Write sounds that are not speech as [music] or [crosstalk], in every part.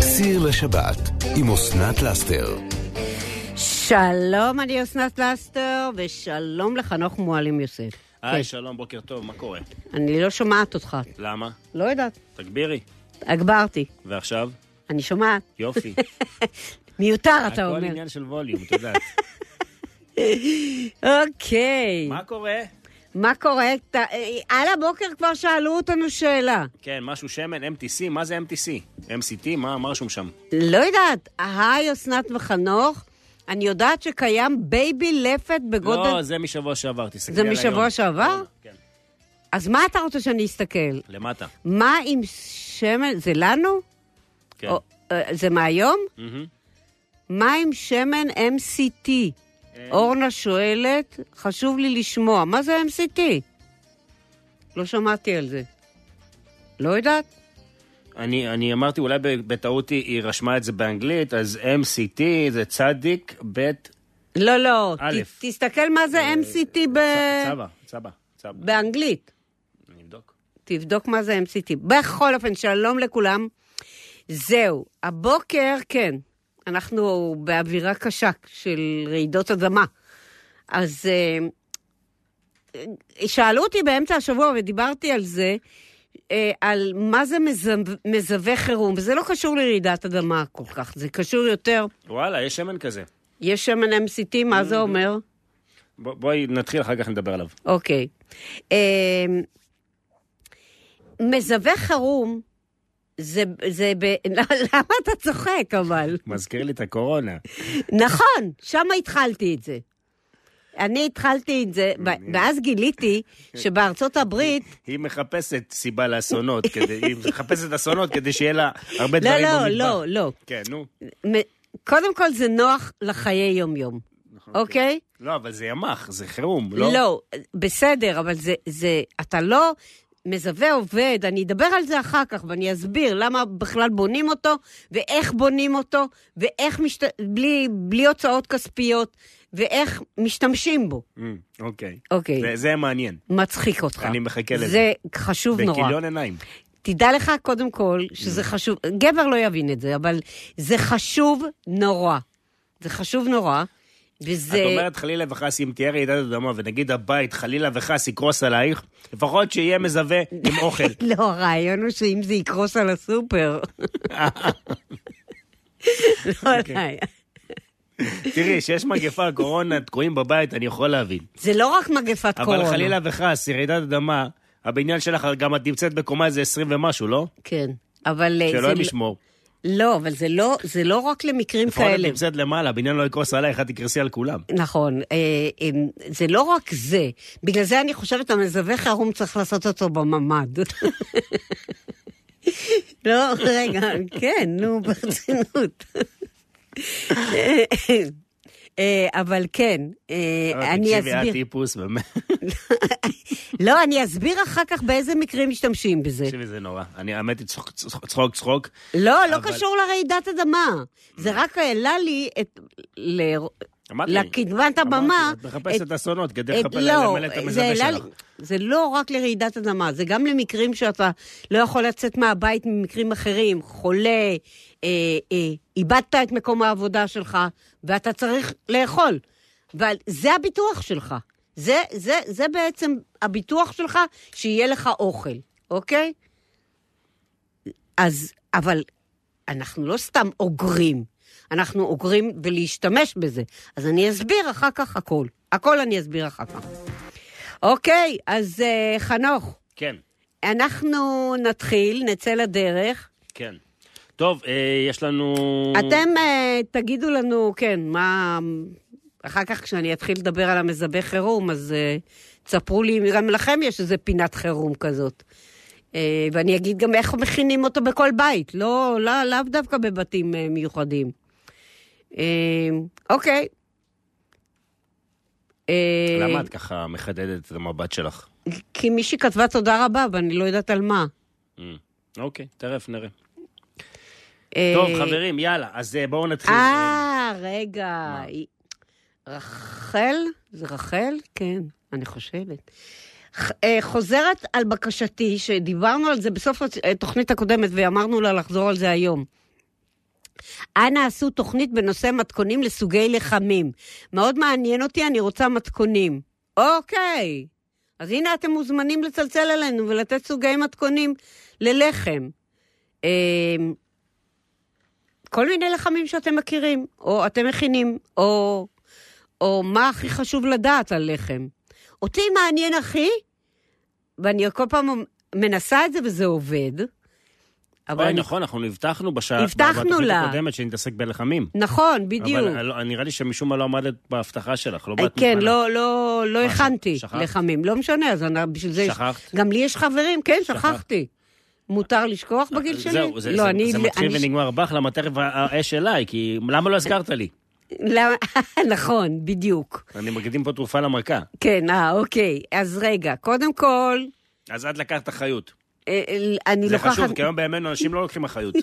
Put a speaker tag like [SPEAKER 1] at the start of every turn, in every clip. [SPEAKER 1] סיר לשבת עם אסנת לאסתר.
[SPEAKER 2] שלום, אני אסנת לסטר, ושלום לחנוך מועלים יוסף.
[SPEAKER 3] היי,
[SPEAKER 2] כן.
[SPEAKER 3] שלום, בוקר טוב, מה קורה?
[SPEAKER 2] אני לא שומעת אותך.
[SPEAKER 3] למה?
[SPEAKER 2] לא יודעת.
[SPEAKER 3] תגבירי.
[SPEAKER 2] הגברתי.
[SPEAKER 3] ועכשיו?
[SPEAKER 2] אני שומעת. [laughs]
[SPEAKER 3] יופי.
[SPEAKER 2] מיותר, אתה
[SPEAKER 3] הכל
[SPEAKER 2] אומר.
[SPEAKER 3] עניין של ווליום, את
[SPEAKER 2] [laughs]
[SPEAKER 3] יודעת.
[SPEAKER 2] אוקיי.
[SPEAKER 3] מה קורה?
[SPEAKER 2] מה קורה? ת- אה, על הבוקר כבר שאלו אותנו שאלה.
[SPEAKER 3] כן, משהו שמן, MTC, מה זה MTC? MCT, מה מה רשום שם?
[SPEAKER 2] לא יודעת. היי, אסנת וחנוך, אני יודעת שקיים בייבי לפת בגודל...
[SPEAKER 3] לא, זה משבוע שעבר, תסתכלי
[SPEAKER 2] זה
[SPEAKER 3] על היום.
[SPEAKER 2] משבוע שעבר?
[SPEAKER 3] כן,
[SPEAKER 2] אז מה אתה רוצה שאני אסתכל?
[SPEAKER 3] למטה.
[SPEAKER 2] מה עם שמן? זה לנו?
[SPEAKER 3] כן.
[SPEAKER 2] או- אה, זה מהיום?
[SPEAKER 3] מהמם.
[SPEAKER 2] מה עם שמן MCT?
[SPEAKER 3] אה.
[SPEAKER 2] אורנה שואלת, חשוב לי לשמוע, מה זה MCT? לא שמעתי על זה. לא יודעת?
[SPEAKER 3] אני, אני אמרתי, אולי ב- בטעות היא היא רשמה את זה באנגלית, אז MCT זה צדיק בית
[SPEAKER 2] לא, לא.
[SPEAKER 3] א'. אה,
[SPEAKER 2] ת- תסתכל מה זה MCT ב...
[SPEAKER 3] צ- צבא, צבא, צבא.
[SPEAKER 2] באנגלית.
[SPEAKER 3] אני אבדוק.
[SPEAKER 2] תבדוק מה זה MCT. בכל אופן, שלום לכולם. זהו, הבוקר, כן, אנחנו באווירה קשה של רעידות אדמה. אז אה, שאלו אותי באמצע השבוע, ודיברתי על זה, אה, על מה זה מזו- מזווה חירום. זה לא קשור לרעידת אדמה כל כך, זה קשור יותר.
[SPEAKER 3] וואלה, יש שמן כזה.
[SPEAKER 2] יש שמן MCT, מה זה אומר?
[SPEAKER 3] בוא- בואי נתחיל, אחר כך נדבר עליו.
[SPEAKER 2] אוקיי. אמ, מזווה חירום, זה, זה ב... [laughs] למה אתה צוחק אבל?
[SPEAKER 3] מזכיר לי את הקורונה.
[SPEAKER 2] נכון, שם התחלתי את זה. אני התחלתי את זה, ב- ואז גיליתי שבארצות הברית...
[SPEAKER 3] היא מחפשת סיבה לאסונות, כדי,
[SPEAKER 2] [laughs]
[SPEAKER 3] היא מחפשת אסונות כדי שיהיה לה הרבה
[SPEAKER 2] לא,
[SPEAKER 3] דברים
[SPEAKER 2] לא,
[SPEAKER 3] במטבח.
[SPEAKER 2] לא, לא.
[SPEAKER 3] כן, נו.
[SPEAKER 2] מ- קודם כל זה נוח לחיי יום-יום, אוקיי?
[SPEAKER 3] לא, אבל זה ימ"ח, זה חירום, לא?
[SPEAKER 2] לא, בסדר, אבל זה, זה, אתה לא מזווה עובד, אני אדבר על זה אחר כך ואני אסביר למה בכלל בונים אותו, ואיך בונים אותו, ואיך, משת... בלי, בלי הוצאות כספיות, ואיך משתמשים בו.
[SPEAKER 3] Mm, אוקיי.
[SPEAKER 2] אוקיי.
[SPEAKER 3] זה, זה מעניין.
[SPEAKER 2] מצחיק אותך.
[SPEAKER 3] אני מחכה לזה.
[SPEAKER 2] זה חשוב נורא.
[SPEAKER 3] בכיליון Mm. עיניים.
[SPEAKER 2] תדע לך קודם כל שזה חשוב, גבר לא יבין את זה, אבל זה חשוב נורא. זה חשוב נורא, וזה...
[SPEAKER 3] את אומרת חלילה וחס, אם תהיה רעידת אדמה ונגיד הבית חלילה וחס יקרוס עלייך, לפחות שיהיה מזווה עם אוכל.
[SPEAKER 2] [laughs] לא, הרעיון הוא שאם זה יקרוס על
[SPEAKER 3] [laughs]
[SPEAKER 2] הסופר. לא
[SPEAKER 3] אוקיי.
[SPEAKER 2] עליי.
[SPEAKER 3] תראי, שיש מגפה, קורונה, תקועים בבית, אני יכול להבין.
[SPEAKER 2] זה לא רק מגפת קורונה.
[SPEAKER 3] אבל חלילה וחס, רעידת אדמה, הבניין שלך, גם את נמצאת בקומה איזה 20 ומשהו, לא?
[SPEAKER 2] כן, אבל... אה, זה
[SPEAKER 3] שאלוהים
[SPEAKER 2] לא-
[SPEAKER 3] ישמור.
[SPEAKER 2] לא, אבל זה לא- זה לא רק למקרים
[SPEAKER 3] לפחות את
[SPEAKER 2] כאלה.
[SPEAKER 3] נמצאת למעלה, הבניין לא יקרוס עלייך, את תקרסי על כולם.
[SPEAKER 2] נכון, אה, אה, זה לא רק זה. בגלל זה אני חושבת, המזווה חירום צריך לעשות אותו בממ"ד. [laughs] לא, רגע, כן, נו, [laughs] ברצינות. אה, אבל כן, אה, אני
[SPEAKER 3] תקשיבי, את
[SPEAKER 2] אסביר.
[SPEAKER 3] טיפוס, באמת.
[SPEAKER 2] [laughs] לא, אני אסביר אחר כך באיזה מקרים משתמשים בזה.
[SPEAKER 3] תקשיבי, זה נורא. אני, האמת היא, צחוק, צחוק, צחוק, צחוק.
[SPEAKER 2] לא, לא
[SPEAKER 3] אבל-
[SPEAKER 2] קשור לרעידת אדמה. זה רק העלה לי את... ל-
[SPEAKER 3] אמרתי,
[SPEAKER 2] לקדמת
[SPEAKER 3] אמרתי,
[SPEAKER 2] הבמה.
[SPEAKER 3] את מחפשת אסונות כדי
[SPEAKER 2] את-
[SPEAKER 3] לחפש
[SPEAKER 2] לא,
[SPEAKER 3] למלא את
[SPEAKER 2] זה
[SPEAKER 3] המזווה
[SPEAKER 2] העלה
[SPEAKER 3] שלך.
[SPEAKER 2] לי- זה לא רק לרעידת אדמה, זה גם למקרים שאתה לא יכול לצאת מהבית ממקרים אחרים, חולה, אה, אה, איבדת את מקום העבודה שלך, ואתה צריך לאכול. אבל זה הביטוח שלך. זה, זה, זה בעצם הביטוח שלך, שיהיה לך אוכל, אוקיי? אז, אבל אנחנו לא סתם אוגרים, אנחנו אוגרים ולהשתמש בזה. אז אני אסביר אחר כך הכל. הכל אני אסביר אחר כך. אוקיי, אז uh, חנוך,
[SPEAKER 3] כן,
[SPEAKER 2] אנחנו נתחיל, נצא לדרך.
[SPEAKER 3] כן. טוב, אה, יש לנו...
[SPEAKER 2] אתם uh, תגידו לנו, כן, מה... אחר כך כשאני אתחיל לדבר על המזבה חירום, אז uh, תספרו לי אם גם לכם יש איזה פינת חירום כזאת. Uh, ואני אגיד גם איך מכינים אותו בכל בית, לא, לא, לאו דווקא בבתים uh, מיוחדים. אה, אוקיי. אה,
[SPEAKER 3] למה את ככה מחדדת את המבט שלך?
[SPEAKER 2] כי מישהי כתבה תודה רבה, ואני לא יודעת על מה.
[SPEAKER 3] Mm. אוקיי, תכף נראה.
[SPEAKER 2] אה,
[SPEAKER 3] טוב, חברים, יאללה, אז אה, בואו נתחיל.
[SPEAKER 2] אה, רגע. היא- רחל? זה רחל? כן, אני חושבת. ח- אה, חוזרת על בקשתי, שדיברנו על זה בסוף הת- אה, התוכנית הקודמת ואמרנו לה לחזור על זה היום. אנא עשו תוכנית בנושא מתכונים לסוגי לחמים. מאוד מעניין אותי, אני רוצה מתכונים. אוקיי. אז הנה אתם מוזמנים לצלצל אלינו ולתת סוגי מתכונים ללחם. אה, כל מיני לחמים שאתם מכירים, או אתם מכינים, או, או מה הכי חשוב לדעת על לחם. אותי מעניין הכי, ואני כל פעם מנסה את זה וזה עובד.
[SPEAKER 3] אוי, נכון, אנחנו הבטחנו בשעה...
[SPEAKER 2] הבטחנו
[SPEAKER 3] בתוכנית
[SPEAKER 2] לה.
[SPEAKER 3] הקודמת שנתעסק בלחמים.
[SPEAKER 2] נכון, בדיוק.
[SPEAKER 3] אבל אה, נראה לי שמשום מה לא עמדת בהבטחה שלך, לא
[SPEAKER 2] אה,
[SPEAKER 3] באת
[SPEAKER 2] כן,
[SPEAKER 3] מוכנה.
[SPEAKER 2] לא, לא, לא
[SPEAKER 3] מה,
[SPEAKER 2] הכנתי
[SPEAKER 3] שכחת?
[SPEAKER 2] לחמים. לא משנה, אז אני, בשביל זה... יש-
[SPEAKER 3] שכחת?
[SPEAKER 2] גם לי יש חברים, כן, שכחתי. מותר לשכוח בגיל שלי?
[SPEAKER 3] אה, זהו, זה,
[SPEAKER 2] לא,
[SPEAKER 3] זה,
[SPEAKER 2] אני...
[SPEAKER 3] זה מתחיל
[SPEAKER 2] אני-
[SPEAKER 3] ונגמר בך, למה תכף האש אליי, כי למה לא הזכרת לי?
[SPEAKER 2] למה- [laughs] נכון, בדיוק.
[SPEAKER 3] אני מקדים פה תרופה למכה.
[SPEAKER 2] כן, אה, אוקיי. אז רגע, קודם כל,
[SPEAKER 3] אז את לקחת אחריות.
[SPEAKER 2] אה, אה, אני
[SPEAKER 3] זה
[SPEAKER 2] לוקחת...
[SPEAKER 3] חשוב, כי היום בימינו אנשים לא לוקחים אחריות.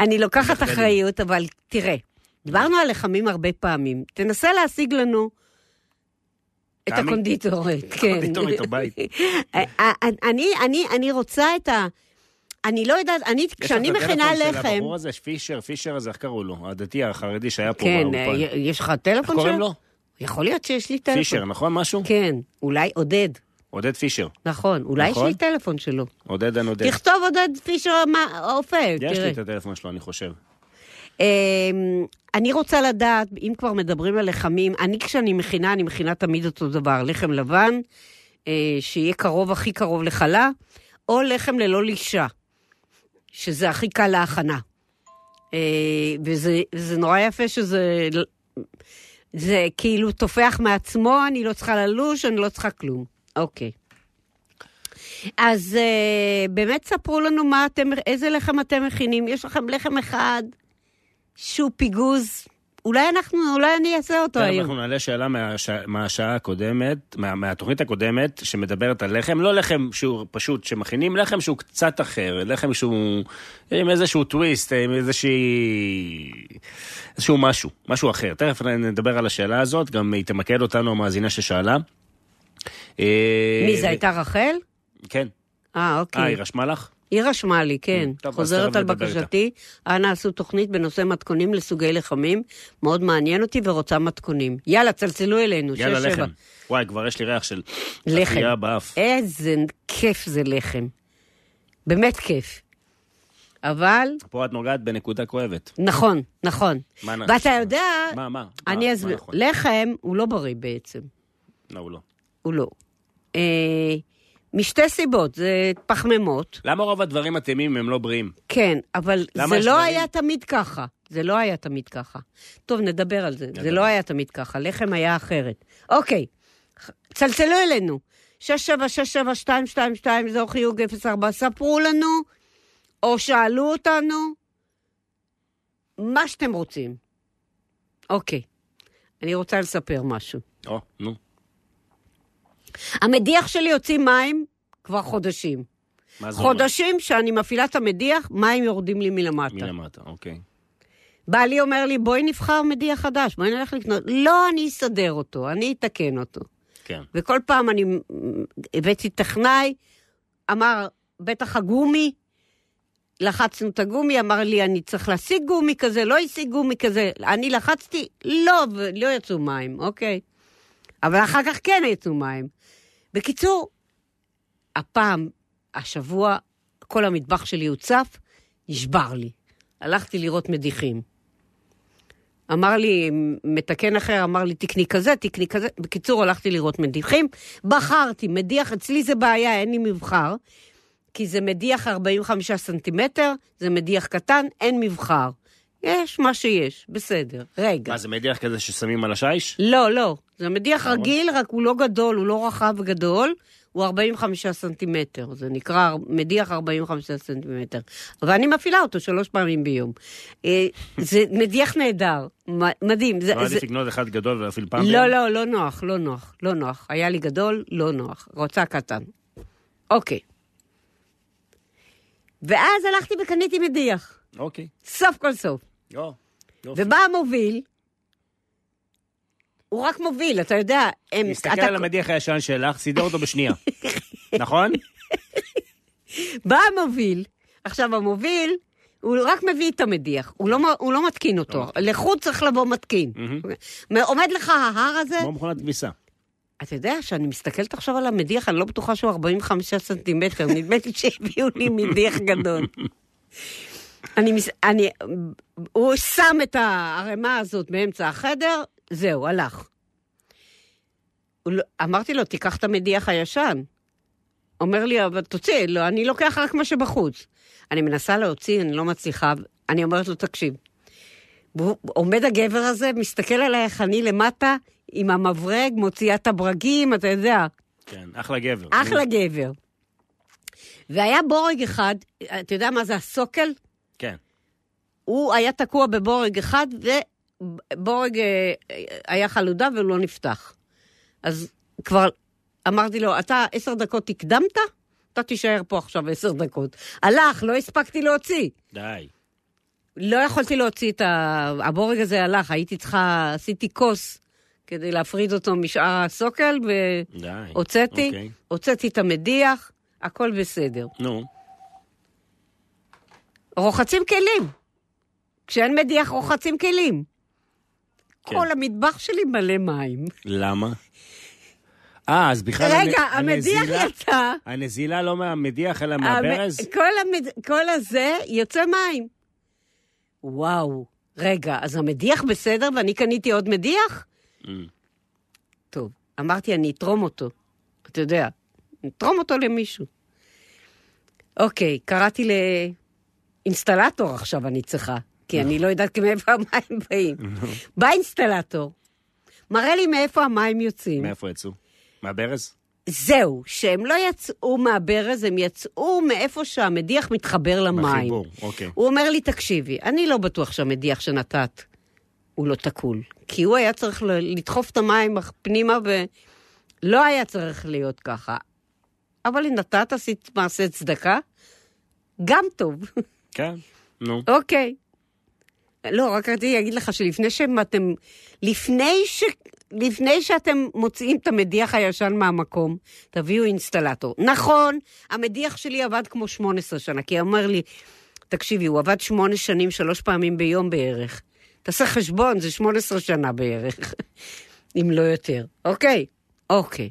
[SPEAKER 2] אני לוקחת
[SPEAKER 3] מחדלים.
[SPEAKER 2] אחריות, אבל תראה, דיברנו על לחמים הרבה פעמים. תנסה להשיג לנו את
[SPEAKER 3] תמי?
[SPEAKER 2] הקונדיטורית.
[SPEAKER 3] [laughs]
[SPEAKER 2] [laughs] כן. אה,
[SPEAKER 3] הקונדיטורית הבית.
[SPEAKER 2] [laughs] אני, אני, אני רוצה את ה... אני לא יודעת, אני,
[SPEAKER 3] יש לך
[SPEAKER 2] כשאני
[SPEAKER 3] את הטלפון
[SPEAKER 2] מכינה
[SPEAKER 3] של
[SPEAKER 2] לחם...
[SPEAKER 3] הבחור הזה, פישר, פישר הזה, איך קראו לו? הדתי החרדי שהיה פה
[SPEAKER 2] כן, אה,
[SPEAKER 3] באולפן.
[SPEAKER 2] יש לך
[SPEAKER 3] איך
[SPEAKER 2] טלפון שלו?
[SPEAKER 3] קוראים לו?
[SPEAKER 2] יכול להיות שיש לי טלפון.
[SPEAKER 3] פישר, נכון משהו?
[SPEAKER 2] כן, אולי עודד.
[SPEAKER 3] עודד פישר.
[SPEAKER 2] נכון, אולי יש
[SPEAKER 3] נכון.
[SPEAKER 2] לי טלפון שלו.
[SPEAKER 3] עודד הנודד.
[SPEAKER 2] תכתוב עודד פישר מה- אופה, תראה.
[SPEAKER 3] יש לי את הטלפון שלו, אני חושב.
[SPEAKER 2] אמ, אני רוצה לדעת, אם כבר מדברים על לחמים, אני כשאני מכינה, אני מכינה תמיד אותו דבר, לחם לבן, אה, שיהיה קרוב, הכי קרוב לחלה, או לחם ללא לישה, שזה הכי קל להכנה. אה, וזה זה נורא יפה שזה... זה כאילו תופח מעצמו, אני לא צריכה ללוש, אני לא צריכה כלום. אוקיי. אז אה, באמת ספרו לנו מה אתם, איזה לחם אתם מכינים. יש לכם לחם אחד שהוא פיגוז. אולי אנחנו, אולי אני אעשה אותו
[SPEAKER 3] תכף
[SPEAKER 2] היום.
[SPEAKER 3] כן, אנחנו נעלה שאלה מהשע- מהשעה הקודמת, מה- מהתוכנית הקודמת, שמדברת על לחם, לא לחם שהוא פשוט שמכינים, לחם שהוא קצת אחר, לחם שהוא עם איזשהו טוויסט, עם איזושהי... איזשהו משהו, משהו אחר. תכף נדבר על השאלה הזאת, גם היא תמקד אותנו, המאזינה ששאלה. אה,
[SPEAKER 2] מי זה הייתה רחל?
[SPEAKER 3] כן.
[SPEAKER 2] אה,
[SPEAKER 3] אה, היא
[SPEAKER 2] אוקיי.
[SPEAKER 3] רשמה לך?
[SPEAKER 2] היא רשמה לי, כן.
[SPEAKER 3] טוב, אז
[SPEAKER 2] חוזרת
[SPEAKER 3] תכף
[SPEAKER 2] על
[SPEAKER 3] נדבר איתה.
[SPEAKER 2] בקשתי. אנא עשו תוכנית בנושא מתכונים לסוגי לחמים. מאוד מעניין אותי ורוצה מתכונים. יאללה, צלצלו אלינו.
[SPEAKER 3] יאללה,
[SPEAKER 2] שש, שבע.
[SPEAKER 3] לחם. וואי, כבר יש לי ריח של...
[SPEAKER 2] לחם. אה-
[SPEAKER 3] אפייה באף.
[SPEAKER 2] איזה כיף זה לחם. באמת כיף. אבל,
[SPEAKER 3] פה את נוגעת בנקודה כואבת.
[SPEAKER 2] נכון, נכון.
[SPEAKER 3] מה נ-
[SPEAKER 2] ואתה יודע,
[SPEAKER 3] מה, מה?
[SPEAKER 2] אני
[SPEAKER 3] מה- מה
[SPEAKER 2] אסביר,
[SPEAKER 3] נכון?
[SPEAKER 2] לחם הוא לא בריא בעצם.
[SPEAKER 3] לא, הוא לא.
[SPEAKER 2] הוא לא. אה, משתי סיבות, זה פחמימות,
[SPEAKER 3] למה רוב הדברים הטעימים הם לא בריאים?
[SPEAKER 2] כן, אבל
[SPEAKER 3] למה
[SPEAKER 2] זה
[SPEAKER 3] יש
[SPEAKER 2] לא
[SPEAKER 3] דברים-
[SPEAKER 2] היה תמיד ככה. זה לא היה תמיד ככה. טוב, נדבר על זה. זה
[SPEAKER 3] נדבר.
[SPEAKER 2] לא היה תמיד ככה, לחם היה אחרת. אוקיי, צלצלו אלינו. 6767222, זהו חיוג 04, ספרו לנו, או שאלו אותנו, מה שאתם רוצים. אוקיי, אני רוצה לספר משהו.
[SPEAKER 3] או, נו.
[SPEAKER 2] המדיח שלי יוציא מים כבר חודשים.
[SPEAKER 3] מה זה אומר?
[SPEAKER 2] חודשים שאני מפעילה את המדיח, מים יורדים לי מלמטה.
[SPEAKER 3] מלמטה, אוקיי.
[SPEAKER 2] בעלי אומר לי, בואי נבחר מדיח חדש, בואי נלך לקנות. לא, אני אסדר אותו, אני אתקן אותו.
[SPEAKER 3] כן.
[SPEAKER 2] וכל פעם אני מ, הבאתי טכנאי, אמר, בטח הגומי, לחצנו את הגומי, אמר לי, אני צריך להשיג גומי כזה, לא השיג גומי כזה. אני לחצתי, לא, ולא יצאו מים, אוקיי. אבל אחר כך כן יצאו מים. בקיצור, הפעם, השבוע, כל המטבח שלי הוצף, נשבר לי. הלכתי לראות מדיחים. אמר לי, מתקן אחר, אמר לי, תקני כזה, תקני כזה. בקיצור, הלכתי לראות מדיחים. בחרתי, מדיח, אצלי זה בעיה, אין לי מבחר, כי זה מדיח 45 סנטימטר, זה מדיח קטן, אין מבחר. יש מה שיש, בסדר. רגע.
[SPEAKER 3] מה, זה מדיח כזה ששמים על השיש?
[SPEAKER 2] לא, לא. זה מדיח
[SPEAKER 3] נכון.
[SPEAKER 2] רגיל, רק הוא לא גדול, הוא לא רחב וגדול, הוא 45 סנטימטר. זה נקרא מדיח 45 סנטימטר. ואני מפעילה אותו שלוש פעמים ביום. אה, זה מדיח נהדר, מ- מדהים. זה,
[SPEAKER 3] לא
[SPEAKER 2] זה...
[SPEAKER 3] עדיף לקנות אחד גדול ואפילו פעם
[SPEAKER 2] לא,
[SPEAKER 3] ביום?
[SPEAKER 2] לא, לא נוח, לא נוח, לא נוח. היה לי גדול, לא נוח. רוצה קטן. אוקיי. ואז הלכתי וקניתי מדיח.
[SPEAKER 3] אוקיי.
[SPEAKER 2] סוף כל סוף.
[SPEAKER 3] או, יופי.
[SPEAKER 2] ובא המוביל, הוא רק מוביל, אתה יודע, הם...
[SPEAKER 3] מסתכל
[SPEAKER 2] כן, אתה-
[SPEAKER 3] על המדיח הישן שלך, סידר אותו
[SPEAKER 2] [laughs]
[SPEAKER 3] בשנייה. נכון?
[SPEAKER 2] בא המוביל, עכשיו המוביל, הוא רק מביא את המדיח, הוא לא, מ- הוא לא מתקין אותו. לחוד צריך לבוא מתקין. עומד לך ההר הזה,
[SPEAKER 3] כמו מכונת כביסה.
[SPEAKER 2] אתה יודע, שאני מסתכלת עכשיו על המדיח, אני לא בטוחה שהוא 45 סנטימטר, נדמה לי שהביאו לי מדיח גדול. אני, מס- אני, הוא שם את הערימה הזאת באמצע החדר, זהו, הלך. הוא לא- אמרתי לו, תיקח את המדיח הישן. אומר לי, אבל תוציא, לא, אני לוקח רק מה שבחוץ. אני מנסה להוציא, אני לא מצליחה, אני אומרת לו, תקשיב. והוא- עומד הגבר הזה, מסתכל עלייך, אני למטה, עם המברג, מוציאה את הברגים, אתה יודע,
[SPEAKER 3] כן, אחלה גבר.
[SPEAKER 2] אחלה גבר. והיה בורג אחד, אתה יודע מה זה הסוקל?
[SPEAKER 3] כן.
[SPEAKER 2] הוא היה תקוע בבורג אחד, ובורג אה, היה חלודה ולא נפתח. אז כבר אמרתי לו, אתה עשר דקות הקדמת? אתה תישאר פה עכשיו עשר דקות. הלך, לא הספקתי להוציא.
[SPEAKER 3] די.
[SPEAKER 2] לא יכולתי להוציא את ה... הבורג הזה הלך, הייתי צריכה, עשיתי כוס כדי להפריד אותו משאר הסוקל,
[SPEAKER 3] די.
[SPEAKER 2] והוצאתי,
[SPEAKER 3] אוקיי.
[SPEAKER 2] הוצאתי את המדיח, הכל בסדר.
[SPEAKER 3] נו,
[SPEAKER 2] רוחצים כלים. כשאין מדיח רוחצים כלים.
[SPEAKER 3] כן.
[SPEAKER 2] כל המטבח שלי מלא מים.
[SPEAKER 3] למה? אה, אז בכלל...
[SPEAKER 2] רגע,
[SPEAKER 3] הנ-
[SPEAKER 2] המדיח
[SPEAKER 3] הנזילה-
[SPEAKER 2] יצא.
[SPEAKER 3] הנזילה לא מהמדיח, אלא מהברז?
[SPEAKER 2] המ- אה, כל, המד... כל הזה יוצא מים. וואו, רגע, אז המדיח בסדר ואני קניתי עוד מדיח?
[SPEAKER 3] אמ,
[SPEAKER 2] טוב, אמרתי, אני אתרום אותו. אתה יודע, נתרום אותו למישהו. אוקיי, קראתי לאינסטלטור עכשיו אני צריכה, כי אני לא יודעת מאיפה [laughs] המים באים. בא אינסטלטור, מראה לי מאיפה המים יוצאים.
[SPEAKER 3] מאיפה יצאו? מהברז?
[SPEAKER 2] זהו, שהם לא יצאו מהברז, הם יצאו מאיפה שהמדיח מתחבר למים.
[SPEAKER 3] בחיבור, אוקיי.
[SPEAKER 2] הוא אומר לי, תקשיבי, אני לא בטוח שהמדיח שנתת הוא לא תקול, כי הוא היה צריך ל- לדחוף את המים פנימה ולא היה צריך להיות ככה. אבל אם נתת, עשית מעשה צדקה, גם טוב.
[SPEAKER 3] כן, נו.
[SPEAKER 2] אוקיי. לא, רק רציתי להגיד לך שלפני שאתם, לפני, ש, לפני שאתם מוציאים את המדיח הישן מהמקום, תביאו אינסטלטור. נכון, המדיח שלי עבד כמו 18 שנה, כי אמר לי, תקשיבי, הוא עבד 8 שנים, שלוש פעמים ביום בערך. תעשה חשבון, זה 18 שנה בערך, [laughs] אם לא יותר. אוקיי, אוקיי.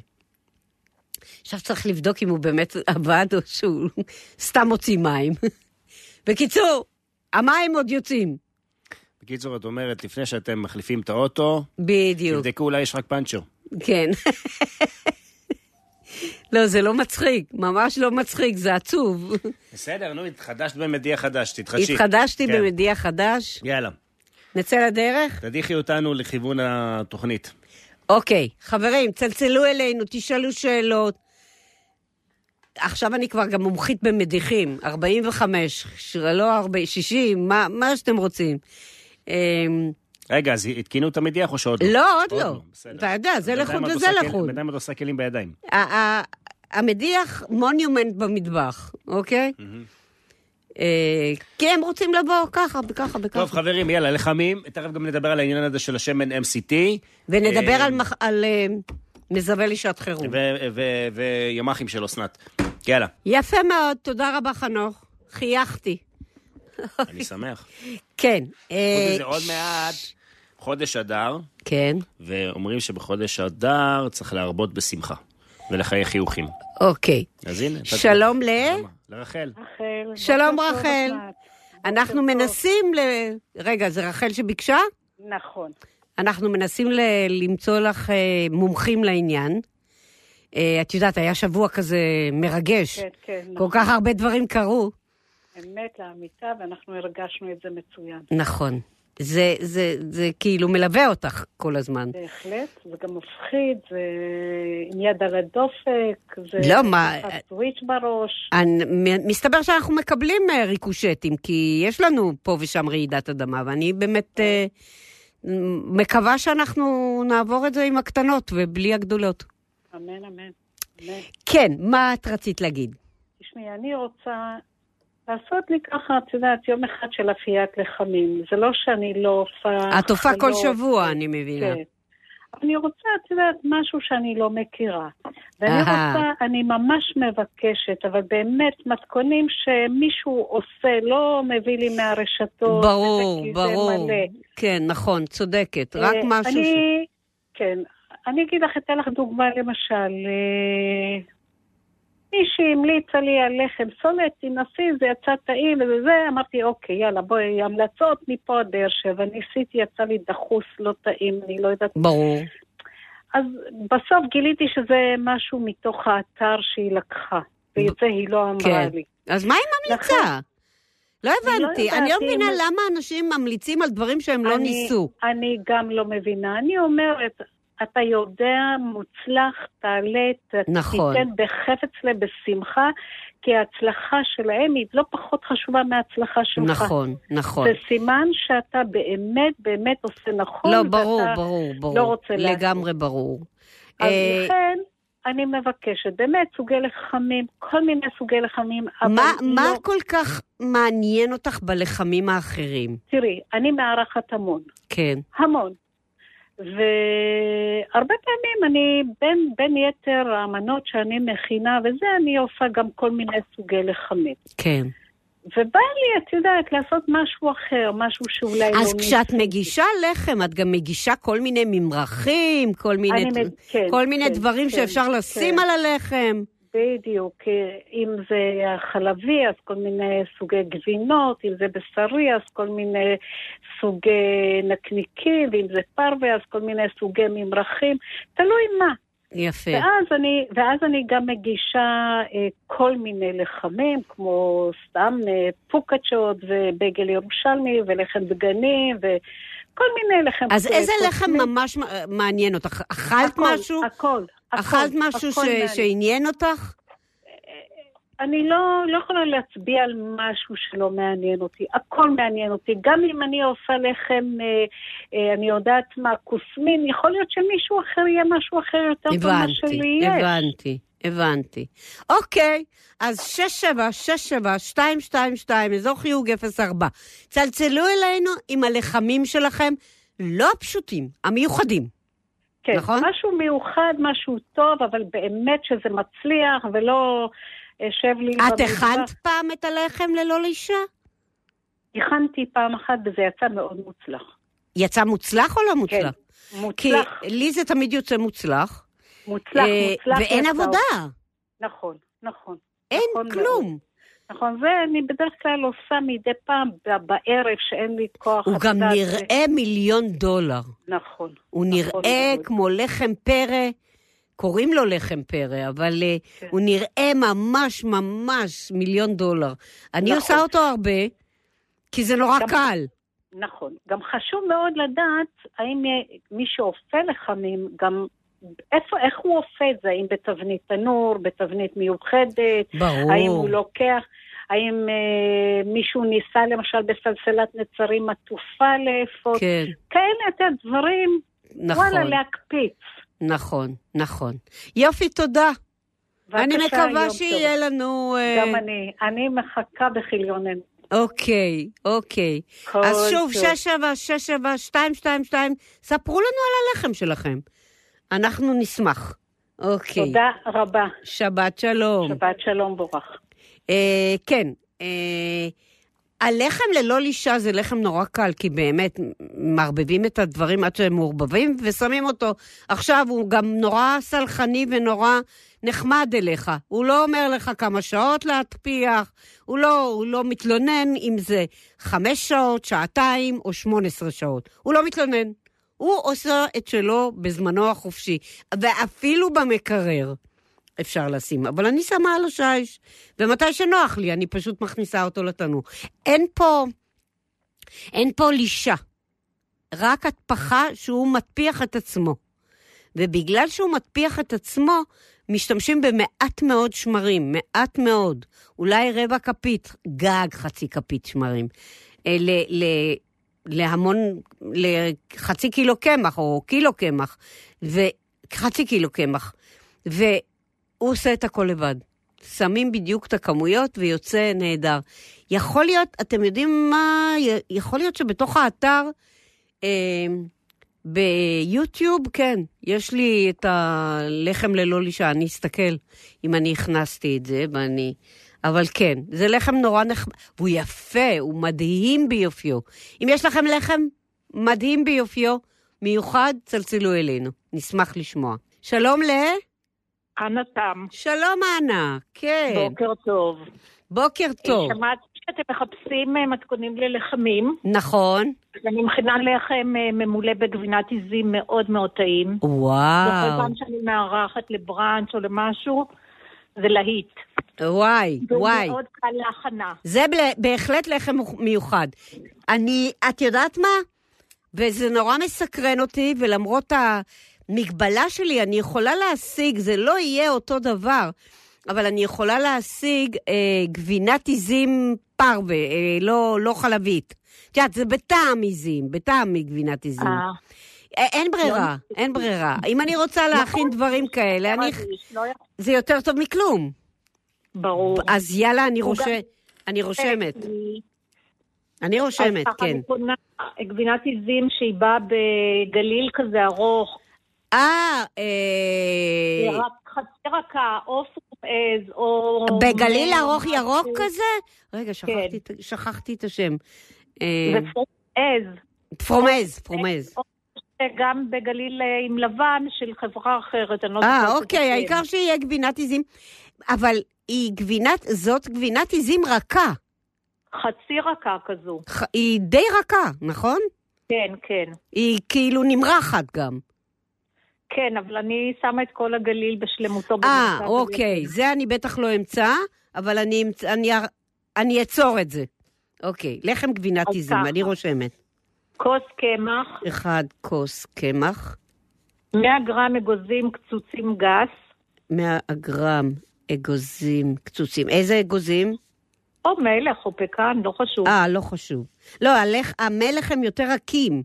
[SPEAKER 2] עכשיו צריך לבדוק אם הוא באמת עבד או שהוא [laughs] סתם מוציא מים. בקיצור, המים עוד יוצאים.
[SPEAKER 3] בקיצור, את אומרת, לפני שאתם מחליפים את האוטו,
[SPEAKER 2] בדיוק,
[SPEAKER 3] תבדקו אולי יש רק פאנצ'ר.
[SPEAKER 2] כן. [laughs] לא, זה לא מצחיק, ממש לא מצחיק, זה עצוב.
[SPEAKER 3] בסדר, נו, התחדשת במדיח חדש, תתחדשי.
[SPEAKER 2] התחדשתי
[SPEAKER 3] כן.
[SPEAKER 2] במדיע חדש,
[SPEAKER 3] יאללה,
[SPEAKER 2] נצא לדרך?
[SPEAKER 3] תדיחי אותנו לכיוון התוכנית.
[SPEAKER 2] אוקיי, חברים, צלצלו אלינו, תשאלו שאלות. עכשיו אני כבר גם מומחית במדיחים, 45, ש- לא 40, 60, מה, מה שאתם רוצים. אמ,
[SPEAKER 3] רגע, אז התקינו את המדיח או שעוד לא?
[SPEAKER 2] לא, עוד לא.
[SPEAKER 3] בסדר.
[SPEAKER 2] אתה יודע, זה
[SPEAKER 3] בינתיים
[SPEAKER 2] לחוד
[SPEAKER 3] את
[SPEAKER 2] וזה
[SPEAKER 3] עושה כל-
[SPEAKER 2] לחוד.
[SPEAKER 3] בינתיים את עושה כלים בידיים.
[SPEAKER 2] ה- ה- המדיח מוניומנט במטבח, אוקיי? אה, כי הם רוצים לבוא ככה, בככה,
[SPEAKER 3] טוב,
[SPEAKER 2] בככה.
[SPEAKER 3] חברים, יאללה, לחמים. תכף גם נדבר על העניין הזה של השמן MCT.
[SPEAKER 2] ונדבר
[SPEAKER 3] אה,
[SPEAKER 2] על מח- על אה, מזווה לשעת חירום.
[SPEAKER 3] ו- ו- וימ"חים של אסנת. יאללה,
[SPEAKER 2] יפה מאוד, תודה רבה, חנוך. חייכתי.
[SPEAKER 3] אני שמח.
[SPEAKER 2] כן. אה,
[SPEAKER 3] חוץ מזה, עוד מעט חודש אדר,
[SPEAKER 2] כן,
[SPEAKER 3] ואומרים שבחודש אדר צריך להרבות בשמחה ולחייך חיוכים.
[SPEAKER 2] אוקיי.
[SPEAKER 3] אז הנה. אתה-
[SPEAKER 2] שלום ל...
[SPEAKER 3] למה? לרחל.
[SPEAKER 4] רחל.
[SPEAKER 2] שלום,
[SPEAKER 4] בוקר טוב,
[SPEAKER 2] רחל.
[SPEAKER 4] אסנת.
[SPEAKER 2] אנחנו
[SPEAKER 4] בוקר טוב.
[SPEAKER 2] מנסים ל... רגע, זה רחל שביקשה?
[SPEAKER 4] נכון.
[SPEAKER 2] אנחנו מנסים ל- למצוא לך אה, מומחים לעניין. אה, את יודעת, היה שבוע כזה מרגש.
[SPEAKER 4] כן, כן.
[SPEAKER 2] כל
[SPEAKER 4] נכון.
[SPEAKER 2] כך הרבה דברים קרו.
[SPEAKER 4] אמת לאמיתה, ואנחנו הרגשנו את זה מצוין.
[SPEAKER 2] נכון. זה, זה, זה כאילו מלווה אותך כל הזמן.
[SPEAKER 4] בהחלט. זה גם מפחיד, זה עם יד על הדופק, זה...
[SPEAKER 2] לא, מה-
[SPEAKER 4] הסוויץ' בראש.
[SPEAKER 2] אני, מ- מסתבר שאנחנו מקבלים אה, ריקושטים, כי יש לנו פה ושם רעידת אדמה, ואני באמת אה, מ- מקווה שאנחנו נעבור את זה עם הקטנות ובלי הגדולות.
[SPEAKER 4] אמן, אמן. אמן.
[SPEAKER 2] כן, מה את רצית להגיד?
[SPEAKER 4] תשמעי, אני רוצה לעשות לי ככה, את יודעת, יום אחד של אפיית לחמים. זה לא שאני לא עושה...
[SPEAKER 2] אה, את הופעה כל
[SPEAKER 4] הכנות,
[SPEAKER 2] אה, שבוע, אני מבינה.
[SPEAKER 4] כן.
[SPEAKER 5] אני רוצה, את יודעת, משהו שאני לא מכירה. ואני
[SPEAKER 2] אהה.
[SPEAKER 5] רוצה, אני ממש מבקשת, אבל באמת, מתכונים שמישהו עושה, לא מביא לי מהרשתות.
[SPEAKER 2] ברור,
[SPEAKER 5] וזה כי זה
[SPEAKER 2] ברור.
[SPEAKER 5] מלא.
[SPEAKER 2] כן, נכון, צודקת. רק
[SPEAKER 5] אה,
[SPEAKER 2] משהו ש...
[SPEAKER 5] אני, כן. אני אגיד לך, אתן לך דוגמה למשל. אה, מישהי המליצה לי על לחם סולת, תנסי, זה יצא טעים וזה זה, אמרתי, אוקיי, יאללה, בואי, המלצות מפה עד באר שבע. ניסיתי, יצא לי דחוס, לא טעים, אני לא יודעת.
[SPEAKER 2] ברור.
[SPEAKER 5] אז בסוף גיליתי שזה משהו מתוך האתר שהיא לקחה, ואת זה היא לא אמרה
[SPEAKER 2] כן.
[SPEAKER 5] לי.
[SPEAKER 2] אז מה היא ממליצה?
[SPEAKER 5] נכון.
[SPEAKER 2] לא
[SPEAKER 5] לא
[SPEAKER 2] הבנתי. אני לא
[SPEAKER 5] יודעת אם-
[SPEAKER 2] מבינה למה אנשים ממליצים על דברים שהם לא
[SPEAKER 5] אני-
[SPEAKER 2] ניסו.
[SPEAKER 5] אני גם לא מבינה. אני אומרת, אתה יודע, מוצלח, תעלה, ת-
[SPEAKER 2] נכון.
[SPEAKER 5] תיתן בחפץ לב, בשמחה, כי ההצלחה שלהם היא לא פחות חשובה מההצלחה שלך.
[SPEAKER 2] נכון, נכון.
[SPEAKER 5] זה סימן שאתה באמת באמת עושה נכון.
[SPEAKER 2] לא, ברור,
[SPEAKER 5] ואתה-
[SPEAKER 2] ברור, ברור.
[SPEAKER 5] לא רוצה לעשות.
[SPEAKER 2] לגמרי ברור.
[SPEAKER 5] אז
[SPEAKER 2] אה,
[SPEAKER 5] לכן, אני מבקשת, באמת, סוגי לחמים, כל מיני סוגי לחמים, אבל
[SPEAKER 2] מה-
[SPEAKER 5] לא...
[SPEAKER 2] מה כל כך מעניין אותך בלחמים האחרים?
[SPEAKER 5] תראי, אני מארחת המון.
[SPEAKER 2] כן.
[SPEAKER 5] המון. והרבה פעמים אני, בין, בין יתר המנות שאני מכינה וזה, אני עושה גם כל מיני סוגי לחמים.
[SPEAKER 2] כן.
[SPEAKER 5] ובא לי, את יודעת, לעשות משהו אחר, משהו שאולי לא...
[SPEAKER 2] אז כשאת
[SPEAKER 5] ניסיתי.
[SPEAKER 2] מגישה לחם, את גם מגישה כל מיני ממרחים, כל מיני,
[SPEAKER 5] אני מג- כן,
[SPEAKER 2] כל מיני
[SPEAKER 5] כן,
[SPEAKER 2] דברים
[SPEAKER 5] כן,
[SPEAKER 2] שאפשר לשים
[SPEAKER 5] כן.
[SPEAKER 2] על הלחם.
[SPEAKER 5] בדיוק, אם זה חלבי, אז כל מיני סוגי גבינות, אם זה בשרי, אז כל מיני סוגי נקניקים, ואם זה פרווה, אז כל מיני סוגי ממרחים, תלוי מה.
[SPEAKER 2] יפה.
[SPEAKER 5] ואז אני, ואז אני גם מגישה אה, כל מיני לחמים, כמו סתם אה, פוקצ'ות ובגל ירושלמי ולחם דגני וכל מיני לחם.
[SPEAKER 2] אז
[SPEAKER 5] אה,
[SPEAKER 2] איזה
[SPEAKER 5] קוטני.
[SPEAKER 2] לחם ממש מ- מעניין אותך? אכלת
[SPEAKER 5] הכל,
[SPEAKER 2] משהו?
[SPEAKER 5] הכל, הכל.
[SPEAKER 2] אכלת משהו ש-
[SPEAKER 5] הכל מעניין.
[SPEAKER 2] שעניין אותך?
[SPEAKER 5] אני לא, לא יכולה להצביע על משהו שלא מעניין אותי. הכל מעניין אותי. גם אם אני עושה לחם, אה, אה, אני יודעת מה, כוסמין, יכול להיות שמישהו אחר יהיה משהו אחר יותר טוב ממה שלי
[SPEAKER 2] הבנתי,
[SPEAKER 5] יש.
[SPEAKER 2] הבנתי, הבנתי. אוקיי, אז 6767222, אזור חיוג 04. צלצלו אלינו עם הלחמים שלכם, לא הפשוטים, המיוחדים.
[SPEAKER 5] כן,
[SPEAKER 2] נכון?
[SPEAKER 5] משהו מיוחד, משהו טוב, אבל באמת שזה מצליח ולא אשב לי...
[SPEAKER 2] את
[SPEAKER 5] במטבח.
[SPEAKER 2] הכנת פעם את הלחם ללא לאישה?
[SPEAKER 5] הכנתי פעם אחת וזה יצא מאוד מוצלח.
[SPEAKER 2] יצא מוצלח או לא
[SPEAKER 5] כן,
[SPEAKER 2] מוצלח? כי
[SPEAKER 5] מוצלח,
[SPEAKER 2] לי זה תמיד יוצא מוצלח.
[SPEAKER 5] מוצלח,
[SPEAKER 2] אה,
[SPEAKER 5] מוצלח.
[SPEAKER 2] ואין
[SPEAKER 5] יצא.
[SPEAKER 2] עבודה,
[SPEAKER 5] נכון, נכון.
[SPEAKER 2] אין
[SPEAKER 5] נכון מאוד.
[SPEAKER 2] כלום.
[SPEAKER 5] נכון, זה אני בדרך כלל עושה מדי פעם ב- בערב, שאין לי כוח.
[SPEAKER 2] הוא
[SPEAKER 5] את
[SPEAKER 2] גם
[SPEAKER 5] יודעת,
[SPEAKER 2] נראה מיליון דולר.
[SPEAKER 5] נכון.
[SPEAKER 2] הוא
[SPEAKER 5] נכון
[SPEAKER 2] נראה
[SPEAKER 5] מאוד.
[SPEAKER 2] כמו לחם פרא, קוראים לו לחם פרא, אבל אה,
[SPEAKER 5] כן.
[SPEAKER 2] הוא נראה ממש ממש מיליון דולר. אני
[SPEAKER 5] נכון.
[SPEAKER 2] עושה אותו הרבה, כי זה נורא
[SPEAKER 5] גם-
[SPEAKER 2] קל.
[SPEAKER 5] נכון. גם חשוב מאוד לדעת האם מי שאופה לחמים, גם איפה, איך הוא אופה את זה, האם בתבנית תנור, בתבנית מיוחדת,
[SPEAKER 2] ברור.
[SPEAKER 5] האם הוא לא לוקח, האם אה, מישהו ניסה למשל בסלסלת נצרים עטופה לאפות, כן.
[SPEAKER 2] כן,
[SPEAKER 5] כאלה את הדברים,
[SPEAKER 2] נכון,
[SPEAKER 5] וואלה, להקפיץ.
[SPEAKER 2] נכון, נכון. יופי, תודה. אני
[SPEAKER 5] בבקשה, יום
[SPEAKER 2] מקווה
[SPEAKER 5] טוב.
[SPEAKER 2] שיהיה לנו... אה,
[SPEAKER 5] גם אני, אני מחכה בכיליונן.
[SPEAKER 2] אוקיי, אוקיי.
[SPEAKER 5] כל
[SPEAKER 2] אז שוב,
[SPEAKER 5] טוב.
[SPEAKER 2] 6767222, ספרו לנו על הלחם שלכם. אנחנו נשמח. אוקיי.
[SPEAKER 5] תודה רבה.
[SPEAKER 2] שבת שלום.
[SPEAKER 5] שבת שלום בורך.
[SPEAKER 2] אה, כן, אה, הלחם ללא לישה זה לחם נורא קל, כי באמת מערבבים את הדברים עד שהם מעורבבים ושמים אותו. עכשיו הוא גם נורא סלחני ונורא נחמד אליך. הוא לא אומר לך כמה שעות להטפיח, הוא לא, הוא לא מתלונן אם זה חמש שעות, שעתיים או שמונה עשרה שעות. הוא לא מתלונן. הוא עושה את שלו בזמנו החופשי, ואפילו במקרר. אפשר לשים, אבל אני שמה על השיש, ומתי שנוח לי, אני פשוט מכניסה אותו לתנור. אין פה, אין פה לישה, רק הטפחה שהוא מטפיח את עצמו. ובגלל שהוא מטפיח את עצמו, משתמשים במעט מאוד שמרים, מעט מאוד. אולי רבע כפית, גג חצי כפית שמרים. אה, ל, ל, להמון, לחצי קילו קמח, או קילו קמח, וחצי קילו קמח. והוא עושה את הכל לבד. שמים בדיוק את הכמויות ויוצא נהדר. יכול להיות, אתם יודעים מה, י- יכול להיות שבתוך האתר, אה, ביוטיוב, כן, יש לי את הלחם ללא לישה, אני אסתכל אם אני הכנסתי את זה, ואני... אבל כן, זה לחם נורא נחמד, והוא יפה, הוא מדהים ביופיו. אם יש לכם לחם מדהים ביופיו, מיוחד, צלצלו אלינו. נשמח לשמוע. שלום ל...
[SPEAKER 4] אנה תם,
[SPEAKER 2] שלום, אנה. כן.
[SPEAKER 4] בוקר טוב.
[SPEAKER 2] בוקר טוב.
[SPEAKER 4] שמעתי שאתם מחפשים אה, מתכונים ללחמים,
[SPEAKER 2] נכון.
[SPEAKER 4] אז אני מכינה לחם אה, ממולא בגבינת עיזים מאוד מאוד טעים. וכל
[SPEAKER 2] וואו.
[SPEAKER 4] פעם שאני מארחת לבראנץ' או למשהו, זה להיט.
[SPEAKER 2] וואי, וואי.
[SPEAKER 4] והוא מאוד קל להכנה.
[SPEAKER 2] זה בל- בהחלט לחם מיוחד. אני, את יודעת מה? וזה נורא מסקרן אותי, ולמרות המגבלה שלי, אני יכולה להשיג, זה לא יהיה אותו דבר, אבל אני יכולה להשיג אה, גבינת עיזים פרווה, אה, לא, לא חלבית. את יודעת, זה בטעם עיזים, בטעם מגבינת עיזים.
[SPEAKER 4] אה,
[SPEAKER 2] אה, אין ברירה, אין ברירה. אם אני רוצה להכין דברים כאלה, אני...
[SPEAKER 4] מרגיש, לא יכול-
[SPEAKER 2] זה יותר טוב מכלום.
[SPEAKER 4] ברור.
[SPEAKER 2] אז יאללה, אני
[SPEAKER 4] הוא גם-
[SPEAKER 2] רושמת. אני רושמת.
[SPEAKER 4] כי-
[SPEAKER 2] אני רושמת,
[SPEAKER 4] אז ככה
[SPEAKER 2] כן.
[SPEAKER 4] אני קונה גבינת עיזים שהיא באה בגליל כזה ארוך,
[SPEAKER 2] אה,
[SPEAKER 4] היא
[SPEAKER 2] אה,
[SPEAKER 4] רק חצי רכה, או פרומז, או...
[SPEAKER 2] בגליל
[SPEAKER 4] או
[SPEAKER 2] ארוך
[SPEAKER 4] משהו.
[SPEAKER 2] ירוק כזה? רגע,
[SPEAKER 4] כן.
[SPEAKER 2] שכחתי את- שכחתי את השם. אה,
[SPEAKER 4] זה פרומז.
[SPEAKER 2] פרומז, פרומז.
[SPEAKER 4] גם בגליל אה, עם לבן של חברה אחרת, אני לא
[SPEAKER 2] אה,
[SPEAKER 4] זוכרת את
[SPEAKER 2] אוקיי,
[SPEAKER 4] השם.
[SPEAKER 2] העיקר שיהיה גבינת עיזים. אבל היא גבינת, זאת גבינת עיזים רכה.
[SPEAKER 4] חצי רכה כזו.
[SPEAKER 2] ח- היא די רכה, נכון?
[SPEAKER 4] כן, כן.
[SPEAKER 2] היא כאילו נמרחת גם.
[SPEAKER 4] כן, אבל אני שמה את כל הגליל בשלמותו.
[SPEAKER 2] אה,
[SPEAKER 4] במרכז
[SPEAKER 2] אוקיי,
[SPEAKER 4] הגליל.
[SPEAKER 2] זה אני בטח לא אמצא, אבל אני אמצ- אני אר- אני אצור את זה. אוקיי, לחם גבינת
[SPEAKER 4] אז
[SPEAKER 2] עיזים,
[SPEAKER 4] ככה.
[SPEAKER 2] אני רושמת.
[SPEAKER 4] כוס קמח,
[SPEAKER 2] אחד כוס קמח,
[SPEAKER 4] 100 גרם אגוזים קצוצים גס,
[SPEAKER 2] 100 גרם אגוזים קצוצים. איזה אגוזים?
[SPEAKER 4] או מלך או פקן, לא חשוב.
[SPEAKER 2] אה, לא חשוב. לא, הלך, המלך הם יותר רכים.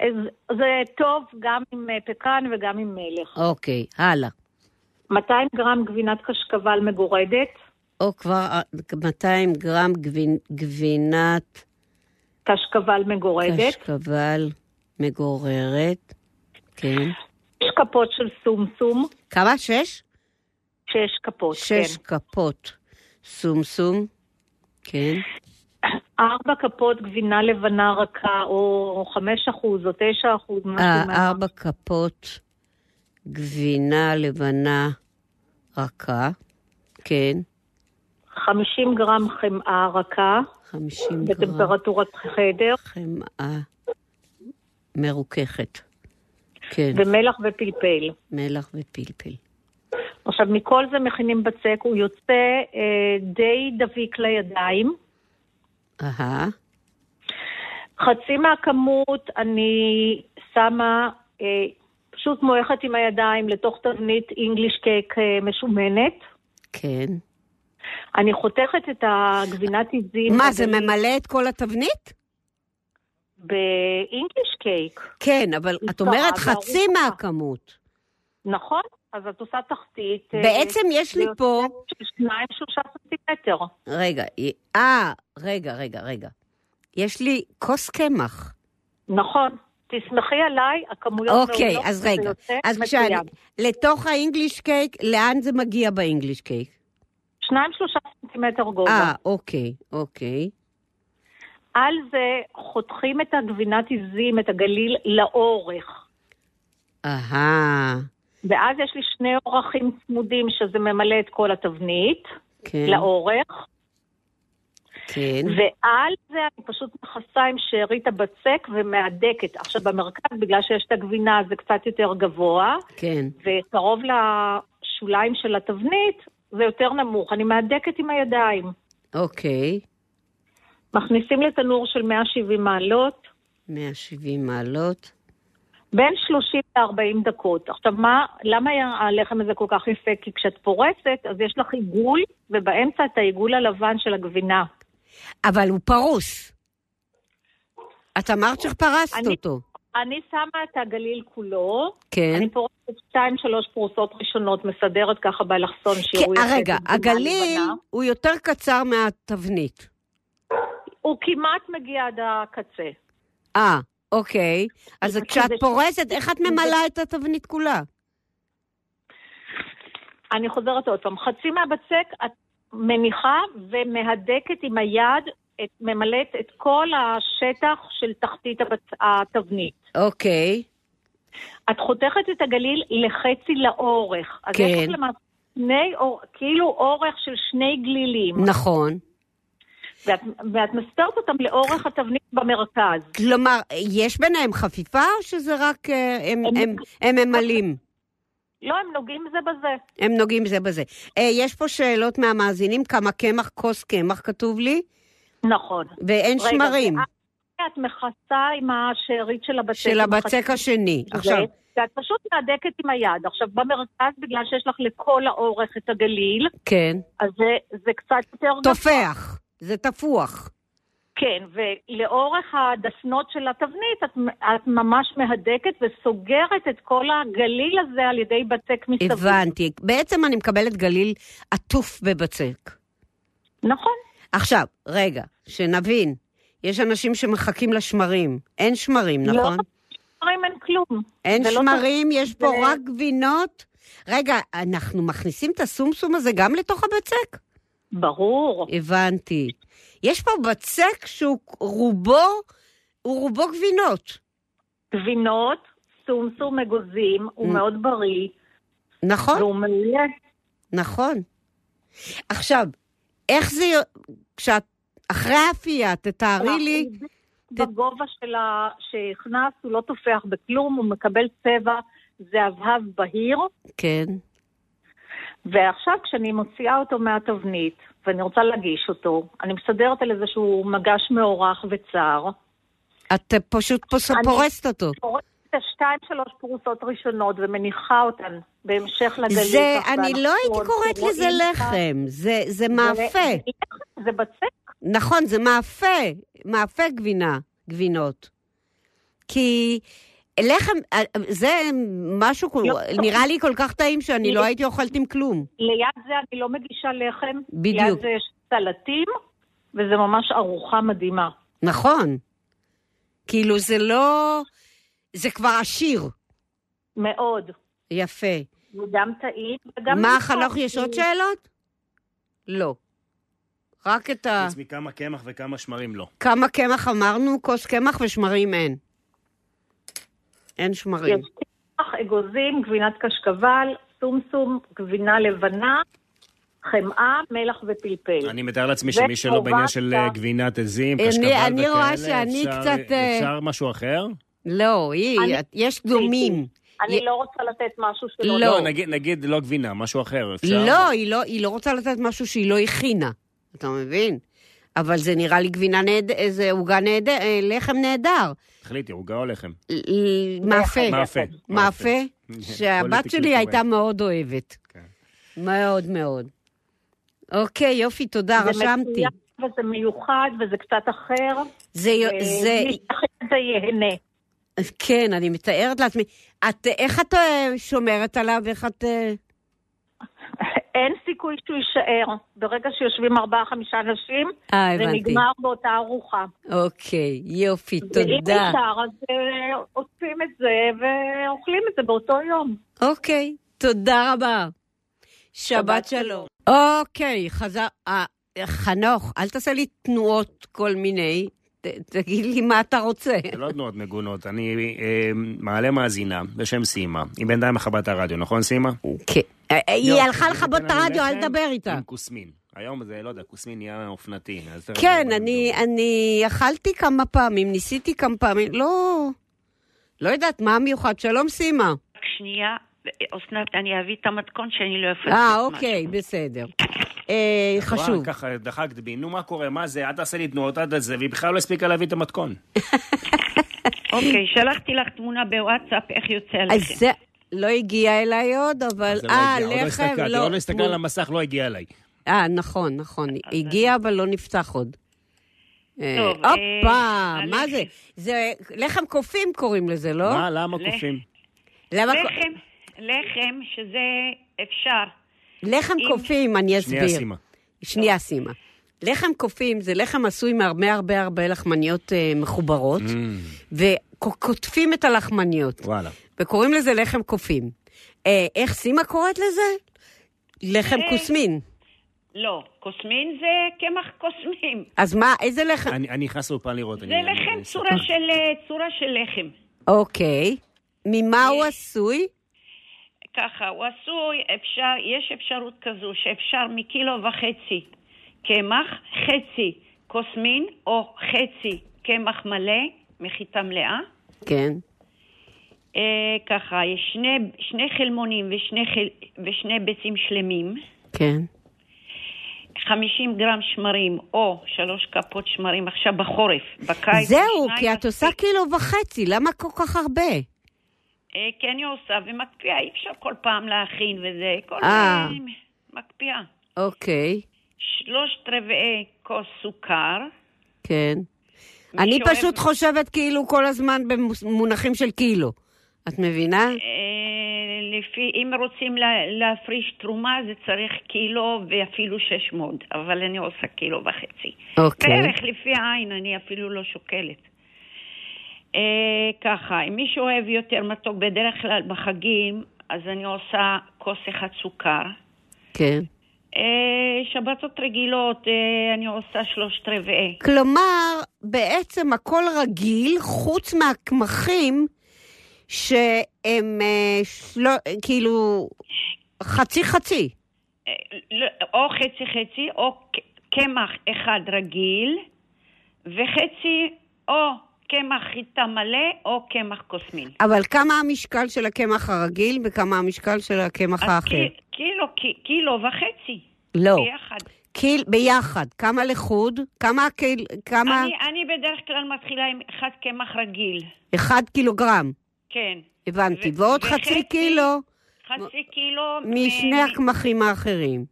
[SPEAKER 4] אז- זה טוב גם עם אה, פקן וגם עם מלך.
[SPEAKER 2] אוקיי, הלאה.
[SPEAKER 4] 200 גרם גבינת קשקבל מגורדת,
[SPEAKER 2] או כבר אה, 200 גרם גבין, גבינת
[SPEAKER 4] קשקבל מגורדת,
[SPEAKER 2] קשקבל מגוררת. כן.
[SPEAKER 4] שש כפות של סומסום,
[SPEAKER 2] כמה? שש?
[SPEAKER 4] שש כפות,
[SPEAKER 2] שש
[SPEAKER 4] כן.
[SPEAKER 2] כפות סומסום. כן.
[SPEAKER 4] ארבע כפות גבינה לבנה רכה, או חמש אחוז, או תשע אחוז, משהו
[SPEAKER 2] אה,
[SPEAKER 4] מה-
[SPEAKER 2] ארבע כפות גבינה לבנה רכה. כן.
[SPEAKER 4] 50 גרם חמאה רכה,
[SPEAKER 2] 50 גרם כן.
[SPEAKER 4] בטמפרטורת חדר,
[SPEAKER 2] חמאה מרוככת. כן,
[SPEAKER 4] ומלח ופלפל.
[SPEAKER 2] מלח ופלפל.
[SPEAKER 4] עכשיו, מכל זה מכינים בצק, הוא יוצא אה, די דביק לידיים.
[SPEAKER 2] אהה,
[SPEAKER 4] חצי מהכמות אני שמה, אה, פשוט מועכת עם הידיים לתוך תבנית אינגליש קייק אה, משומנת.
[SPEAKER 2] כן.
[SPEAKER 4] אני חותכת את הגבינת עיזים.
[SPEAKER 2] מה, זה ממלא את כל התבנית?
[SPEAKER 4] באינגליש קייק,
[SPEAKER 2] כן, אבל
[SPEAKER 4] לא,
[SPEAKER 2] את אומרת
[SPEAKER 4] קרה,
[SPEAKER 2] חצי
[SPEAKER 4] ברור.
[SPEAKER 2] מהכמות.
[SPEAKER 4] נכון? אז את עושה תחתית. אה,
[SPEAKER 2] בעצם יש לי
[SPEAKER 4] זה
[SPEAKER 2] פה...
[SPEAKER 4] יוצא שניים, שלושה סנטימטר.
[SPEAKER 2] רגע, אה, רגע, רגע, רגע. יש לי כוס קמח.
[SPEAKER 4] נכון. תסמכי עליי, הכמויות
[SPEAKER 2] אוקיי,
[SPEAKER 4] מעולות,
[SPEAKER 2] אז
[SPEAKER 4] וזה
[SPEAKER 2] רגע.
[SPEAKER 4] לא, יוצא
[SPEAKER 2] אז
[SPEAKER 4] מצוין.
[SPEAKER 2] כשאני... לתוך האינגליש קייק, לאן זה מגיע באינגליש קייק?
[SPEAKER 4] שניים, שלושה סנטימטר גובה.
[SPEAKER 2] אה, אוקיי, אוקיי.
[SPEAKER 4] על זה חותכים את הגבינת עיזים, את הגליל, לאורך.
[SPEAKER 2] אהה,
[SPEAKER 4] ואז יש לי שני אורחים צמודים, שזה ממלא את כל התבנית,
[SPEAKER 2] כן,
[SPEAKER 4] לאורך.
[SPEAKER 2] כן.
[SPEAKER 4] ועל זה אני פשוט מכסה עם שארית הבצק ומהדקת. עכשיו, במרכז, בגלל שיש את הגבינה, זה קצת יותר גבוה,
[SPEAKER 2] כן.
[SPEAKER 4] וקרוב לשוליים של התבנית, זה יותר נמוך. אני מהדקת עם הידיים.
[SPEAKER 2] אוקיי,
[SPEAKER 4] מכניסים לתנור של 170 מעלות,
[SPEAKER 2] 170 מעלות.
[SPEAKER 4] בין 30 ל-40 דקות. עכשיו, מה, למה הלחם הזה כל כך יפה? כי כשאת פורסת, אז יש לך עיגול, ובאמצע את העיגול הלבן של הגבינה.
[SPEAKER 2] אבל הוא פרוס. את אמרת שפרסת
[SPEAKER 4] אני-
[SPEAKER 2] אותו.
[SPEAKER 4] אני שמה את הגליל כולו,
[SPEAKER 2] כן.
[SPEAKER 4] אני פורסת שתיים, שלוש פרוסות ראשונות, מסדרת ככה באלכסון שיראו
[SPEAKER 2] כן,
[SPEAKER 4] יפה את
[SPEAKER 2] רגע,
[SPEAKER 4] הגבינה
[SPEAKER 2] הגליל
[SPEAKER 4] הלבנה.
[SPEAKER 2] הוא יותר קצר מהתבנית.
[SPEAKER 4] הוא כמעט מגיע עד הקצה.
[SPEAKER 2] אה, אוקיי, אז
[SPEAKER 4] כי
[SPEAKER 2] כשאת
[SPEAKER 4] זה-
[SPEAKER 2] פורסת, איך את
[SPEAKER 4] זה-
[SPEAKER 2] ממלאה את התבנית כולה?
[SPEAKER 4] אני חוזרת עוד פעם. חצי מהבצק את מניחה ומהדקת עם היד, את, ממלאת את כל השטח של תחתית הבצ... התבנית.
[SPEAKER 2] אוקיי,
[SPEAKER 4] את חותכת את הגליל לחצי לאורך. אז
[SPEAKER 2] כן.
[SPEAKER 4] יש לך למעשה שני, אור- כאילו אורך של שני גלילים.
[SPEAKER 2] נכון.
[SPEAKER 4] ואת, ואת מסתרת אותם לאורך התבנית במרכז.
[SPEAKER 2] כלומר, יש ביניהם חפיפה או שזה רק אה, הם-
[SPEAKER 4] הם-
[SPEAKER 2] הם- הם ממלאים?
[SPEAKER 4] לא, הם נוגעים זה בזה.
[SPEAKER 2] הם נוגעים זה בזה. אה, יש פה שאלות מהמאזינים, כמה קמח, כוס קמח כתוב לי,
[SPEAKER 4] נכון.
[SPEAKER 2] ואין
[SPEAKER 4] רגע,
[SPEAKER 2] שמרים
[SPEAKER 4] ואז את מכסה עם השארית של הבצק.
[SPEAKER 2] של
[SPEAKER 4] עם
[SPEAKER 2] הבצק השני.
[SPEAKER 4] זה,
[SPEAKER 2] עכשיו,
[SPEAKER 4] ואת פשוט מהדקת עם היד. עכשיו, במרכז, בגלל שיש לך לכל האורך את הגליל,
[SPEAKER 2] כן,
[SPEAKER 4] אז זה, זה קצת יותר...
[SPEAKER 2] תופח, זה תפוח.
[SPEAKER 4] כן, ולאורך הדפנות של התבנית, את, את ממש מהדקת וסוגרת את כל הגליל הזה על ידי בצק מסביב.
[SPEAKER 2] הבנתי. בעצם אני מקבלת גליל עטוף בבצק.
[SPEAKER 4] נכון.
[SPEAKER 2] עכשיו, רגע, שנבין, יש אנשים שמחכים לשמרים. אין שמרים,
[SPEAKER 4] לא.
[SPEAKER 2] נכון?
[SPEAKER 4] שמרים אין כלום.
[SPEAKER 2] אין
[SPEAKER 4] זה לא
[SPEAKER 2] שמרים, יש פה
[SPEAKER 4] זה-
[SPEAKER 2] רק גבינות. רגע, אנחנו מכניסים את הסומסום הזה גם לתוך הבצק?
[SPEAKER 4] ברור.
[SPEAKER 2] הבנתי. יש פה בצק שהוא רובו, הוא רובו גבינות.
[SPEAKER 4] גבינות, סומסום אגוזים, הוא
[SPEAKER 2] Mm.
[SPEAKER 4] מאוד בריא,
[SPEAKER 2] נכון,
[SPEAKER 4] והוא מלא.
[SPEAKER 2] נכון. עכשיו, איך זה, י- כשאת, אחרי האפייה, תתארי לי,
[SPEAKER 4] בגובה של ה... שהכנס, הוא לא תופח בכלום, הוא מקבל צבע זהבהב בהיר,
[SPEAKER 2] כן,
[SPEAKER 4] ועכשיו כשאני מוציאה אותו מהתבנית, ואני רוצה להגיש אותו, אני מסדרת על איזשהו מגש מאורך וצר,
[SPEAKER 2] את פשוט פוס-
[SPEAKER 4] אני-
[SPEAKER 2] פורסת אותו.
[SPEAKER 4] פורסת שתיים שלוש פרוסות ראשונות ומניחה אותן בהמשך לגליל.
[SPEAKER 2] זה,
[SPEAKER 4] כך,
[SPEAKER 2] אני
[SPEAKER 4] ואנחנו
[SPEAKER 2] לא הייתי קוראת
[SPEAKER 4] רואים
[SPEAKER 2] לזה
[SPEAKER 4] כך-
[SPEAKER 2] לחם, זה- זה
[SPEAKER 4] זה-
[SPEAKER 2] מאפה.
[SPEAKER 4] זה לחם, זה בצק,
[SPEAKER 2] נכון, זה מאפה, מאפה גבינה, גבינות. כי לחם, אה, זה משהו, כל-
[SPEAKER 4] לא.
[SPEAKER 2] נראה לי כל כך טעים שאני לא הייתי אוכלת עם כלום.
[SPEAKER 4] ליד זה אני לא מגישה לחם.
[SPEAKER 2] בדיוק.
[SPEAKER 4] ליד זה יש סלטים, וזה ממש ארוחה מדהימה.
[SPEAKER 2] נכון. כאילו זה לא... זה כבר עשיר.
[SPEAKER 4] מאוד.
[SPEAKER 2] יפה.
[SPEAKER 4] הוא גם טעים וגם...
[SPEAKER 2] מה
[SPEAKER 4] טעים.
[SPEAKER 2] החנוך, יש עוד שאלות? לא. רק את ה...
[SPEAKER 3] חוץ מכמה קמח וכמה שמרים לא.
[SPEAKER 2] כמה קמח אמרנו? כוס קמח ושמרים אין. אין שמרים.
[SPEAKER 4] יש קמח, אגוזים, גבינת קשקבל, סומסום, גבינה לבנה, חמאה, מלח ופלפל.
[SPEAKER 3] אני מתאר לעצמי שמי שלא
[SPEAKER 4] וכמובן
[SPEAKER 3] בעניין של אה,
[SPEAKER 4] גם-
[SPEAKER 3] גבינת עזים,
[SPEAKER 2] אני-
[SPEAKER 3] קשקבל וכאלה,
[SPEAKER 2] אני רואה שאני
[SPEAKER 3] אפשר-
[SPEAKER 2] קצת, אה,
[SPEAKER 3] אפשר משהו אחר?
[SPEAKER 2] לא, היא,
[SPEAKER 4] אני-
[SPEAKER 2] יש דומים. י-
[SPEAKER 4] אני לא רוצה לתת משהו שלא...
[SPEAKER 2] לא.
[SPEAKER 3] לא, נגיד- נגיד לא גבינה, משהו אחר. אפשר?
[SPEAKER 2] לא, היא לא, היא לא רוצה לתת משהו שהיא לא הכינה, אתה מבין? אבל זה נראה לי גבינה נהד... איזה עוגה נהדר, אה, לחם נהדר.
[SPEAKER 3] תחליטי, עוגה או לחם?
[SPEAKER 2] ל- ל- מאפה.
[SPEAKER 3] מאפה.
[SPEAKER 2] מאפה,
[SPEAKER 3] מאפה.
[SPEAKER 2] שהבת
[SPEAKER 3] פוליטיקלי
[SPEAKER 2] שלי הייתה
[SPEAKER 3] קורקט.
[SPEAKER 2] מאוד אוהבת.
[SPEAKER 3] כן.
[SPEAKER 2] מאוד מאוד. אוקיי, יופי, תודה,
[SPEAKER 4] זה
[SPEAKER 2] רשמתי.
[SPEAKER 4] מצוין, וזה מיוחד, וזה קצת אחר.
[SPEAKER 2] זה, זה,
[SPEAKER 4] ומי שיכין את זה ייהנה.
[SPEAKER 2] כן, אני מתארת לעצמי. את, איך את אה, שומרת עליו? איך את... אה,
[SPEAKER 4] אין סיכוי שהוא יישאר. ברגע שיושבים ארבעה-חמישה אנשים,
[SPEAKER 2] אה,
[SPEAKER 4] זה
[SPEAKER 2] הבנתי.
[SPEAKER 4] נגמר באותה ארוחה.
[SPEAKER 2] אוקיי, יופי,
[SPEAKER 4] ואם
[SPEAKER 2] תודה.
[SPEAKER 4] נשאר, אז אה, אוספים את זה ואוכלים את זה באותו יום.
[SPEAKER 2] אוקיי, תודה רבה. שבת
[SPEAKER 4] שבת
[SPEAKER 2] שלום. אוקיי, חזר... אה, חנוך, אל תעשה לי תנועות כל מיני, ת, תגיד לי מה אתה רוצה.
[SPEAKER 3] זה לא תנועות מגונות, אני אה, מעלה מאזינה בשם סימה. היא בינתיים מכבה את הרדיו, נכון סימה?
[SPEAKER 2] כן. אה, אה, היא
[SPEAKER 3] יופי,
[SPEAKER 2] הלכה לכבות את
[SPEAKER 3] הבאנו
[SPEAKER 2] הרדיו, אל
[SPEAKER 3] לחם
[SPEAKER 2] תדבר איתה.
[SPEAKER 3] עם כוסמין. היום זה, לא יודע, כוסמין נהיה אופנתי. אז תכף
[SPEAKER 2] כן,
[SPEAKER 3] נדבר
[SPEAKER 2] אני,
[SPEAKER 3] על זה.
[SPEAKER 2] אני אכלתי כמה פעמים, ניסיתי כמה פעמים, לא... לא יודעת מה המיוחד. שלום, סימה.
[SPEAKER 6] רק שנייה, אה, אסנת, אני אביא את המתכון שאני לא אפספס
[SPEAKER 2] אה,
[SPEAKER 6] משהו.
[SPEAKER 2] אוקיי,
[SPEAKER 3] [laughs]
[SPEAKER 2] בסדר. אה, חשוב.
[SPEAKER 3] וואי, ככה דחקת בי, נו מה קורה, מה זה, אל תעשה לי תנועות עד זה, והיא בכלל לא הספיקה להביא את המתכון.
[SPEAKER 6] אוקיי, שלחתי לך תמונה בוואטסאפ, איך יוצא
[SPEAKER 2] אז
[SPEAKER 6] עליכם.
[SPEAKER 2] זה לא הגיע אליי עוד, אבל...
[SPEAKER 3] זה לא
[SPEAKER 2] אה,
[SPEAKER 3] הגיע, עוד לא
[SPEAKER 2] לחם,
[SPEAKER 3] הסתכלתי,
[SPEAKER 2] לא.
[SPEAKER 3] עוד לא הסתכל על המסך, לא הגיע אליי.
[SPEAKER 2] אה, נכון, נכון.
[SPEAKER 3] אה,
[SPEAKER 2] הגיע, אבל לא נפתח עוד. אה,
[SPEAKER 6] טוב,
[SPEAKER 2] הופה,
[SPEAKER 6] אה,
[SPEAKER 2] מה זה?
[SPEAKER 6] הלחם.
[SPEAKER 2] זה לחם קופים קוראים לזה, לא?
[SPEAKER 3] מה, למה
[SPEAKER 6] לך.
[SPEAKER 3] קופים?
[SPEAKER 2] למה-
[SPEAKER 6] לחם, לחם, שזה אפשר.
[SPEAKER 2] לחם
[SPEAKER 6] אם-
[SPEAKER 2] קופים, אני
[SPEAKER 3] שנייה,
[SPEAKER 2] אסביר.
[SPEAKER 3] סימה.
[SPEAKER 2] שנייה, סימה.
[SPEAKER 3] Mm-hmm.
[SPEAKER 2] לחם קופים זה לחם עשוי מהרבה הרבה הרבה לחמניות אה, מחוברות, ק- קוטפים את הלחמניות,
[SPEAKER 3] Mm, וואלה.
[SPEAKER 2] וקוראים לזה לחם קופים. אה, איך סימה קוראת לזה? לחם
[SPEAKER 6] אה.
[SPEAKER 2] כוסמין.
[SPEAKER 6] לא, קוסמין זה קמח קוסמים.
[SPEAKER 2] אז מה, איזה לחם?
[SPEAKER 3] אני אני נכנס לאופן לראות.
[SPEAKER 6] זה
[SPEAKER 3] אני-
[SPEAKER 6] לחם
[SPEAKER 3] אני-
[SPEAKER 6] צורה של, אה, צורה של לחם.
[SPEAKER 2] אוקיי. ממה הוא
[SPEAKER 6] אה.
[SPEAKER 2] עשוי?
[SPEAKER 6] ככה, הוא עשוי, אפשר, יש אפשרות כזו שאפשר מקילו וחצי קמח, חצי קוסמין או חצי קמח מלא, מחיטה מלאה.
[SPEAKER 2] כן.
[SPEAKER 6] אה, ככה, יש שני, שני חלמונים ושני, חל, ושני ביצים שלמים,
[SPEAKER 2] כן.
[SPEAKER 6] 50 גרם שמרים או שלוש כפות שמרים עכשיו בחורף, בקיץ.
[SPEAKER 2] זהו,
[SPEAKER 6] שניים
[SPEAKER 2] כי את עושה
[SPEAKER 6] מספיק.
[SPEAKER 2] קילו וחצי, למה כל כך הרבה?
[SPEAKER 6] אה, כי אני עושה ומקפיאה, אי אפשר כל פעם להכין וזה, כל
[SPEAKER 2] אה.
[SPEAKER 6] פעם מקפיאה.
[SPEAKER 2] אוקיי,
[SPEAKER 6] שלושת רבעי כוס סוכר.
[SPEAKER 2] כן.
[SPEAKER 6] מי
[SPEAKER 2] אני
[SPEAKER 6] שאוהב-
[SPEAKER 2] פשוט חושבת כאילו כל הזמן במונחים של קילו. את מבינה?
[SPEAKER 6] אה, לפי, אם רוצים לה, להפריש תרומה זה צריך קילו ואפילו 600, אבל אני עושה קילו וחצי.
[SPEAKER 2] אוקיי.
[SPEAKER 6] בערך לפי העין, אני אפילו לא שוקלת. אה, ככה, אם מישהו אוהב יותר מתוק, בדרך כלל בחגים, אז אני עושה כוס אחד סוכר.
[SPEAKER 2] כן.
[SPEAKER 6] אה, שבתות רגילות אה, אני עושה שלושת רבעי.
[SPEAKER 2] כלומר, בעצם הכל רגיל, חוץ מהקמחים, שהם אה, שלו, כאילו חצי חצי.
[SPEAKER 6] אה, לא, או חצי חצי, או ק- קמח אחד רגיל, וחצי או קמח חיטה מלא, או קמח קוסמין.
[SPEAKER 2] אבל כמה המשקל של הקמח הרגיל וכמה המשקל של הקמח
[SPEAKER 6] אז
[SPEAKER 2] האחר?
[SPEAKER 6] קיל- קילו, קי- קילו וחצי,
[SPEAKER 2] לא.
[SPEAKER 6] ביחד.
[SPEAKER 2] קיל ביחד, כמה לחוד? כמה קיל... כמה...
[SPEAKER 6] אני, אני בדרך כלל מתחילה עם אחד קמח רגיל,
[SPEAKER 2] אחד קילוגרם,
[SPEAKER 6] כן.
[SPEAKER 2] הבנתי.
[SPEAKER 6] ו-
[SPEAKER 2] ועוד
[SPEAKER 6] וחצי
[SPEAKER 2] חצי קילו
[SPEAKER 6] חצי קילו...
[SPEAKER 2] משני
[SPEAKER 6] אה,
[SPEAKER 2] הקמחים האחרים.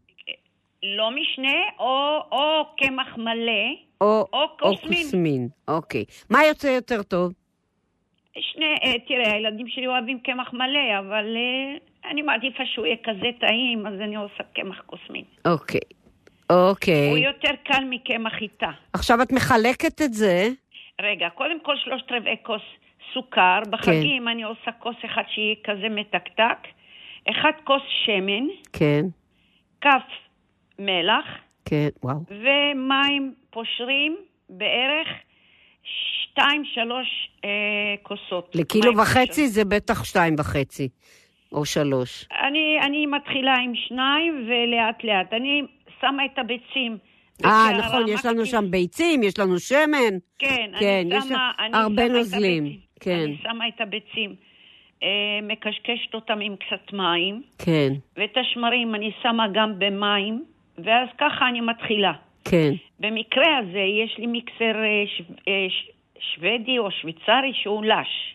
[SPEAKER 6] לא משנה, או, או קמח מלא,
[SPEAKER 2] או
[SPEAKER 6] או
[SPEAKER 2] או
[SPEAKER 6] כוסמין.
[SPEAKER 2] כוסמין. אוקיי. מה יוצא יותר טוב?
[SPEAKER 6] שני, אה, תראה, הילדים שלי אוהבים קמח מלא, אבל אה, אני מעדיפה שהוא יהיה כזה טעים, אז אני עושה קמח קוסמין.
[SPEAKER 2] אוקיי.
[SPEAKER 6] הוא
[SPEAKER 2] אוקיי.
[SPEAKER 6] יותר קל מקמח חיטה.
[SPEAKER 2] עכשיו את מחלקת את זה.
[SPEAKER 6] רגע, קודם כל שלושת רבעי כוס סוכר. בחגים
[SPEAKER 2] כן.
[SPEAKER 6] אני עושה כוס אחד שיהיה כזה מתקתק, אחד כוס שמן,
[SPEAKER 2] כן,
[SPEAKER 6] כף מלח
[SPEAKER 2] כן, וואו.
[SPEAKER 6] ומים פושרים בערך שתיים, שלוש אה, כוסות.
[SPEAKER 2] לקילו
[SPEAKER 6] מים פושרים.
[SPEAKER 2] וחצי זה בטח שתיים וחצי, או שלוש.
[SPEAKER 6] אני, אני מתחילה עם שניים ולאט לאט. אני שמה את הביצים.
[SPEAKER 2] אה,
[SPEAKER 6] בקערה,
[SPEAKER 2] נכון, יש לנו
[SPEAKER 6] מקסימום-
[SPEAKER 2] שם ביצים, יש לנו שמן.
[SPEAKER 6] כן,
[SPEAKER 2] כן,
[SPEAKER 6] אני
[SPEAKER 2] יש
[SPEAKER 6] שמה,
[SPEAKER 2] שם
[SPEAKER 6] אני
[SPEAKER 2] הרבה
[SPEAKER 6] שמה את
[SPEAKER 2] נוזלים,
[SPEAKER 6] הביצים.
[SPEAKER 2] כן.
[SPEAKER 6] אני שמה את הביצים, אה, מקשקשת אותם עם קצת מים,
[SPEAKER 2] כן,
[SPEAKER 6] ואת השמרים אני שמה גם במים, ואז ככה אני מתחילה.
[SPEAKER 2] כן,
[SPEAKER 6] במקרה הזה יש לי מיקסר אה, ש, אה, ש, שוודי או שוויצרי שהוא לש.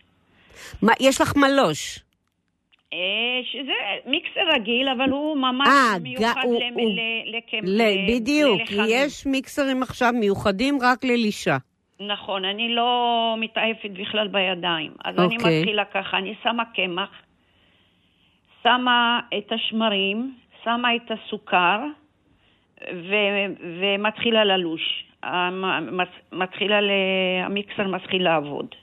[SPEAKER 2] מה, יש לך מלוש.
[SPEAKER 6] אה, שזה מיקסר רגיל, אבל הוא ממש
[SPEAKER 2] אה,
[SPEAKER 6] מיוחד
[SPEAKER 2] ג- הוא-
[SPEAKER 6] למ-
[SPEAKER 2] הוא-
[SPEAKER 6] ל- לקמ-
[SPEAKER 2] ל-
[SPEAKER 6] ל-
[SPEAKER 2] בדיוק, כי
[SPEAKER 6] ללחמים.
[SPEAKER 2] יש מיקסרים עכשיו מיוחדים רק ללישה.
[SPEAKER 6] נכון, אני לא מתעייפת בכלל בידיים. אז אני
[SPEAKER 2] אוקיי.
[SPEAKER 6] מתחילה ככה, אני שמה קמח, שמה את השמרים, שמה את הסוכר, ו- ומתחילה ללוש. המ- מצ- מתחילה, ל- המיקסר מתחיל לעבוד.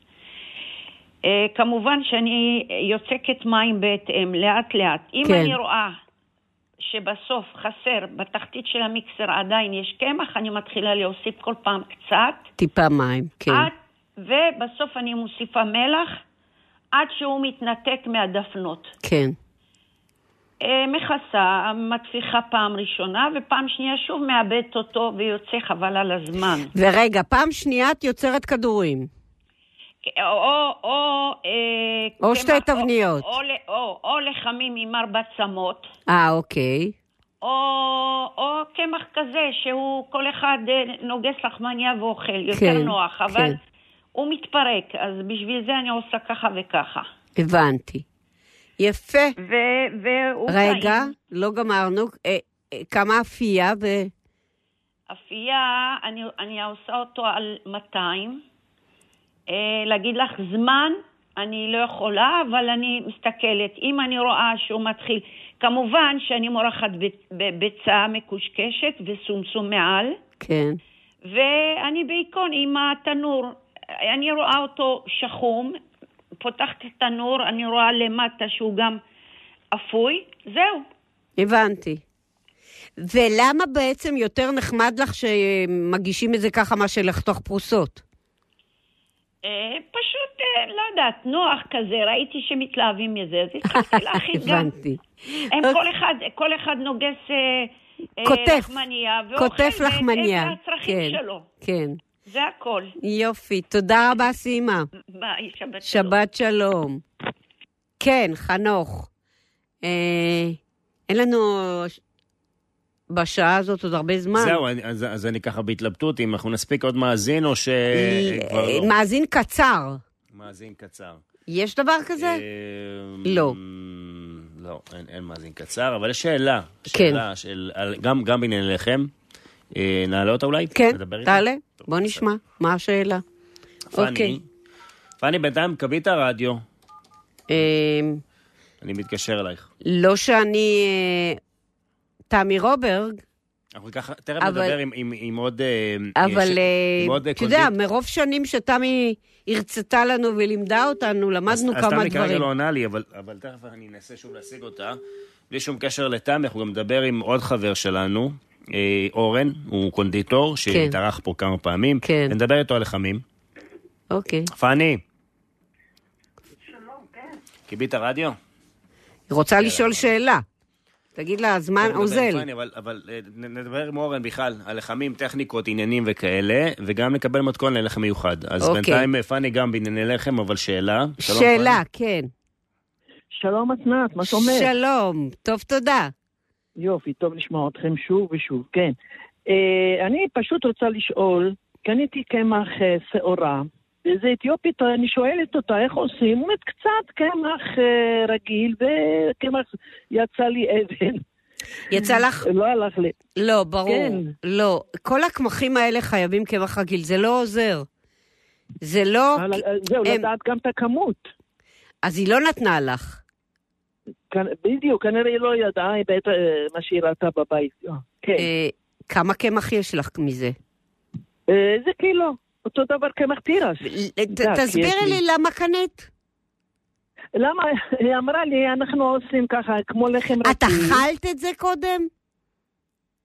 [SPEAKER 6] אה, כמובן שאני יוצקת מים בהתאם, לאט לאט. אם
[SPEAKER 2] כן.
[SPEAKER 6] אני רואה שבסוף חסר, בתחתית של המיקסר עדיין יש קמח, אני מתחילה להוסיף כל פעם קצת.
[SPEAKER 2] טיפה מים, כן.
[SPEAKER 6] עד, ובסוף אני מוסיפה מלח עד שהוא מתנתק מהדפנות.
[SPEAKER 2] כן,
[SPEAKER 6] אה, מכסה, מטפיחה פעם ראשונה, ופעם שנייה שוב מאבדת אותו ויוצא חבל על הזמן.
[SPEAKER 2] ורגע, פעם שנייה את יוצרת כדורים.
[SPEAKER 6] או, או, או, אה,
[SPEAKER 2] או
[SPEAKER 6] קמח,
[SPEAKER 2] שתי תבניות.
[SPEAKER 6] או, או, ל- או, או לחמים עם ארבע צמות,
[SPEAKER 2] אה, אוקיי.
[SPEAKER 6] או, או קמח כזה שהוא כל אחד אה, נוגס לחמניה ואוכל, יותר
[SPEAKER 2] כן,
[SPEAKER 6] נוח, אבל
[SPEAKER 2] כן.
[SPEAKER 6] הוא מתפרק, אז בשביל זה אני עושה ככה וככה.
[SPEAKER 2] הבנתי. יפה.
[SPEAKER 6] ו, והוא
[SPEAKER 2] רגע,
[SPEAKER 6] טעים.
[SPEAKER 2] לא גמרנו. אה, אה, כמה אפייה ו...
[SPEAKER 6] אפייה, אני, אני עושה אותו על 200. אה, להגיד לך זמן, אני לא יכולה, אבל אני מסתכלת. אם אני רואה שהוא מתחיל, כמובן שאני מורחת ב- ב- ביצה מקושקשת וסומסום מעל,
[SPEAKER 2] כן,
[SPEAKER 6] ואני בעיקרון עם התנור, אני רואה אותו שחום, פותחת את הנור, אני רואה למטה שהוא גם אפוי, זהו.
[SPEAKER 2] הבנתי. ולמה בעצם יותר נחמד לך שמגישים את זה ככה מאשר לחתוך פרוסות?
[SPEAKER 6] אה, פשוט, אה, לא יודעת, נוח כזה, ראיתי שמתלהבים מזה, אז
[SPEAKER 2] [laughs]
[SPEAKER 6] התחלתי להכין גם.
[SPEAKER 2] הבנתי. אוקיי.
[SPEAKER 6] הם כל אחד, כל אחד נוגס אה, אה,
[SPEAKER 2] כותף.
[SPEAKER 6] לחמניה, ואוכל
[SPEAKER 2] כותף
[SPEAKER 6] בהתאם
[SPEAKER 2] לחמניה.
[SPEAKER 6] לצרכים
[SPEAKER 2] כן,
[SPEAKER 6] שלו.
[SPEAKER 2] כן.
[SPEAKER 6] זה הכל.
[SPEAKER 2] יופי. תודה רבה, סימה.
[SPEAKER 6] ביי, שבת שלום.
[SPEAKER 2] שבת שלום. כן, חנוך. אה, אין לנו ש- בשעה הזאת עוד הרבה זמן.
[SPEAKER 3] זהו, אני- אז אז אני ככה בהתלבטות, אם אנחנו נספיק עוד מאזין או ש...
[SPEAKER 2] אה,
[SPEAKER 3] כבר לא.
[SPEAKER 2] מאזין קצר.
[SPEAKER 3] מאזין קצר.
[SPEAKER 2] יש דבר כזה?
[SPEAKER 3] אמ,
[SPEAKER 2] לא.
[SPEAKER 3] לא, אין- אין מאזין קצר, אבל יש שאלה.
[SPEAKER 2] כן.
[SPEAKER 3] שאלה של... על- גם גם בעניין לחם. אה, נעלה אותה אולי?
[SPEAKER 2] כן,
[SPEAKER 3] נדבר איתה?
[SPEAKER 2] תעלה,
[SPEAKER 3] טוב,
[SPEAKER 2] בוא נשמע. מה השאלה?
[SPEAKER 3] בסדר.
[SPEAKER 2] אוקיי.
[SPEAKER 3] פאני, פאני, בינתיים קבי את הרדיו,
[SPEAKER 2] אה,
[SPEAKER 3] אני מתקשר אלייך.
[SPEAKER 2] לא שאני אה, תמי רוברג,
[SPEAKER 3] אנחנו ככה, תכף
[SPEAKER 2] אבל-
[SPEAKER 3] נדבר עם- עם- עם עוד... אה, יש-
[SPEAKER 2] אבל
[SPEAKER 3] עם עוד,
[SPEAKER 2] אה,
[SPEAKER 3] אה,
[SPEAKER 2] אתה יודע,
[SPEAKER 3] קונדיט-
[SPEAKER 2] מרוב שנים שתמי הרצתה לנו ולימדה אותנו,
[SPEAKER 3] אז-
[SPEAKER 2] למדנו
[SPEAKER 3] אז
[SPEAKER 2] כמה
[SPEAKER 3] תמי כרגע
[SPEAKER 2] דברים.
[SPEAKER 3] לא עונה לי, אבל, אבל תכף אני אנסה שוב להשיג אותה. בלי שום קשר לתמי, אנחנו גם נדבר עם עוד חבר שלנו, אה, אורן, הוא קונדיטור, שהתארח פה כמה פעמים.
[SPEAKER 2] כן.
[SPEAKER 3] נדבר איתו על לחמים.
[SPEAKER 2] אוקיי.
[SPEAKER 3] פאני. קיבית הרדיו?
[SPEAKER 2] היא רוצה לשאול שאלה. תגיד לה, הזמן
[SPEAKER 3] תכף נדבר עם
[SPEAKER 2] אוזל.
[SPEAKER 3] פאני, אבל, אבל אה, נ- נדבר עם אורן בכלל על לחמים, טכניקות, עניינים וכאלה, וגם נקבל מתכון ללחם מיוחד. אז
[SPEAKER 2] אוקיי.
[SPEAKER 3] בינתיים אה, פאני גם בענייני לחם, אבל שאלה. שלום,
[SPEAKER 2] שאלה, כן.
[SPEAKER 7] שלום אסנת, מה שאומר?
[SPEAKER 2] שלום, טוב, תודה.
[SPEAKER 7] יופי, טוב לשמוע אתכם שוב ושוב, כן. אה, אני פשוט רוצה לשאול, קניתי קמח אה, שעורה, איזה אתיופית, אני שואלת אותה איך עושים, היא אומרת קצת קמח אה, רגיל וקמח, יצא לי אבן, [laughs]
[SPEAKER 2] יצא לך?
[SPEAKER 7] לא הלך לי.
[SPEAKER 2] לא, ברור.
[SPEAKER 7] כן.
[SPEAKER 2] לא. כל הקמחים האלה חייבים קמח רגיל, זה לא עוזר. זה לא...
[SPEAKER 7] אבל, אה, זהו,
[SPEAKER 2] הם-
[SPEAKER 7] לדעת גם את הכמות.
[SPEAKER 2] אז היא לא נתנה לך.
[SPEAKER 7] כנ- בדיוק, כנראה היא לא ידעה, היא בטח אה, מה שהיא ראתה בבית. אה, כן,
[SPEAKER 2] אה, כמה קמח יש לך מזה?
[SPEAKER 7] אה, איזה קילו? אותו דבר קמח תירס.
[SPEAKER 2] ת-
[SPEAKER 7] יודעת,
[SPEAKER 2] תסבירי
[SPEAKER 7] לא, יש
[SPEAKER 2] לי למה קנית.
[SPEAKER 7] למה, היא אמרה לי, אנחנו עושים ככה, כמו לחם רגיל.
[SPEAKER 2] את אכלת את זה קודם?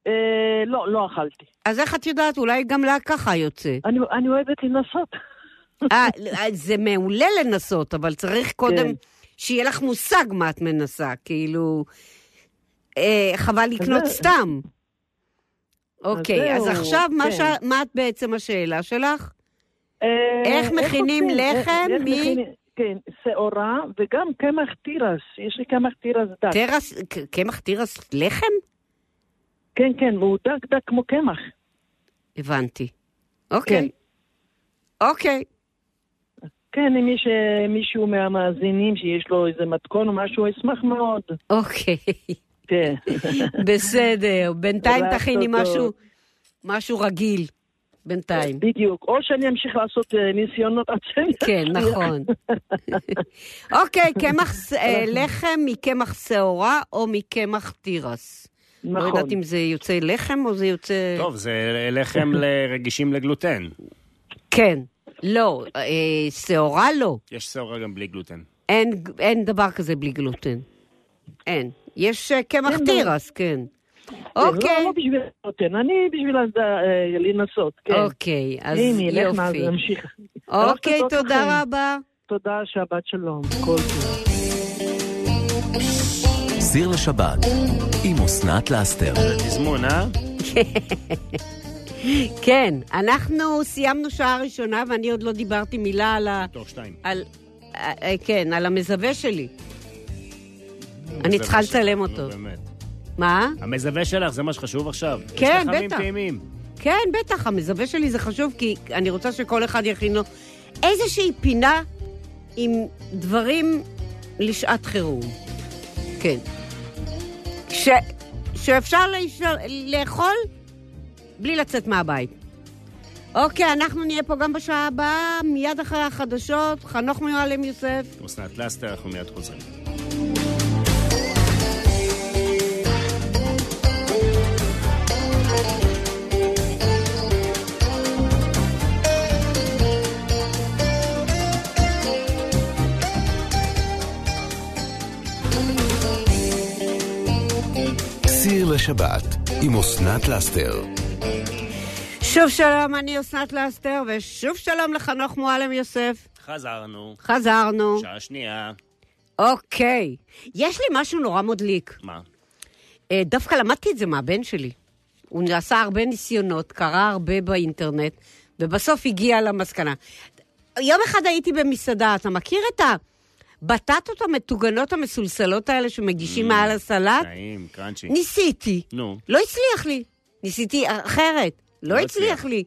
[SPEAKER 7] אה, לא, לא אכלתי.
[SPEAKER 2] אז איך את יודעת? אולי גם לה ככה
[SPEAKER 7] [laughs]
[SPEAKER 2] יוצא.
[SPEAKER 7] אני, אני אוהבת לנסות.
[SPEAKER 2] אה, אה, זה מעולה לנסות, אבל צריך קודם
[SPEAKER 7] כן.
[SPEAKER 2] שיהיה לך מושג מה את מנסה, כאילו... אה, חבל לקנות
[SPEAKER 7] אז זה-
[SPEAKER 2] סתם. אוקיי, אז
[SPEAKER 7] זהו,
[SPEAKER 2] עכשיו מה
[SPEAKER 7] כן.
[SPEAKER 2] ש- מה את בעצם השאלה שלך?
[SPEAKER 7] אה,
[SPEAKER 2] איך מכינים
[SPEAKER 7] עושים? אה,
[SPEAKER 2] לחם
[SPEAKER 7] איך
[SPEAKER 2] מ-
[SPEAKER 7] מכינים- כן, שעורה, וגם קמח תירס. יש לי קמח תירס דק.
[SPEAKER 2] תירס, ק- קמח תירס לחם?
[SPEAKER 7] כן, כן, והוא דק דק כמו קמח.
[SPEAKER 2] הבנתי.
[SPEAKER 7] כן.
[SPEAKER 2] אוקיי, אוקיי.
[SPEAKER 7] כן, אם יש אה, מישהו מהמאזינים שיש לו איזה מתכון או משהו, אשמח מאוד.
[SPEAKER 2] אוקיי,
[SPEAKER 7] כן.
[SPEAKER 2] [laughs] בסדר. בינתיים
[SPEAKER 7] רק
[SPEAKER 2] תכיני
[SPEAKER 7] אותו.
[SPEAKER 2] משהו, משהו רגיל. בינתיים.
[SPEAKER 7] בדיוק. או שאני אמשיך לעשות אה, ניסיונות עד שאני...
[SPEAKER 2] כן, נכון.
[SPEAKER 7] [laughs]
[SPEAKER 2] אוקיי, קמח, אה, לחם מקמח שעורה או מקמח תירס. לא
[SPEAKER 7] נכון.
[SPEAKER 2] יודעת אם זה יוצא לחם או זה יוצא...
[SPEAKER 3] טוב, זה לחם [laughs] לרגישים לגלוטן.
[SPEAKER 2] כן. לא, אה, שעורה לא.
[SPEAKER 3] יש שעורה גם בלי גלוטן.
[SPEAKER 2] אין, אין דבר כזה בלי גלוטן. אין. יש אה, קמח תירס, כן.
[SPEAKER 7] לא,
[SPEAKER 2] אוקיי,
[SPEAKER 7] לא בשביל נותן, אני בשביל הד- אה, לנסות, כן.
[SPEAKER 2] אוקיי, אז
[SPEAKER 7] הנה, לך
[SPEAKER 2] יופי.
[SPEAKER 7] נעז- נמשיך.
[SPEAKER 2] אוקיי,
[SPEAKER 7] רק תודות
[SPEAKER 2] תודה
[SPEAKER 7] לכם.
[SPEAKER 2] רבה.
[SPEAKER 7] תודה, שבת שלום. כל טוב.
[SPEAKER 1] סיר לשבת עם אסנת לאסתר.
[SPEAKER 3] זה תזמון, אה?
[SPEAKER 2] כן, אנחנו סיימנו שעה ראשונה ואני עוד לא דיברתי מילה על ה...
[SPEAKER 3] תוך שתיים.
[SPEAKER 2] על... אה, אה, כן, על המזווה שלי. אני צריכה
[SPEAKER 3] זה מה
[SPEAKER 2] לצלם
[SPEAKER 3] שחשוב,
[SPEAKER 2] אותו.
[SPEAKER 3] נו, באמת.
[SPEAKER 2] מה?
[SPEAKER 3] המזווה שלך זה מה שחשוב עכשיו.
[SPEAKER 2] כן,
[SPEAKER 3] יש לחמים
[SPEAKER 2] בטח.
[SPEAKER 3] טעימים.
[SPEAKER 2] כן, בטח, המזווה שלי זה חשוב, כי אני רוצה שכל אחד יכין לו איזושהי פינה עם דברים לשעת חירום. כן. ש... שאפשר לאיש- לאכול בלי לצאת מהבית. אוקיי, אנחנו נהיה פה גם בשעה הבאה, מיד אחרי החדשות. חנוך מועלם יוסף.
[SPEAKER 3] אסנת פלסטר, אנחנו מיד חוזרים.
[SPEAKER 1] בשבת עם אסנת לאסתר.
[SPEAKER 2] שוב שלום, אני אסנת לסטר, ושוב שלום לחנוך מועלם יוסף.
[SPEAKER 3] חזרנו,
[SPEAKER 2] חזרנו.
[SPEAKER 3] שעה שנייה.
[SPEAKER 2] אוקיי. יש לי משהו נורא מדליק.
[SPEAKER 3] מה?
[SPEAKER 2] אה, דווקא למדתי את זה מהבן שלי. הוא עשה הרבה ניסיונות, קרא הרבה באינטרנט, ובסוף הגיע למסקנה. יום אחד הייתי במסעדה, אתה מכיר את הבטטות המטוגנות המסולסלות האלה
[SPEAKER 3] Mm,
[SPEAKER 2] שמגישים מעל הסלט?
[SPEAKER 3] נעים, קראנצ'י.
[SPEAKER 2] ניסיתי.
[SPEAKER 3] נו.
[SPEAKER 2] לא הצליח לי. ניסיתי אחרת. לא
[SPEAKER 3] לא
[SPEAKER 2] הצליח
[SPEAKER 3] הצליח.
[SPEAKER 2] לי.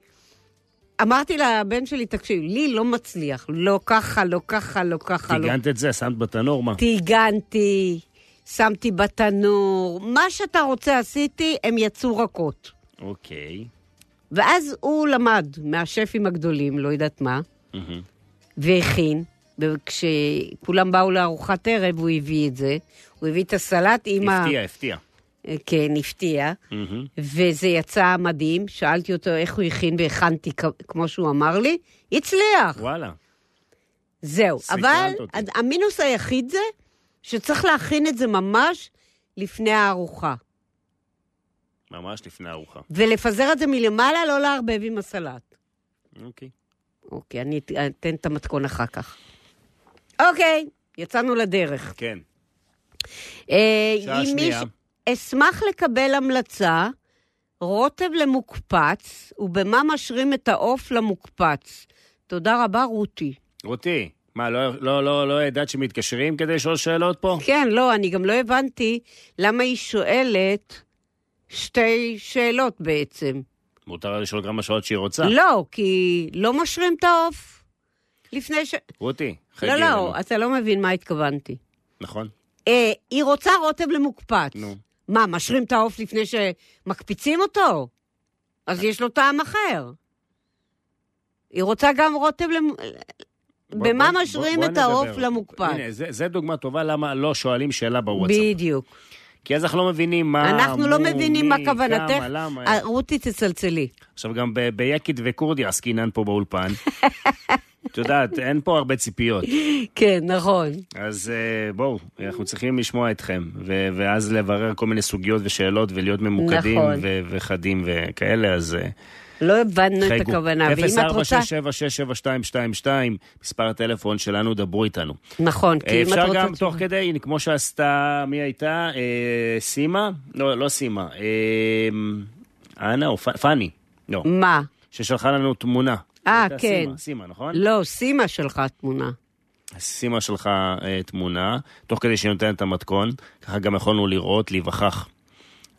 [SPEAKER 2] אמרתי לבן שלי, תקשיב, לי לא מצליח. לא ככה, לא ככה, לא ככה, לא
[SPEAKER 3] טיגנת את זה, שמת בתנור, מה?
[SPEAKER 2] טיגנתי, שמתי בתנור, מה שאתה רוצה עשיתי, הם יצאו רכות.
[SPEAKER 3] אוקיי.
[SPEAKER 2] ואז הוא למד מהשפים הגדולים, לא יודעת מה,
[SPEAKER 3] מהמם.
[SPEAKER 2] והכין, וכשכולם באו לארוחת ערב, הוא הביא את זה. הוא הביא את הסלט עם ה...
[SPEAKER 3] הפתיע, הפתיע.
[SPEAKER 2] כן, הפתיע.
[SPEAKER 3] מהמם.
[SPEAKER 2] וזה יצא מדהים, שאלתי אותו איך הוא הכין והכנתי כ- כמו שהוא אמר לי, הצליח,
[SPEAKER 3] וואלה.
[SPEAKER 2] זהו.
[SPEAKER 3] סקרנת
[SPEAKER 2] אבל
[SPEAKER 3] אותי.
[SPEAKER 2] ה- המינוס היחיד זה שצריך להכין את זה ממש לפני הארוחה,
[SPEAKER 3] ממש לפני הארוחה.
[SPEAKER 2] ולפזר את זה מלמעלה, לא לערבב עם הסלט.
[SPEAKER 3] אוקיי.
[SPEAKER 2] אוקיי, אני את- אתן את המתכון אחר כך. אוקיי, יצאנו לדרך.
[SPEAKER 3] כן.
[SPEAKER 2] אה,
[SPEAKER 3] שעה
[SPEAKER 2] אם
[SPEAKER 3] שנייה.
[SPEAKER 2] מיש- אשמח לקבל המלצה, רוטב למוקפץ, ובמה משרים את העוף למוקפץ. תודה רבה, רותי.
[SPEAKER 3] רותי, מה, לא- לא- לא לא ידעת שמתקשרים כדי לשאול שאלות פה?
[SPEAKER 2] כן, לא, אני גם לא הבנתי למה היא שואלת שתי שאלות בעצם.
[SPEAKER 3] מותר לה לשאול כמה שעות שהיא רוצה.
[SPEAKER 2] לא, כי לא משרים את העוף לפני ש...
[SPEAKER 3] רותי, חגי
[SPEAKER 2] לא,
[SPEAKER 3] לנו.
[SPEAKER 2] לא, אתה לא מבין מה התכוונתי.
[SPEAKER 3] נכון?
[SPEAKER 2] אה, היא רוצה רוטב למוקפץ.
[SPEAKER 3] נו.
[SPEAKER 2] מה, משרים את העוף לפני שמקפיצים אותו? אז יש לו טעם אחר. היא רוצה גם רוטב למ... אה,
[SPEAKER 3] בוא-
[SPEAKER 2] במה
[SPEAKER 3] בוא-
[SPEAKER 2] משרים
[SPEAKER 3] בוא
[SPEAKER 2] את
[SPEAKER 3] נדבר.
[SPEAKER 2] העוף למוקפץ?
[SPEAKER 3] הנה, זה- זה דוגמה טובה למה לא שואלים שאלה בוואטסאפ.
[SPEAKER 2] בדיוק.
[SPEAKER 3] כי אז אנחנו לא מבינים מה...
[SPEAKER 2] אנחנו לא
[SPEAKER 3] מו,
[SPEAKER 2] מבינים מה
[SPEAKER 3] אה, מי,
[SPEAKER 2] כוונתך.
[SPEAKER 3] כמה, למה.
[SPEAKER 2] אה, רותי, תצלצלי.
[SPEAKER 3] עכשיו, גם ב- ביקית וכורדי עסקינן פה באולפן. את יודעת, אין פה הרבה ציפיות.
[SPEAKER 2] כן, נכון.
[SPEAKER 3] אז אה, בואו, אנחנו צריכים לשמוע אתכם, ו- ואז לברר כל מיני סוגיות ושאלות ולהיות ממוקדים
[SPEAKER 2] נכון.
[SPEAKER 3] ו- וחדים וכאלה, אז אה,
[SPEAKER 2] לא הבנו את
[SPEAKER 3] חייגו.
[SPEAKER 2] הכוונה, ואם את רוצה...
[SPEAKER 3] 0467672222, מספר הטלפון שלנו, דברו איתנו.
[SPEAKER 2] נכון, כי אם את רוצה...
[SPEAKER 3] אה, אפשר גם תוך כדי, הנה, כמו שעשתה, מי הייתה? אה, סימה? לא, לא סימה. אה, אנה או פ- פאני? לא.
[SPEAKER 2] מה?
[SPEAKER 3] ששלחה לנו תמונה.
[SPEAKER 2] אה,
[SPEAKER 3] הייתה
[SPEAKER 2] כן.
[SPEAKER 3] סימה, סימה, נכון?
[SPEAKER 2] לא, סימה שלך תמונה.
[SPEAKER 3] סימה שלחה אה, תמונה, תוך כדי שהיא נותנת את המתכון, ככה גם יכולנו לראות, להיווכח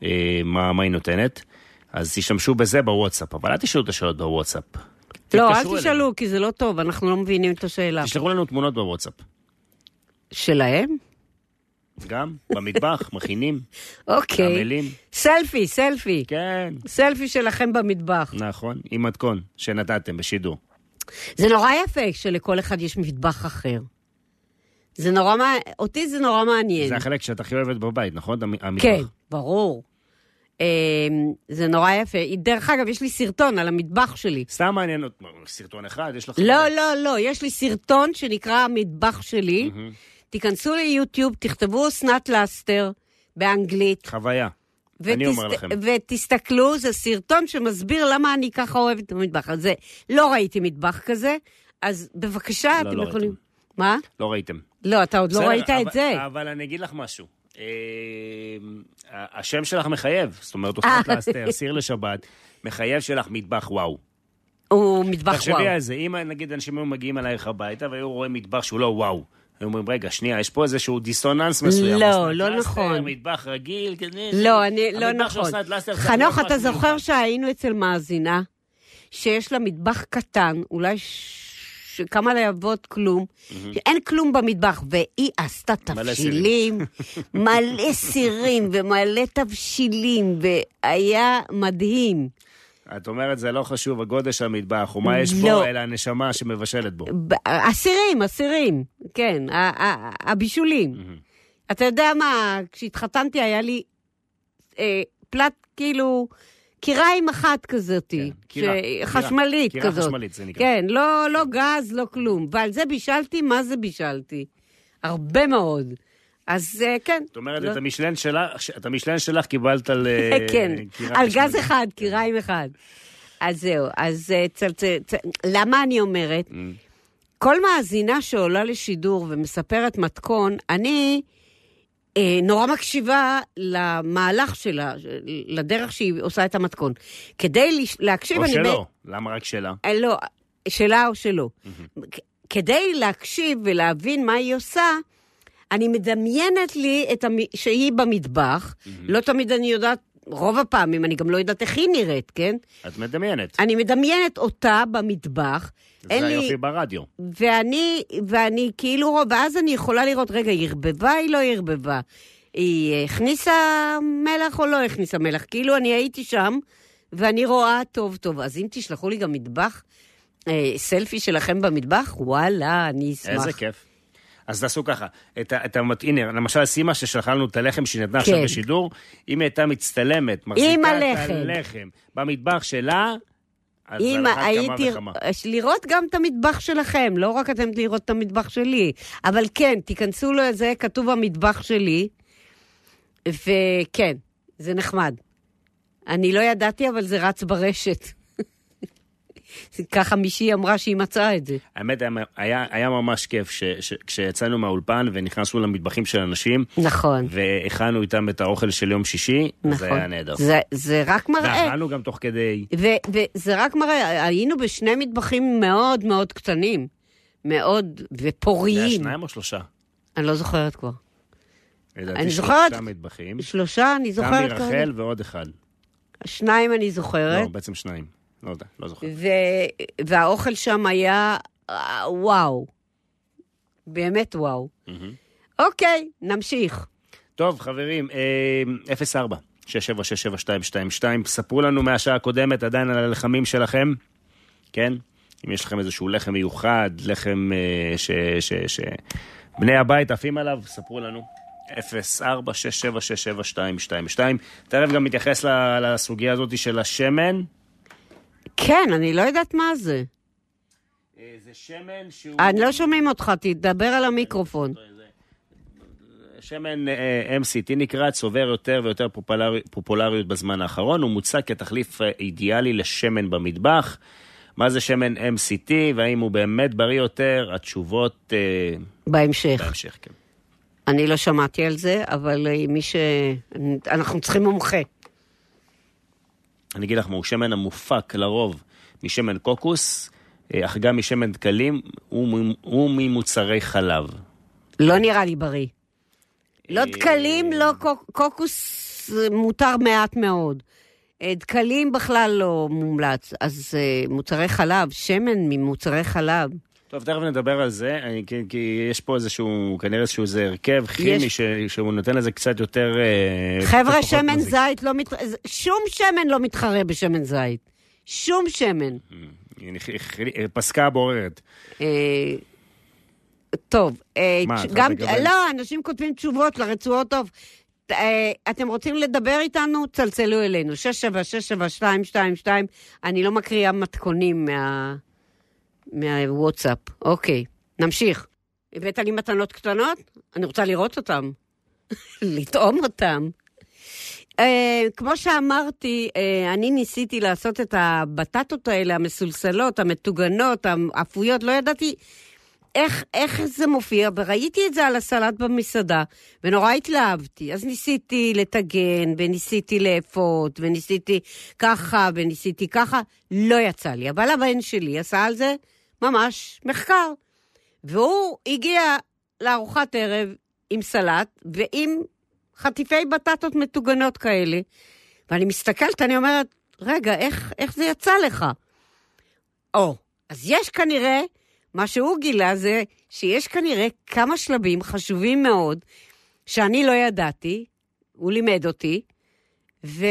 [SPEAKER 3] אה, מה, מה היא נותנת. אז תשתמשו בזה בוואטסאפ, אבל אל תשאלו את השאלות בוואטסאפ.
[SPEAKER 2] לא,
[SPEAKER 3] תתקשרו
[SPEAKER 2] אל
[SPEAKER 3] אלינו.
[SPEAKER 2] תשאלו, כי זה לא טוב, אנחנו לא מבינים את השאלה.
[SPEAKER 3] תשלחו לנו תמונות בוואטסאפ.
[SPEAKER 2] שלהם?
[SPEAKER 3] גם,
[SPEAKER 2] [laughs]
[SPEAKER 3] במטבח, מכינים,
[SPEAKER 2] אוקיי.
[SPEAKER 3] עמלים.
[SPEAKER 2] סלפי, סלפי.
[SPEAKER 3] כן,
[SPEAKER 2] סלפי שלכם במטבח.
[SPEAKER 3] נכון, עם מתכון שנתתם בשידור.
[SPEAKER 2] זה נורא יפה שלכל אחד יש מטבח אחר. זה נורא מע... אותי זה נורא מעניין.
[SPEAKER 3] זה החלק שאת הכי אוהבת בבית, נכון? המ- המטבח.
[SPEAKER 2] כן, ברור. אמ, זה נורא יפה. דרך אגב, יש לי סרטון על המטבח שלי.
[SPEAKER 3] סתם מעניין אותי, סרטון אחד, יש לך...
[SPEAKER 2] לא, לא, לא, יש לי סרטון שנקרא המטבח שלי. תיכנסו ליוטיוב, תכתבו אסנת לסטר באנגלית.
[SPEAKER 3] חוויה. אני אומר לכם.
[SPEAKER 2] ותסתכלו, זה סרטון שמסביר למה אני ככה אוהבת את המטבח הזה. לא ראיתי מטבח כזה, אז בבקשה,
[SPEAKER 3] לא,
[SPEAKER 2] אתם
[SPEAKER 3] לא
[SPEAKER 2] יכולים...
[SPEAKER 3] ראיתם.
[SPEAKER 2] מה?
[SPEAKER 3] לא ראיתם.
[SPEAKER 2] לא, אתה עוד לא
[SPEAKER 3] בסדר,
[SPEAKER 2] ראית
[SPEAKER 3] אבל-
[SPEAKER 2] את זה.
[SPEAKER 3] אבל אני אגיד לך משהו. אה, ה- השם שלך מחייב, זאת אומרת,
[SPEAKER 2] אה.
[SPEAKER 3] אוסנת לאסתר, סיר לשבת, מחייב שלך מטבח וואו.
[SPEAKER 2] הוא מטבח וואו.
[SPEAKER 3] תחשבי על זה, אם נגיד אנשים היו מגיעים אלייך הביתה והיו רואים מטבח שהוא לא וואו. היו אומרים, רגע, שנייה, יש פה איזשהו דיסוננס מסוים.
[SPEAKER 2] לא,
[SPEAKER 3] אסנת
[SPEAKER 2] לא
[SPEAKER 3] לאסתר,
[SPEAKER 2] נכון.
[SPEAKER 3] מטבח רגיל, כזה-
[SPEAKER 2] לא, אני, לא
[SPEAKER 3] המטבח של
[SPEAKER 2] נכון.
[SPEAKER 3] אסנת לאסתר צריך להיות
[SPEAKER 2] חנוך,
[SPEAKER 3] משהו
[SPEAKER 2] אתה זוכר
[SPEAKER 3] מיוחד.
[SPEAKER 2] שהיינו אצל מאזינה, שיש לה מטבח קטן, אולי ש... כמה להבות כלום, אין כלום במטבח, והיא עשתה
[SPEAKER 3] מלא
[SPEAKER 2] תבשילים, מלא סירים ומלא תבשילים, והיה מדהים.
[SPEAKER 3] את אומרת, זה לא חשוב הגודל של המטבח, או מה יש
[SPEAKER 2] לא.
[SPEAKER 3] בו, אלא הנשמה שמבשלת בו.
[SPEAKER 2] ב- אסירים, אסירים, כן, ה- ה- הבישולים. אתה יודע מה, כשהתחתנתי היה לי אה, פלט כאילו, קיריים אחת כזאתי,
[SPEAKER 3] כן, קירה,
[SPEAKER 2] ש-
[SPEAKER 3] קירה.
[SPEAKER 2] חשמלית
[SPEAKER 3] קירה
[SPEAKER 2] כזאת.
[SPEAKER 3] חשמלית, זה נקרא.
[SPEAKER 2] כן, לא, לא גז, לא כלום. ועל זה בישלתי, מה זה בישלתי? הרבה מאוד. אז אה, כן.
[SPEAKER 3] זאת אומרת,
[SPEAKER 2] לא-
[SPEAKER 3] את המשלן שלך- את המשלן שלך קיבלת על... אה,
[SPEAKER 2] [laughs] כן,
[SPEAKER 3] קירה
[SPEAKER 2] על
[SPEAKER 3] חשמלית.
[SPEAKER 2] גז אחד, קיריים אחד. אז זהו, אז אה, צלצל... צ- למה אני אומרת?
[SPEAKER 3] Mm.
[SPEAKER 2] כל מאזינה שעולה לשידור ומספרת מתכון, אני אה, נורא מקשיבה למהלך שלה, לדרך שהיא עושה את המתכון. כדי לש- להקשיב,
[SPEAKER 3] או
[SPEAKER 2] אני...
[SPEAKER 3] שלא, למה רק שלה?
[SPEAKER 2] אה, לא, שלה או שלא. כ- כדי להקשיב ולהבין מה היא עושה, אני מדמיינת לי את המ... שהיא במטבח, לא תמיד אני יודעת, רוב הפעמים אני גם לא יודעת איך היא נראית, כן?
[SPEAKER 3] את מדמיינת.
[SPEAKER 2] אני מדמיינת אותה במטבח, אין
[SPEAKER 3] זה
[SPEAKER 2] לי...
[SPEAKER 3] היופי ברדיו.
[SPEAKER 2] ואני, ואני כאילו, רוב- ואז אני יכולה לראות, רגע, היא ערבבה, היא לא ערבבה. היא אה, הכניסה מלח או לא הכניסה מלח? כאילו, אני הייתי שם, ואני רואה טוב טוב. אז אם תשלחו לי גם מטבח, אה, סלפי שלכם במטבח, וואלה, אני אשמח.
[SPEAKER 3] איזה כיף. אז תעשו ככה, את ה- את המת... הנה, למשל סימה ששלחנו את הלחם שניתנה עכשיו
[SPEAKER 2] כן.
[SPEAKER 3] בשידור, אם היא הייתה מצטלמת, מחזיקה
[SPEAKER 2] עם
[SPEAKER 3] את
[SPEAKER 2] הלחם.
[SPEAKER 3] הלחם במטבח שלה, אז על
[SPEAKER 2] אם
[SPEAKER 3] אחת
[SPEAKER 2] הייתי, אה,
[SPEAKER 3] כמה וכמה.
[SPEAKER 2] לראות גם את המטבח שלכם, לא רק אתם לראות את המטבח שלי. אבל כן, תיכנסו לזה, כתוב המטבח שלי, וכן, זה נחמד. אני לא ידעתי, אבל זה רץ ברשת. [laughs] ככה מישהי אמרה שהיא מצאה את זה.
[SPEAKER 3] האמת, היה- היה, היה ממש כיף ש, ש, כשיצאנו מהאולפן ונכנסנו למטבחים של אנשים,
[SPEAKER 2] נכון,
[SPEAKER 3] והכנו איתם את האוכל של יום שישי,
[SPEAKER 2] נכון.
[SPEAKER 3] זה היה נהדר.
[SPEAKER 2] זה, זה רק מראה,
[SPEAKER 3] ואכלנו גם תוך כדי...
[SPEAKER 2] ו- וזה רק מראה, היינו בשני מטבחים מאוד מאוד קטנים, מאוד,
[SPEAKER 3] זה היה
[SPEAKER 2] ופוריים.
[SPEAKER 3] שניים או שלושה?
[SPEAKER 2] אני לא זוכרת כבר.
[SPEAKER 3] לדעתי
[SPEAKER 2] אני
[SPEAKER 3] שלושה
[SPEAKER 2] זוכרת-
[SPEAKER 3] מטבחים.
[SPEAKER 2] שלושה, אני
[SPEAKER 3] תמי
[SPEAKER 2] זוכרת כרגע.
[SPEAKER 3] רחל ועוד אחד.
[SPEAKER 2] שניים אני
[SPEAKER 3] לא,
[SPEAKER 2] זוכרת,
[SPEAKER 3] בעצם שניים. לא יודע, לא זוכר.
[SPEAKER 2] ו... והאוכל שם היה אה, וואו. באמת וואו.
[SPEAKER 3] מהמם.
[SPEAKER 2] אוקיי, נמשיך.
[SPEAKER 3] טוב, חברים, אה, 04 6767222, ספרו לנו מהשעה הקודמת עדיין על הלחמים שלכם, כן? אם יש לכם איזשהו לחם מיוחד, לחם אה, ש... ש... ש... בני הבית עפים עליו, ספרו לנו. 04-677-7222. תכף גם מתייחס ל- לסוגיה הזאת של השמן.
[SPEAKER 2] כן, אני לא יודעת מה זה.
[SPEAKER 3] אה, זה שמן שהוא...
[SPEAKER 2] אני לא שומעים אותך, תדבר על המיקרופון.
[SPEAKER 3] שמן אה, MCT נקרא, צובר יותר ויותר פופולרי, פופולריות בזמן האחרון, הוא מוצע כתחליף אה, אידיאלי לשמן במטבח. מה זה שמן MCT, והאם הוא באמת בריא יותר? התשובות אה,
[SPEAKER 2] בהמשך.
[SPEAKER 3] בהמשך, כן.
[SPEAKER 2] אני לא שמעתי על זה, אבל אה, מי ש... אנחנו צריכים מומחה.
[SPEAKER 3] אני אגיד לך מה, הוא שמן המופק לרוב משמן קוקוס, אה, אך גם משמן דקלים ומ- וממוצרי חלב.
[SPEAKER 2] לא נראה לי בריא. לא
[SPEAKER 3] אה,
[SPEAKER 2] דקלים, לא קוק- קוקוס, אה, מותר מעט מאוד. אה, דקלים בכלל לא מומלץ. אז אה, מוצרי חלב, שמן ממוצרי חלב.
[SPEAKER 3] טוב, תכף נדבר על זה, אני, כי, כי יש פה איזשהו, כנראה איזשהו איזה הרכב כימי
[SPEAKER 2] יש.
[SPEAKER 3] ש, שהוא נותן לזה קצת יותר... אה,
[SPEAKER 2] חבר'ה,
[SPEAKER 3] פחות
[SPEAKER 2] שמן
[SPEAKER 3] מזיק.
[SPEAKER 2] זית לא מתחרה, שום שמן לא מתחרה בשמן זית. שום שמן.
[SPEAKER 3] היא נכ- היא פסקה הבוררת.
[SPEAKER 2] אה, טוב, אה,
[SPEAKER 3] מה,
[SPEAKER 2] תש-
[SPEAKER 3] אתה
[SPEAKER 2] גם,
[SPEAKER 3] מקבל?
[SPEAKER 2] לא, אנשים כותבים תשובות לרצועות טוב. ת- אה, אתם רוצים לדבר איתנו? צלצלו אלינו, 6767222. אני לא מקריאה מתכונים מה- מהוואטסאפ. אוקיי, נמשיך. הבאת לי מתנות קטנות? אני רוצה לראות אותן. [laughs] לטעום אותן. אה, כמו שאמרתי, אה, אני ניסיתי לעשות את הבטטות האלה, המסולסלות, המטוגנות, האפויות, לא ידעתי איך, איך זה מופיע, וראיתי את זה על הסלט במסעדה, ונורא התלהבתי. אז ניסיתי לטגן, וניסיתי לאפות, וניסיתי ככה, וניסיתי ככה, לא יצא לי. אבל הבן שלי עשה על זה ממש מחקר. והוא הגיע לארוחת ערב עם סלט ועם חטיפי בטטות מטוגנות כאלה. ואני מסתכלת, אני אומרת, רגע, איך, איך זה יצא לך? או, אז יש כנראה, מה שהוא גילה זה שיש כנראה כמה שלבים חשובים מאוד שאני לא ידעתי, הוא לימד אותי, ו...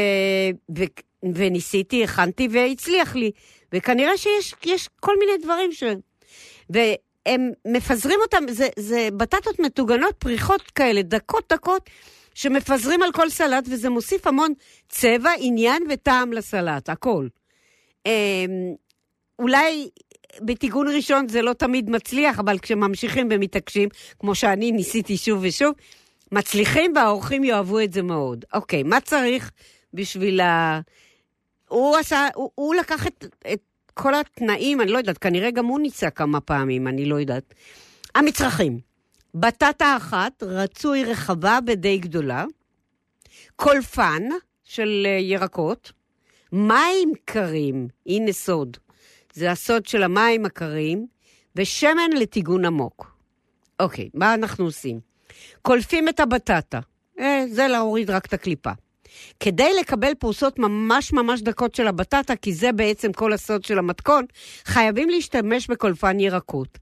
[SPEAKER 2] ו... וניסיתי, הכנתי והצליח לי. וכנראה שיש יש כל מיני דברים ש... והם מפזרים אותם, זה, זה בטטות מטוגנות, פריחות כאלה, דקות דקות, שמפזרים על כל סלט, וזה מוסיף המון צבע, עניין וטעם לסלט, הכל. אמ, אולי בטיגון ראשון זה לא תמיד מצליח, אבל כשממשיכים ומתעקשים, כמו שאני ניסיתי שוב ושוב, מצליחים והאורחים יאהבו את זה מאוד. אוקיי, מה צריך בשביל ה... הוא עשה, הוא, הוא לקח את, את כל התנאים, אני לא יודעת, כנראה גם הוא ניסה כמה פעמים, אני לא יודעת. המצרכים, בטטה אחת, רצוי רחבה בדי גדולה, קולפן של אה, ירקות, מים קרים, הנה סוד, זה הסוד של המים הקרים, ושמן לטיגון עמוק. אוקיי, מה אנחנו עושים? קולפים את הבטטה, אה, זה להוריד רק את הקליפה. כדי לקבל פרוסות ממש ממש דקות של הבטטה, כי זה בעצם כל הסוד של המתכון, חייבים להשתמש בקולפן ירקות.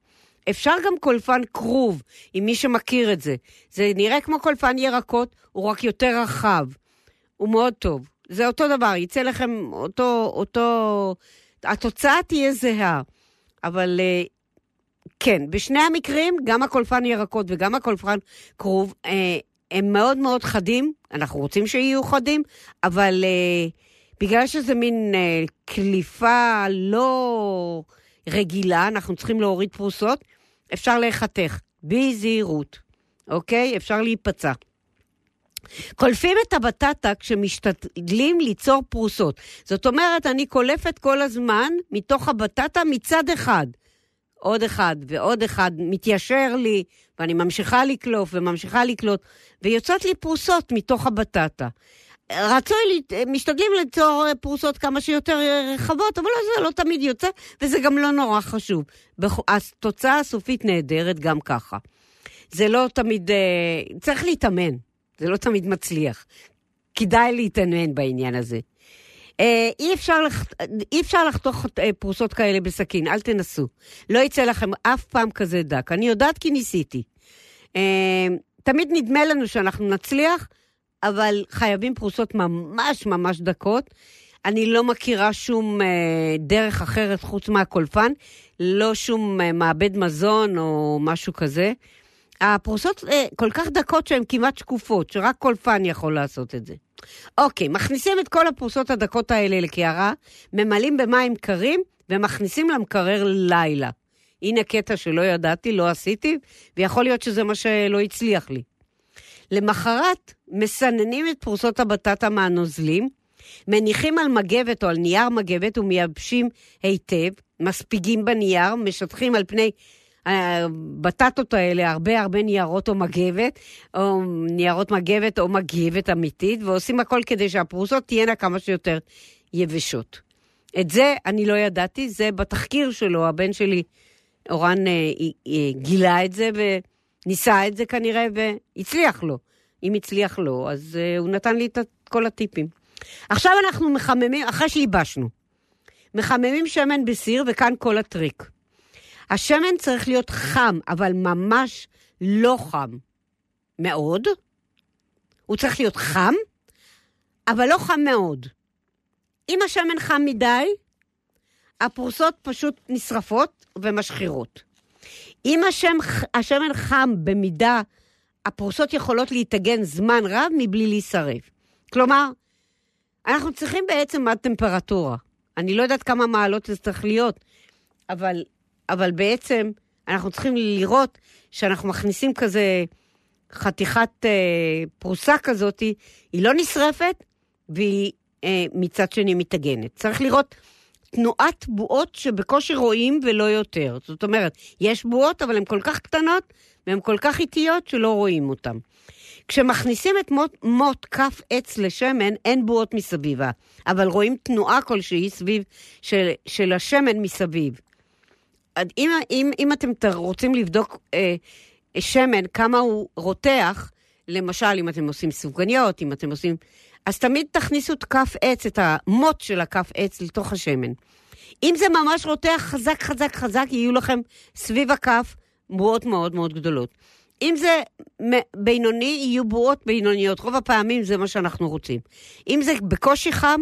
[SPEAKER 2] אפשר גם קולפן כרוב, אם מי שמכיר את זה. זה נראה כמו קולפן ירקות, הוא רק יותר רחב. הוא מאוד טוב. זה אותו דבר, יצא לכם אותו... אותו... התוצאה תהיה זהה. אבל אה, כן, בשני המקרים, גם הקולפן ירקות וגם הקולפן כרוב, אה, הם מאוד מאוד חדים, אנחנו רוצים שיהיו חדים, אבל אה, בגלל שזה מין אה, קליפה לא רגילה, אנחנו צריכים להוריד פרוסות, אפשר להיחתך, בזהירות, אוקיי? אפשר להיפצע. קולפים את הבטטה כשמשתדלים ליצור פרוסות. זאת אומרת, אני קולפת כל הזמן מתוך הבטטה מצד אחד. עוד אחד ועוד אחד מתיישר לי, ואני ממשיכה לקלוף וממשיכה לקלוט, ויוצאות לי פרוסות מתוך הבטטה. רצוי, לי- משתדלים ליצור פרוסות כמה שיותר רחבות, אבל לא, זה לא תמיד יוצא, וזה גם לא נורא חשוב. בכ- התוצאה הסופית נהדרת גם ככה. זה לא תמיד, אה, צריך להתאמן, זה לא תמיד מצליח. כדאי להתאמן בעניין הזה. אה, אי אפשר, לח... אי אפשר לחתוך אה, פרוסות כאלה בסכין, אל תנסו. לא יצא לכם אף פעם כזה דק. אני יודעת כי ניסיתי. אה, תמיד נדמה לנו שאנחנו נצליח, אבל חייבים פרוסות ממש ממש דקות. אני לא מכירה שום אה, דרך אחרת חוץ מהקולפן, לא שום אה, מעבד מזון או משהו כזה. הפרוסות אה, כל כך דקות שהן כמעט שקופות, שרק קולפן יכול לעשות את זה. אוקיי, מכניסים את כל הפרוסות הדקות האלה לקערה, ממלאים במים קרים ומכניסים למקרר לילה. הנה קטע שלא ידעתי, לא עשיתי, ויכול להיות שזה מה שלא הצליח לי. למחרת מסננים את פרוסות הבטטה מהנוזלים, מניחים על מגבת או על נייר מגבת ומייבשים היטב, מספיגים בנייר, משטחים על פני הבטטות האלה הרבה הרבה ניירות או מגבת, או ניירות מגבת או מגבת אמיתית, ועושים הכל כדי שהפרוסות תהיינה כמה שיותר יבשות. את זה אני לא ידעתי, זה בתחקיר שלו, הבן שלי אורן אה, אה, גילה את זה וניסה את זה כנראה והצליח לו. אם הצליח לו, אז אה, הוא נתן לי את כל הטיפים. עכשיו אנחנו מחממים, אחרי שייבשנו, מחממים שמן בסיר וכאן כל הטריק. השמן צריך להיות חם, אבל ממש לא חם. מאוד. הוא צריך להיות חם, אבל לא חם מאוד. אם השמן חם מדי, הפרוסות פשוט נשרפות ומשחירות. אם השם, השמן חם במידה, הפרוסות יכולות להתאגן זמן רב מבלי להישרף. כלומר, אנחנו צריכים בעצם מה טמפרטורה. אני לא יודעת כמה מעלות זה צריך להיות, אבל, אבל בעצם אנחנו צריכים לראות שאנחנו מכניסים כזה חתיכת אה, פרוסה כזאת, היא לא נשרפת, והיא אה, מצד שני מתאגנת. צריך לראות תנועת בועות שבקושי רואים ולא יותר. זאת אומרת, יש בועות, אבל הן כל כך קטנות והן כל כך איטיות שלא רואים אותן. כשמכניסים את מוט, מוט כף עץ לשמן, אין בועות מסביבה, אבל רואים תנועה כלשהי סביב של, של השמן מסביב. עד- אם, אם, אם אתם ת- רוצים לבדוק אה, שמן, כמה הוא רותח, למשל, אם אתם עושים סופגניות, אם אתם עושים... אז תמיד תכניסו את כף עץ, את המוט של הכף עץ לתוך השמן. אם זה ממש רותח חזק, חזק, חזק, יהיו לכם סביב הכף בועות מאוד מאוד גדולות. אם זה מ- בינוני, יהיו בועות בינוניות. רוב הפעמים זה מה שאנחנו רוצים. אם זה בקושי חם,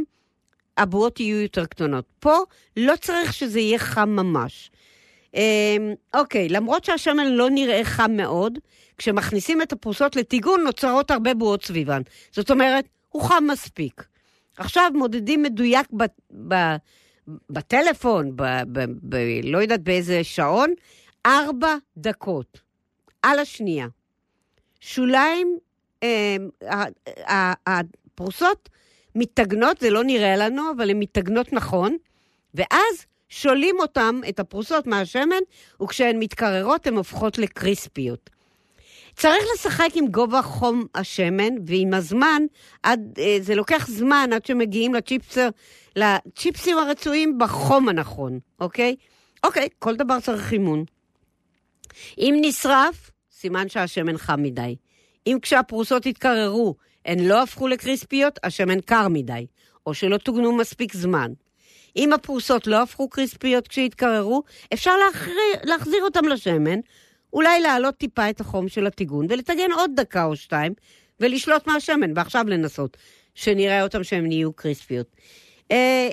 [SPEAKER 2] הבועות יהיו יותר קטנות. פה לא צריך שזה יהיה חם ממש. אמ, אוקיי, למרות שהשמן לא נראה חם מאוד, כשמכניסים את הפרוסות לטיגון נוצרות הרבה בועות סביבן. זאת אומרת, הוא חם מספיק. עכשיו מודדים מדויק ב, ב, בטלפון, ב, ב, ב, לא יודעת באיזה שעון, ארבע דקות. על השנייה. שוליים אה, ה- ה- הפרוסות מתאגנות, זה לא נראה לנו, אבל הן מתאגנות נכון, ואז שולים אותן, את הפרוסות מהשמן, וכשהן מתקררות הן הופכות לקריספיות. צריך לשחק עם גובה חום השמן ועם הזמן, עד, אה, זה לוקח זמן עד שמגיעים לצ'יפסר, לצ'יפסים הרצויים בחום הנכון, אוקיי? אוקיי, כל דבר צריך אימון. אם נשרף, סימן שהשמן חם מדי. אם כשהפרוסות התקררו, הן לא הפכו לקריספיות, השמן קר מדי, או שלא טוגנו מספיק זמן. אם הפרוסות לא הפכו קריספיות כשהתקררו, אפשר להחריר, להחזיר אותם לשמן, אולי להעלות טיפה את החום של הטיגון ולטגן עוד דקה או שתיים, ולשלוט מהשמן, ועכשיו לנסות, שנראה אותם שהם נהיו קריספיות. אה,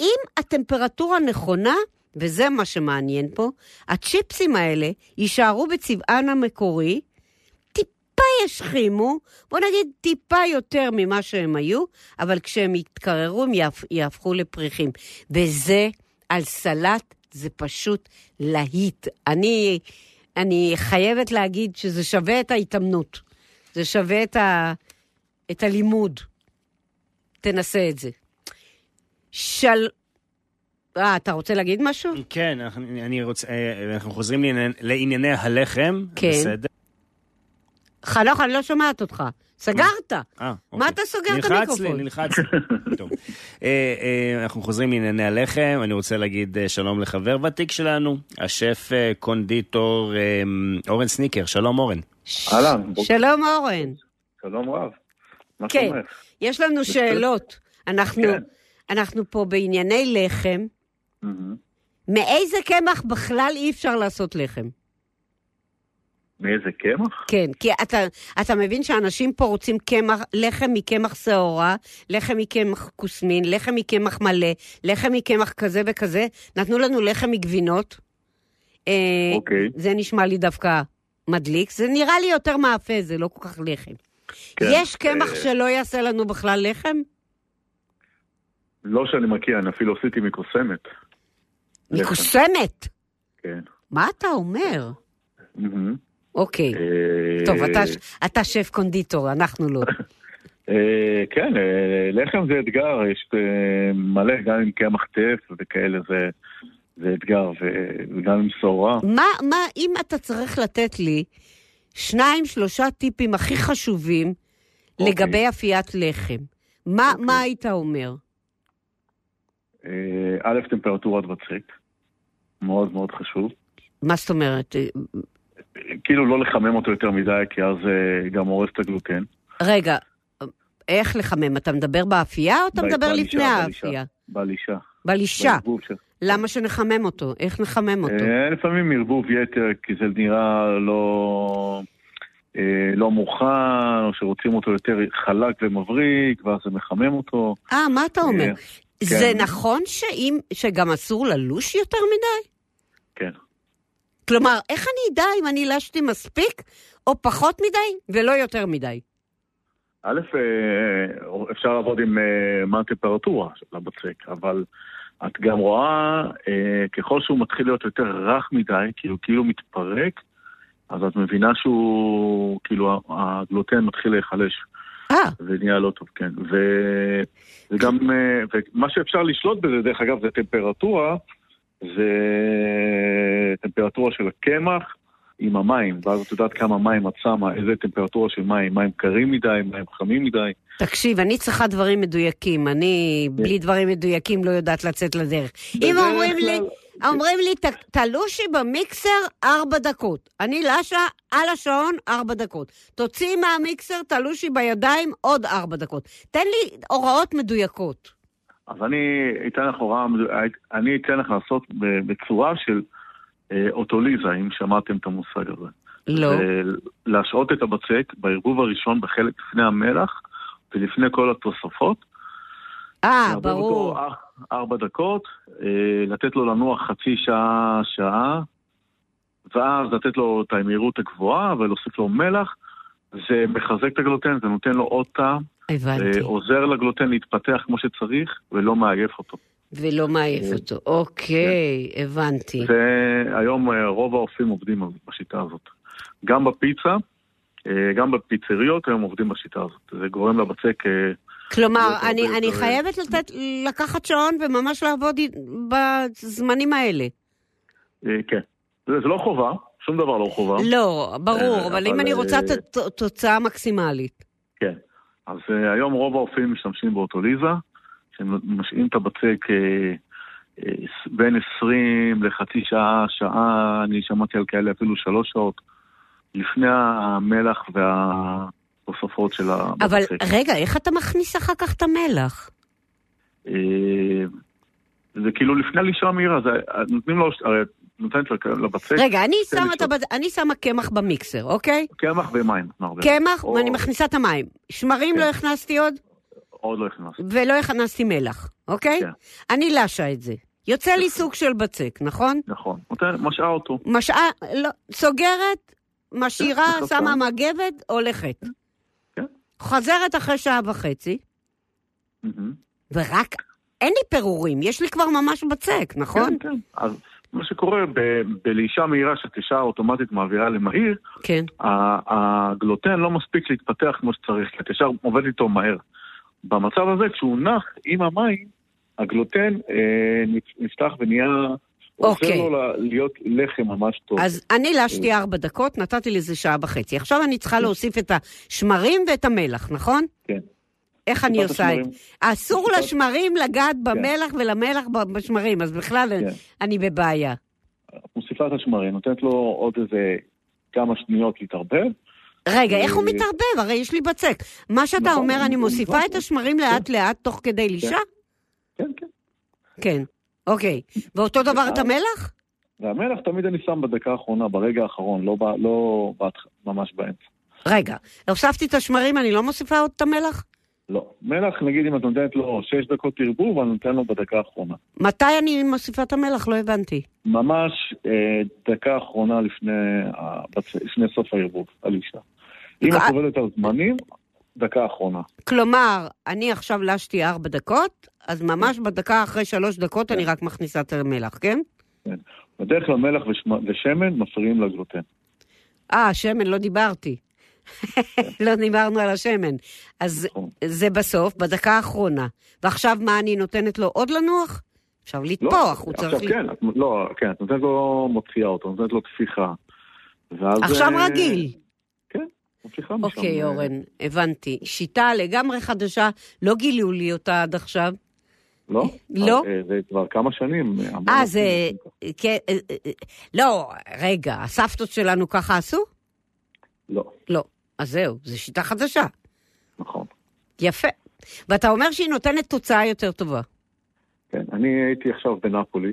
[SPEAKER 2] אם הטמפרטורה נכונה, וזה מה שמעניין פה, הצ'יפסים האלה יישארו בצבען המקורי, טיפה ישכימו, בוא נגיד טיפה יותר ממה שהם היו, אבל כשהם יתקררו הם יהפ- יהפכו לפריחים. וזה על סלט, זה פשוט להיט. אני, אני חייבת להגיד שזה שווה את ההתאמנות. זה שווה את, ה, את הלימוד. תנסה את זה. של... אה, אתה רוצה להגיד משהו?
[SPEAKER 3] כן, אנחנו- אני רוצה, אה, אנחנו חוזרים לעניין- לענייני הלחם.
[SPEAKER 2] כן.
[SPEAKER 3] בסדר.
[SPEAKER 2] חנוך, אני לא שומעת אותך. סגרת.
[SPEAKER 3] אה,
[SPEAKER 2] מה
[SPEAKER 3] אוקיי.
[SPEAKER 2] אתה סוגר את
[SPEAKER 3] נלחץ לי,
[SPEAKER 2] המיקרופון?
[SPEAKER 3] נלחץ
[SPEAKER 2] [laughs]
[SPEAKER 3] לי. טוב. אה, אה, אנחנו חוזרים לענייני הלחם, אני רוצה להגיד אה, שלום לחבר ותיק שלנו, השף אה, קונדיטור אה, אורן סניקר, שלום אורן.
[SPEAKER 8] אהלן, בוא-
[SPEAKER 2] שלום אורן.
[SPEAKER 8] שלום רב. מה
[SPEAKER 2] כן.
[SPEAKER 8] שלומך?
[SPEAKER 2] יש לנו שאלות. אנחנו,
[SPEAKER 8] כן.
[SPEAKER 2] אנחנו פה בענייני לחם.
[SPEAKER 8] מהמם.
[SPEAKER 2] מאיזה קמח בכלל אי אפשר לעשות לחם?
[SPEAKER 8] מאיזה קמח?
[SPEAKER 2] כן, כי אתה, אתה מבין שאנשים פה רוצים קמח, לחם מקמח שעורה, לחם מקמח כוסמין, לחם מקמח מלא, לחם מקמח כזה וכזה. נתנו לנו לחם מגבינות. אה,
[SPEAKER 8] אוקיי.
[SPEAKER 2] זה נשמע לי דווקא מדליק. זה נראה לי יותר מאפה, זה לא כל כך לחם.
[SPEAKER 8] כן.
[SPEAKER 2] יש קמח
[SPEAKER 8] אה,
[SPEAKER 2] שלא יעשה לנו בכלל לחם?
[SPEAKER 8] לא שאני מכיר, אני אפילו עשיתי מקוסמת. לחם.
[SPEAKER 2] מקוסמת.
[SPEAKER 8] כן.
[SPEAKER 2] מה אתה אומר?
[SPEAKER 8] מהמם.
[SPEAKER 2] אוקיי.
[SPEAKER 8] אה,
[SPEAKER 2] טוב, אתה, ש- אתה שף קונדיטור, אנחנו
[SPEAKER 8] [laughs]
[SPEAKER 2] לא.
[SPEAKER 8] אה, כן, אה, לחם זה אתגר, יש אה, מלא, גם עם קמח טף וכאלה, זה- זה אתגר, ו- וגם עם שעורה.
[SPEAKER 2] מה, מה, אם אתה צריך לתת לי שניים, שלושה טיפים הכי חשובים
[SPEAKER 8] אוקיי.
[SPEAKER 2] לגבי אפיית לחם, מה, מה היית אומר?
[SPEAKER 8] אה, א', טמפרטורת בצק, מאוד מאוד חשוב.
[SPEAKER 2] מה זאת אומרת? אה,
[SPEAKER 8] כאילו לא לחמם אותו יותר מדי, כי אז אה, גם הורס את הגלוטן.
[SPEAKER 2] רגע, איך לחמם? אתה מדבר באפייה או אתה
[SPEAKER 8] ב-
[SPEAKER 2] מדבר
[SPEAKER 8] בלישה,
[SPEAKER 2] לפני
[SPEAKER 8] בלישה.
[SPEAKER 2] האפייה?
[SPEAKER 8] בלישה.
[SPEAKER 2] בלישה.
[SPEAKER 8] בערבוב של-
[SPEAKER 2] למה שנחמם אותו? איך נחמם אותו?
[SPEAKER 8] אה, לפעמים ערבוב יתר, כי זה נראה לא, אה, לא מוכן, או שרוצים אותו יותר חלק ומבריק, ואז זה מחמם אותו.
[SPEAKER 2] אה, מה אתה אומר?
[SPEAKER 8] אה,
[SPEAKER 2] זה
[SPEAKER 8] כן.
[SPEAKER 2] נכון שאם, שגם אסור ללוש יותר מדי?
[SPEAKER 8] כן.
[SPEAKER 2] כלומר, איך אני אדע אם אני לשתי מספיק או פחות מדי ולא יותר מדי?
[SPEAKER 8] א', אה, אפשר לעבוד עם אה, מה הטמפרטורה של הבצק, לא אבל את גם רואה, אה, ככל שהוא מתחיל להיות יותר רך מדי, כאילו כאילו מתפרק, אז את מבינה שהוא, כאילו הגלוטן מתחיל להיחלש.
[SPEAKER 2] אה,
[SPEAKER 8] ונהיה לא טוב, כן. ו... וגם, אה, ומה שאפשר לשלוט בזה, דרך אגב, זה טמפרטורה, זה טמפרטורה של הקמח עם המים, ואז את יודעת כמה מים את שמה, איזה טמפרטורה של מים, מים קרים מדי, מים חמים מדי.
[SPEAKER 2] תקשיב, אני צריכה דברים מדויקים. אני בלי דברים מדויקים לא יודעת לצאת לדרך. אם
[SPEAKER 8] כן. בדרך
[SPEAKER 2] אומרים לי,
[SPEAKER 8] כלל- כן.
[SPEAKER 2] אומרים לי, "ת- תלושי במיקסר ארבע דקות. אני לשה על השעון ארבע דקות. תוציאי מהמיקסר, תלושי בידיים עוד ארבע דקות. תן לי הוראות מדויקות.
[SPEAKER 8] אז אני אתן לך הוראה, אני אתן לך לעשות בצורה של אה, אוטוליזה, אם שמעתם את המושג הזה.
[SPEAKER 2] לא.
[SPEAKER 8] להשעות את הבצק בערבוב הראשון בחלק לפני המלח ולפני כל התוספות.
[SPEAKER 2] אה,
[SPEAKER 8] לערבב
[SPEAKER 2] ברור.
[SPEAKER 8] אותו אר- ארבע דקות, אה, לתת לו לנוח חצי שעה, שעה, ואז לתת לו את המהירות הגבוהה ולהוסיף לו מלח. זה מחזק את הגלוטן, זה נותן לו עוד טעם,
[SPEAKER 2] הבנתי.
[SPEAKER 8] אה, עוזר לגלוטן להתפתח כמו שצריך ולא מעייף אותו.
[SPEAKER 2] ולא
[SPEAKER 8] אה,
[SPEAKER 2] מעייף אותו. אוקיי,
[SPEAKER 8] כן.
[SPEAKER 2] הבנתי.
[SPEAKER 8] והיום אה, רוב האופים עובדים על- בשיטה הזאת. גם בפיצה, אה, גם בפיצריות היום עובדים בשיטה הזאת. זה גורם לבצק... אה,
[SPEAKER 2] כלומר,
[SPEAKER 8] להיות הרבה
[SPEAKER 2] אני, אני
[SPEAKER 8] יותר-
[SPEAKER 2] חייבת לתת, לקחת שעון וממש לעבוד אי- בזמנים האלה.
[SPEAKER 8] אה, כן. זה, זה לא חובה, שום דבר לא חובה.
[SPEAKER 2] לא, ברור,
[SPEAKER 8] אה,
[SPEAKER 2] אבל אם
[SPEAKER 8] אבל,
[SPEAKER 2] אני רוצה
[SPEAKER 8] אה,
[SPEAKER 2] ת- ת- תוצאה מקסימלית.
[SPEAKER 8] כן. אז אה, היום רוב הרופאים משתמשים באוטוליזה, שהם משאים את הבצק אה, אה, ס- בין 20 לחצי שעה, שעה, אני שמעתי על כאלה אפילו שלוש שעות, לפני המלח והתוספות של הבצק.
[SPEAKER 2] אבל רגע, איך אתה מכניס אחר כך את המלח?
[SPEAKER 8] אה, זה כאילו לפני הלישה המהירה, זה אה, נותנים לו, הרי נותנת לו- לבצק
[SPEAKER 2] רגע, אני
[SPEAKER 8] תן
[SPEAKER 2] שמה
[SPEAKER 8] לי
[SPEAKER 2] את הבד- אני שמה קמח במיקסר, אוקיי?
[SPEAKER 8] קמח ומים. נותנים הרבה.
[SPEAKER 2] קמח,
[SPEAKER 8] או-
[SPEAKER 2] ואני מכניסה את המים. שמרים
[SPEAKER 8] כן.
[SPEAKER 2] לא הכנסתי עוד,
[SPEAKER 8] עוד לא הכנסתי.
[SPEAKER 2] ולא הכנסתי מלח, אוקיי?
[SPEAKER 8] כן.
[SPEAKER 2] אני לשה את זה. יוצא לי סוג של בצק, נכון?
[SPEAKER 8] נכון. נותן, משעה אותו.
[SPEAKER 2] משעה, לא, סוגרת, משאירה,
[SPEAKER 8] כן,
[SPEAKER 2] שמה מגבת, הולכת.
[SPEAKER 8] כן.
[SPEAKER 2] חוזרת אחרי שעה וחצי,
[SPEAKER 8] מהמם.
[SPEAKER 2] ורק, אין לי פירורים, יש לי כבר ממש בצק, נכון?
[SPEAKER 8] כן, כן. אז מה שקורה ב- בלישה מהירה, שהתשעה האוטומטית מעבירה למהיר,
[SPEAKER 2] כן.
[SPEAKER 8] ה- הגלוטן לא מספיק להתפתח כמו שצריך, כי התשעה עובד איתו מהר. במצב הזה, כשהוא נח עם המים, הגלוטן אה, נפ- נפתח ונהיה... עוזר
[SPEAKER 2] אוקיי.
[SPEAKER 8] לו ל- להיות לחם ממש טוב.
[SPEAKER 2] אז אני לשתי ארבע דקות, נתתי לזה שעה וחצי. עכשיו אני צריכה להוסיף את השמרים ואת המלח, נכון?
[SPEAKER 8] כן.
[SPEAKER 2] איך אני
[SPEAKER 8] טיפת
[SPEAKER 2] עושה את
[SPEAKER 8] השמרים.
[SPEAKER 2] זה? אסור
[SPEAKER 8] טיפת-
[SPEAKER 2] לשמרים לגעת במלח ולמלח ב- בשמרים, אז בכלל
[SPEAKER 8] כן.
[SPEAKER 2] אני בבעיה.
[SPEAKER 8] מוסיפה את השמרים, נותנת לו עוד איזה כמה שניות להתערבב.
[SPEAKER 2] רגע, איך הוא
[SPEAKER 8] אה,
[SPEAKER 2] מתערבב? הרי יש לי בצק. מה שאתה
[SPEAKER 8] נכון,
[SPEAKER 2] אומר, אני
[SPEAKER 8] נכון,
[SPEAKER 2] מוסיפה
[SPEAKER 8] נכון.
[SPEAKER 2] את השמרים לאט-לאט תוך כדי לישה?
[SPEAKER 8] כן, כן.
[SPEAKER 2] כן. אוקיי. ואותו דבר
[SPEAKER 8] אה.
[SPEAKER 2] את המלח?
[SPEAKER 8] והמלח תמיד אני שם בדקה האחרונה, ברגע האחרון, לא, ב- לא בהתח- ממש באמצע.
[SPEAKER 2] רגע, הוספתי את השמרים, אני לא מוסיפה עוד את המלח?
[SPEAKER 8] לא. מלח, נגיד אם את נותנת לו 6 דקות ערבוב, אני נותן לו בדקה האחרונה.
[SPEAKER 2] מתי אני מוסיפה את המלח? לא הבנתי.
[SPEAKER 8] ממש אה, דקה אחרונה לפני, הבצ... לפני סוף הערבוב, על אישה. אם
[SPEAKER 2] אה.
[SPEAKER 8] את עובדת על זמנים, דקה אחרונה.
[SPEAKER 2] כלומר, אני עכשיו לשתי ארבע דקות, אז ממש בדקה אחרי שלוש דקות
[SPEAKER 8] כן.
[SPEAKER 2] אני רק מכניסה את המלח, כן?
[SPEAKER 8] בדרך כלל מלח ושמ... ושמן מפריעים לגלוטן.
[SPEAKER 2] אה, שמן, לא דיברתי. [laughs] לא דיברנו על השמן. אז
[SPEAKER 8] נכון.
[SPEAKER 2] זה בסוף, בדקה האחרונה. ועכשיו מה, אני נותנת לו עוד לנוח? עכשיו לטפוח, הוא
[SPEAKER 8] לא? עכשיו
[SPEAKER 2] צריך... ל-
[SPEAKER 8] כן, את... לא, כן, את נותנת לו, מוציאה אותו, נותנת לו טפיחה. ואז...
[SPEAKER 2] עכשיו
[SPEAKER 8] אה,
[SPEAKER 2] רגיל.
[SPEAKER 8] כן, ממשיכה משם.
[SPEAKER 2] אוקיי,
[SPEAKER 8] אה,
[SPEAKER 2] אורן, הבנתי. שיטה לגמרי חדשה, לא גילו לי אותה עד עכשיו.
[SPEAKER 8] לא?
[SPEAKER 2] לא.
[SPEAKER 8] אה, זה כבר כמה שנים. המון
[SPEAKER 2] אה, זה...
[SPEAKER 8] עושים.
[SPEAKER 2] כן, אה, אה, אה, לא, רגע, הסבתות שלנו ככה עשו?
[SPEAKER 8] לא,
[SPEAKER 2] לא. אז זהו, זו שיטה חדשה.
[SPEAKER 8] נכון.
[SPEAKER 2] יפה. ואתה אומר שהיא נותנת תוצאה יותר טובה.
[SPEAKER 8] כן, אני הייתי עכשיו בנפולי,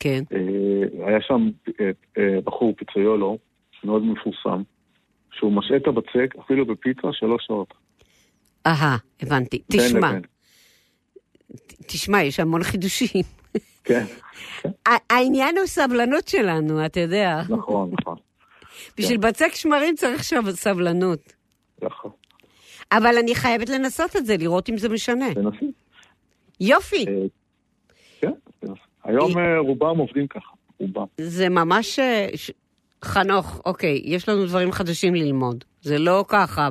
[SPEAKER 2] כן.
[SPEAKER 8] אה, היה שם אה, אה, בחור פיצריולו, מאוד מפורסם, שהוא משעה את הבצק אפילו בפיצה שלוש שעות.
[SPEAKER 2] אהה, הבנתי.
[SPEAKER 8] בין
[SPEAKER 2] תשמע,
[SPEAKER 8] לבין.
[SPEAKER 2] תשמע, יש המון חידושים.
[SPEAKER 8] כן,
[SPEAKER 2] ה- העניין הוא סבלנות שלנו, אתה יודע.
[SPEAKER 8] נכון, נכון.
[SPEAKER 2] בשביל בצק שמרים צריך שב- סבלנות.
[SPEAKER 8] נכון.
[SPEAKER 2] אבל אני חייבת לנסות את זה, לראות אם זה משנה.
[SPEAKER 8] תנסי.
[SPEAKER 2] יופי,
[SPEAKER 8] אה, כן, תנסי. היום אה, רובם עובדים ככה, רובם.
[SPEAKER 2] זה ממש... אה, ש- חנוך, אוקיי, יש לנו דברים חדשים ללמוד. זה לא ככה.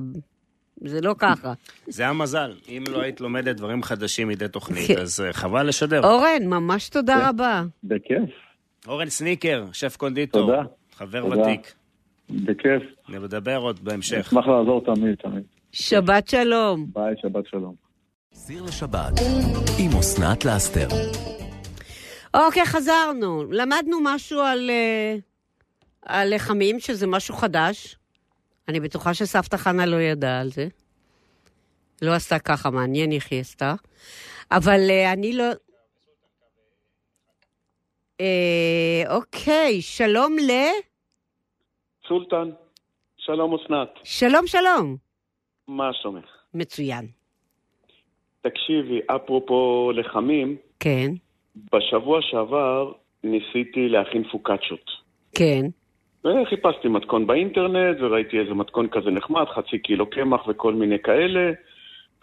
[SPEAKER 2] זה לא ככה.
[SPEAKER 3] זה המזל. אם לא היית לומדת דברים חדשים מדי תוכנית,
[SPEAKER 2] כן.
[SPEAKER 3] אז אה, חבל לשדר.
[SPEAKER 2] אורן, ממש תודה רבה.
[SPEAKER 8] בכיף,
[SPEAKER 3] אורן סניקר, שף קונדיטור.
[SPEAKER 8] תודה.
[SPEAKER 3] חבר
[SPEAKER 8] תודה.
[SPEAKER 3] ותיק.
[SPEAKER 8] בכיף.
[SPEAKER 3] נדבר עוד
[SPEAKER 9] כן.
[SPEAKER 3] בהמשך.
[SPEAKER 8] אשמח לעזור תמיד, תמיד.
[SPEAKER 2] שבת שלום.
[SPEAKER 8] ביי, שבת שלום.
[SPEAKER 1] סיר לשבת עם אסנת לאסתר.
[SPEAKER 2] אוקיי, חזרנו. למדנו משהו על, אה, על לחמים, שזה משהו חדש. אני בטוחה שסבתא חנה לא ידעה על זה. לא עשתה ככה, מעניין איך היא עשתה. אבל אה, אני לא... אה, אוקיי, שלום ל...
[SPEAKER 9] סולטן, שלום אסנת,
[SPEAKER 2] שלום, שלום.
[SPEAKER 9] מה שלומך?
[SPEAKER 2] מצוין.
[SPEAKER 9] תקשיבי, אפרופו לחמים,
[SPEAKER 2] כן,
[SPEAKER 9] בשבוע שעבר ניסיתי להכין פוקאצ'ות.
[SPEAKER 2] כן.
[SPEAKER 9] וחיפשתי מתכון באינטרנט, וראיתי איזה מתכון כזה נחמד, חצי קילו קמח וכל מיני כאלה,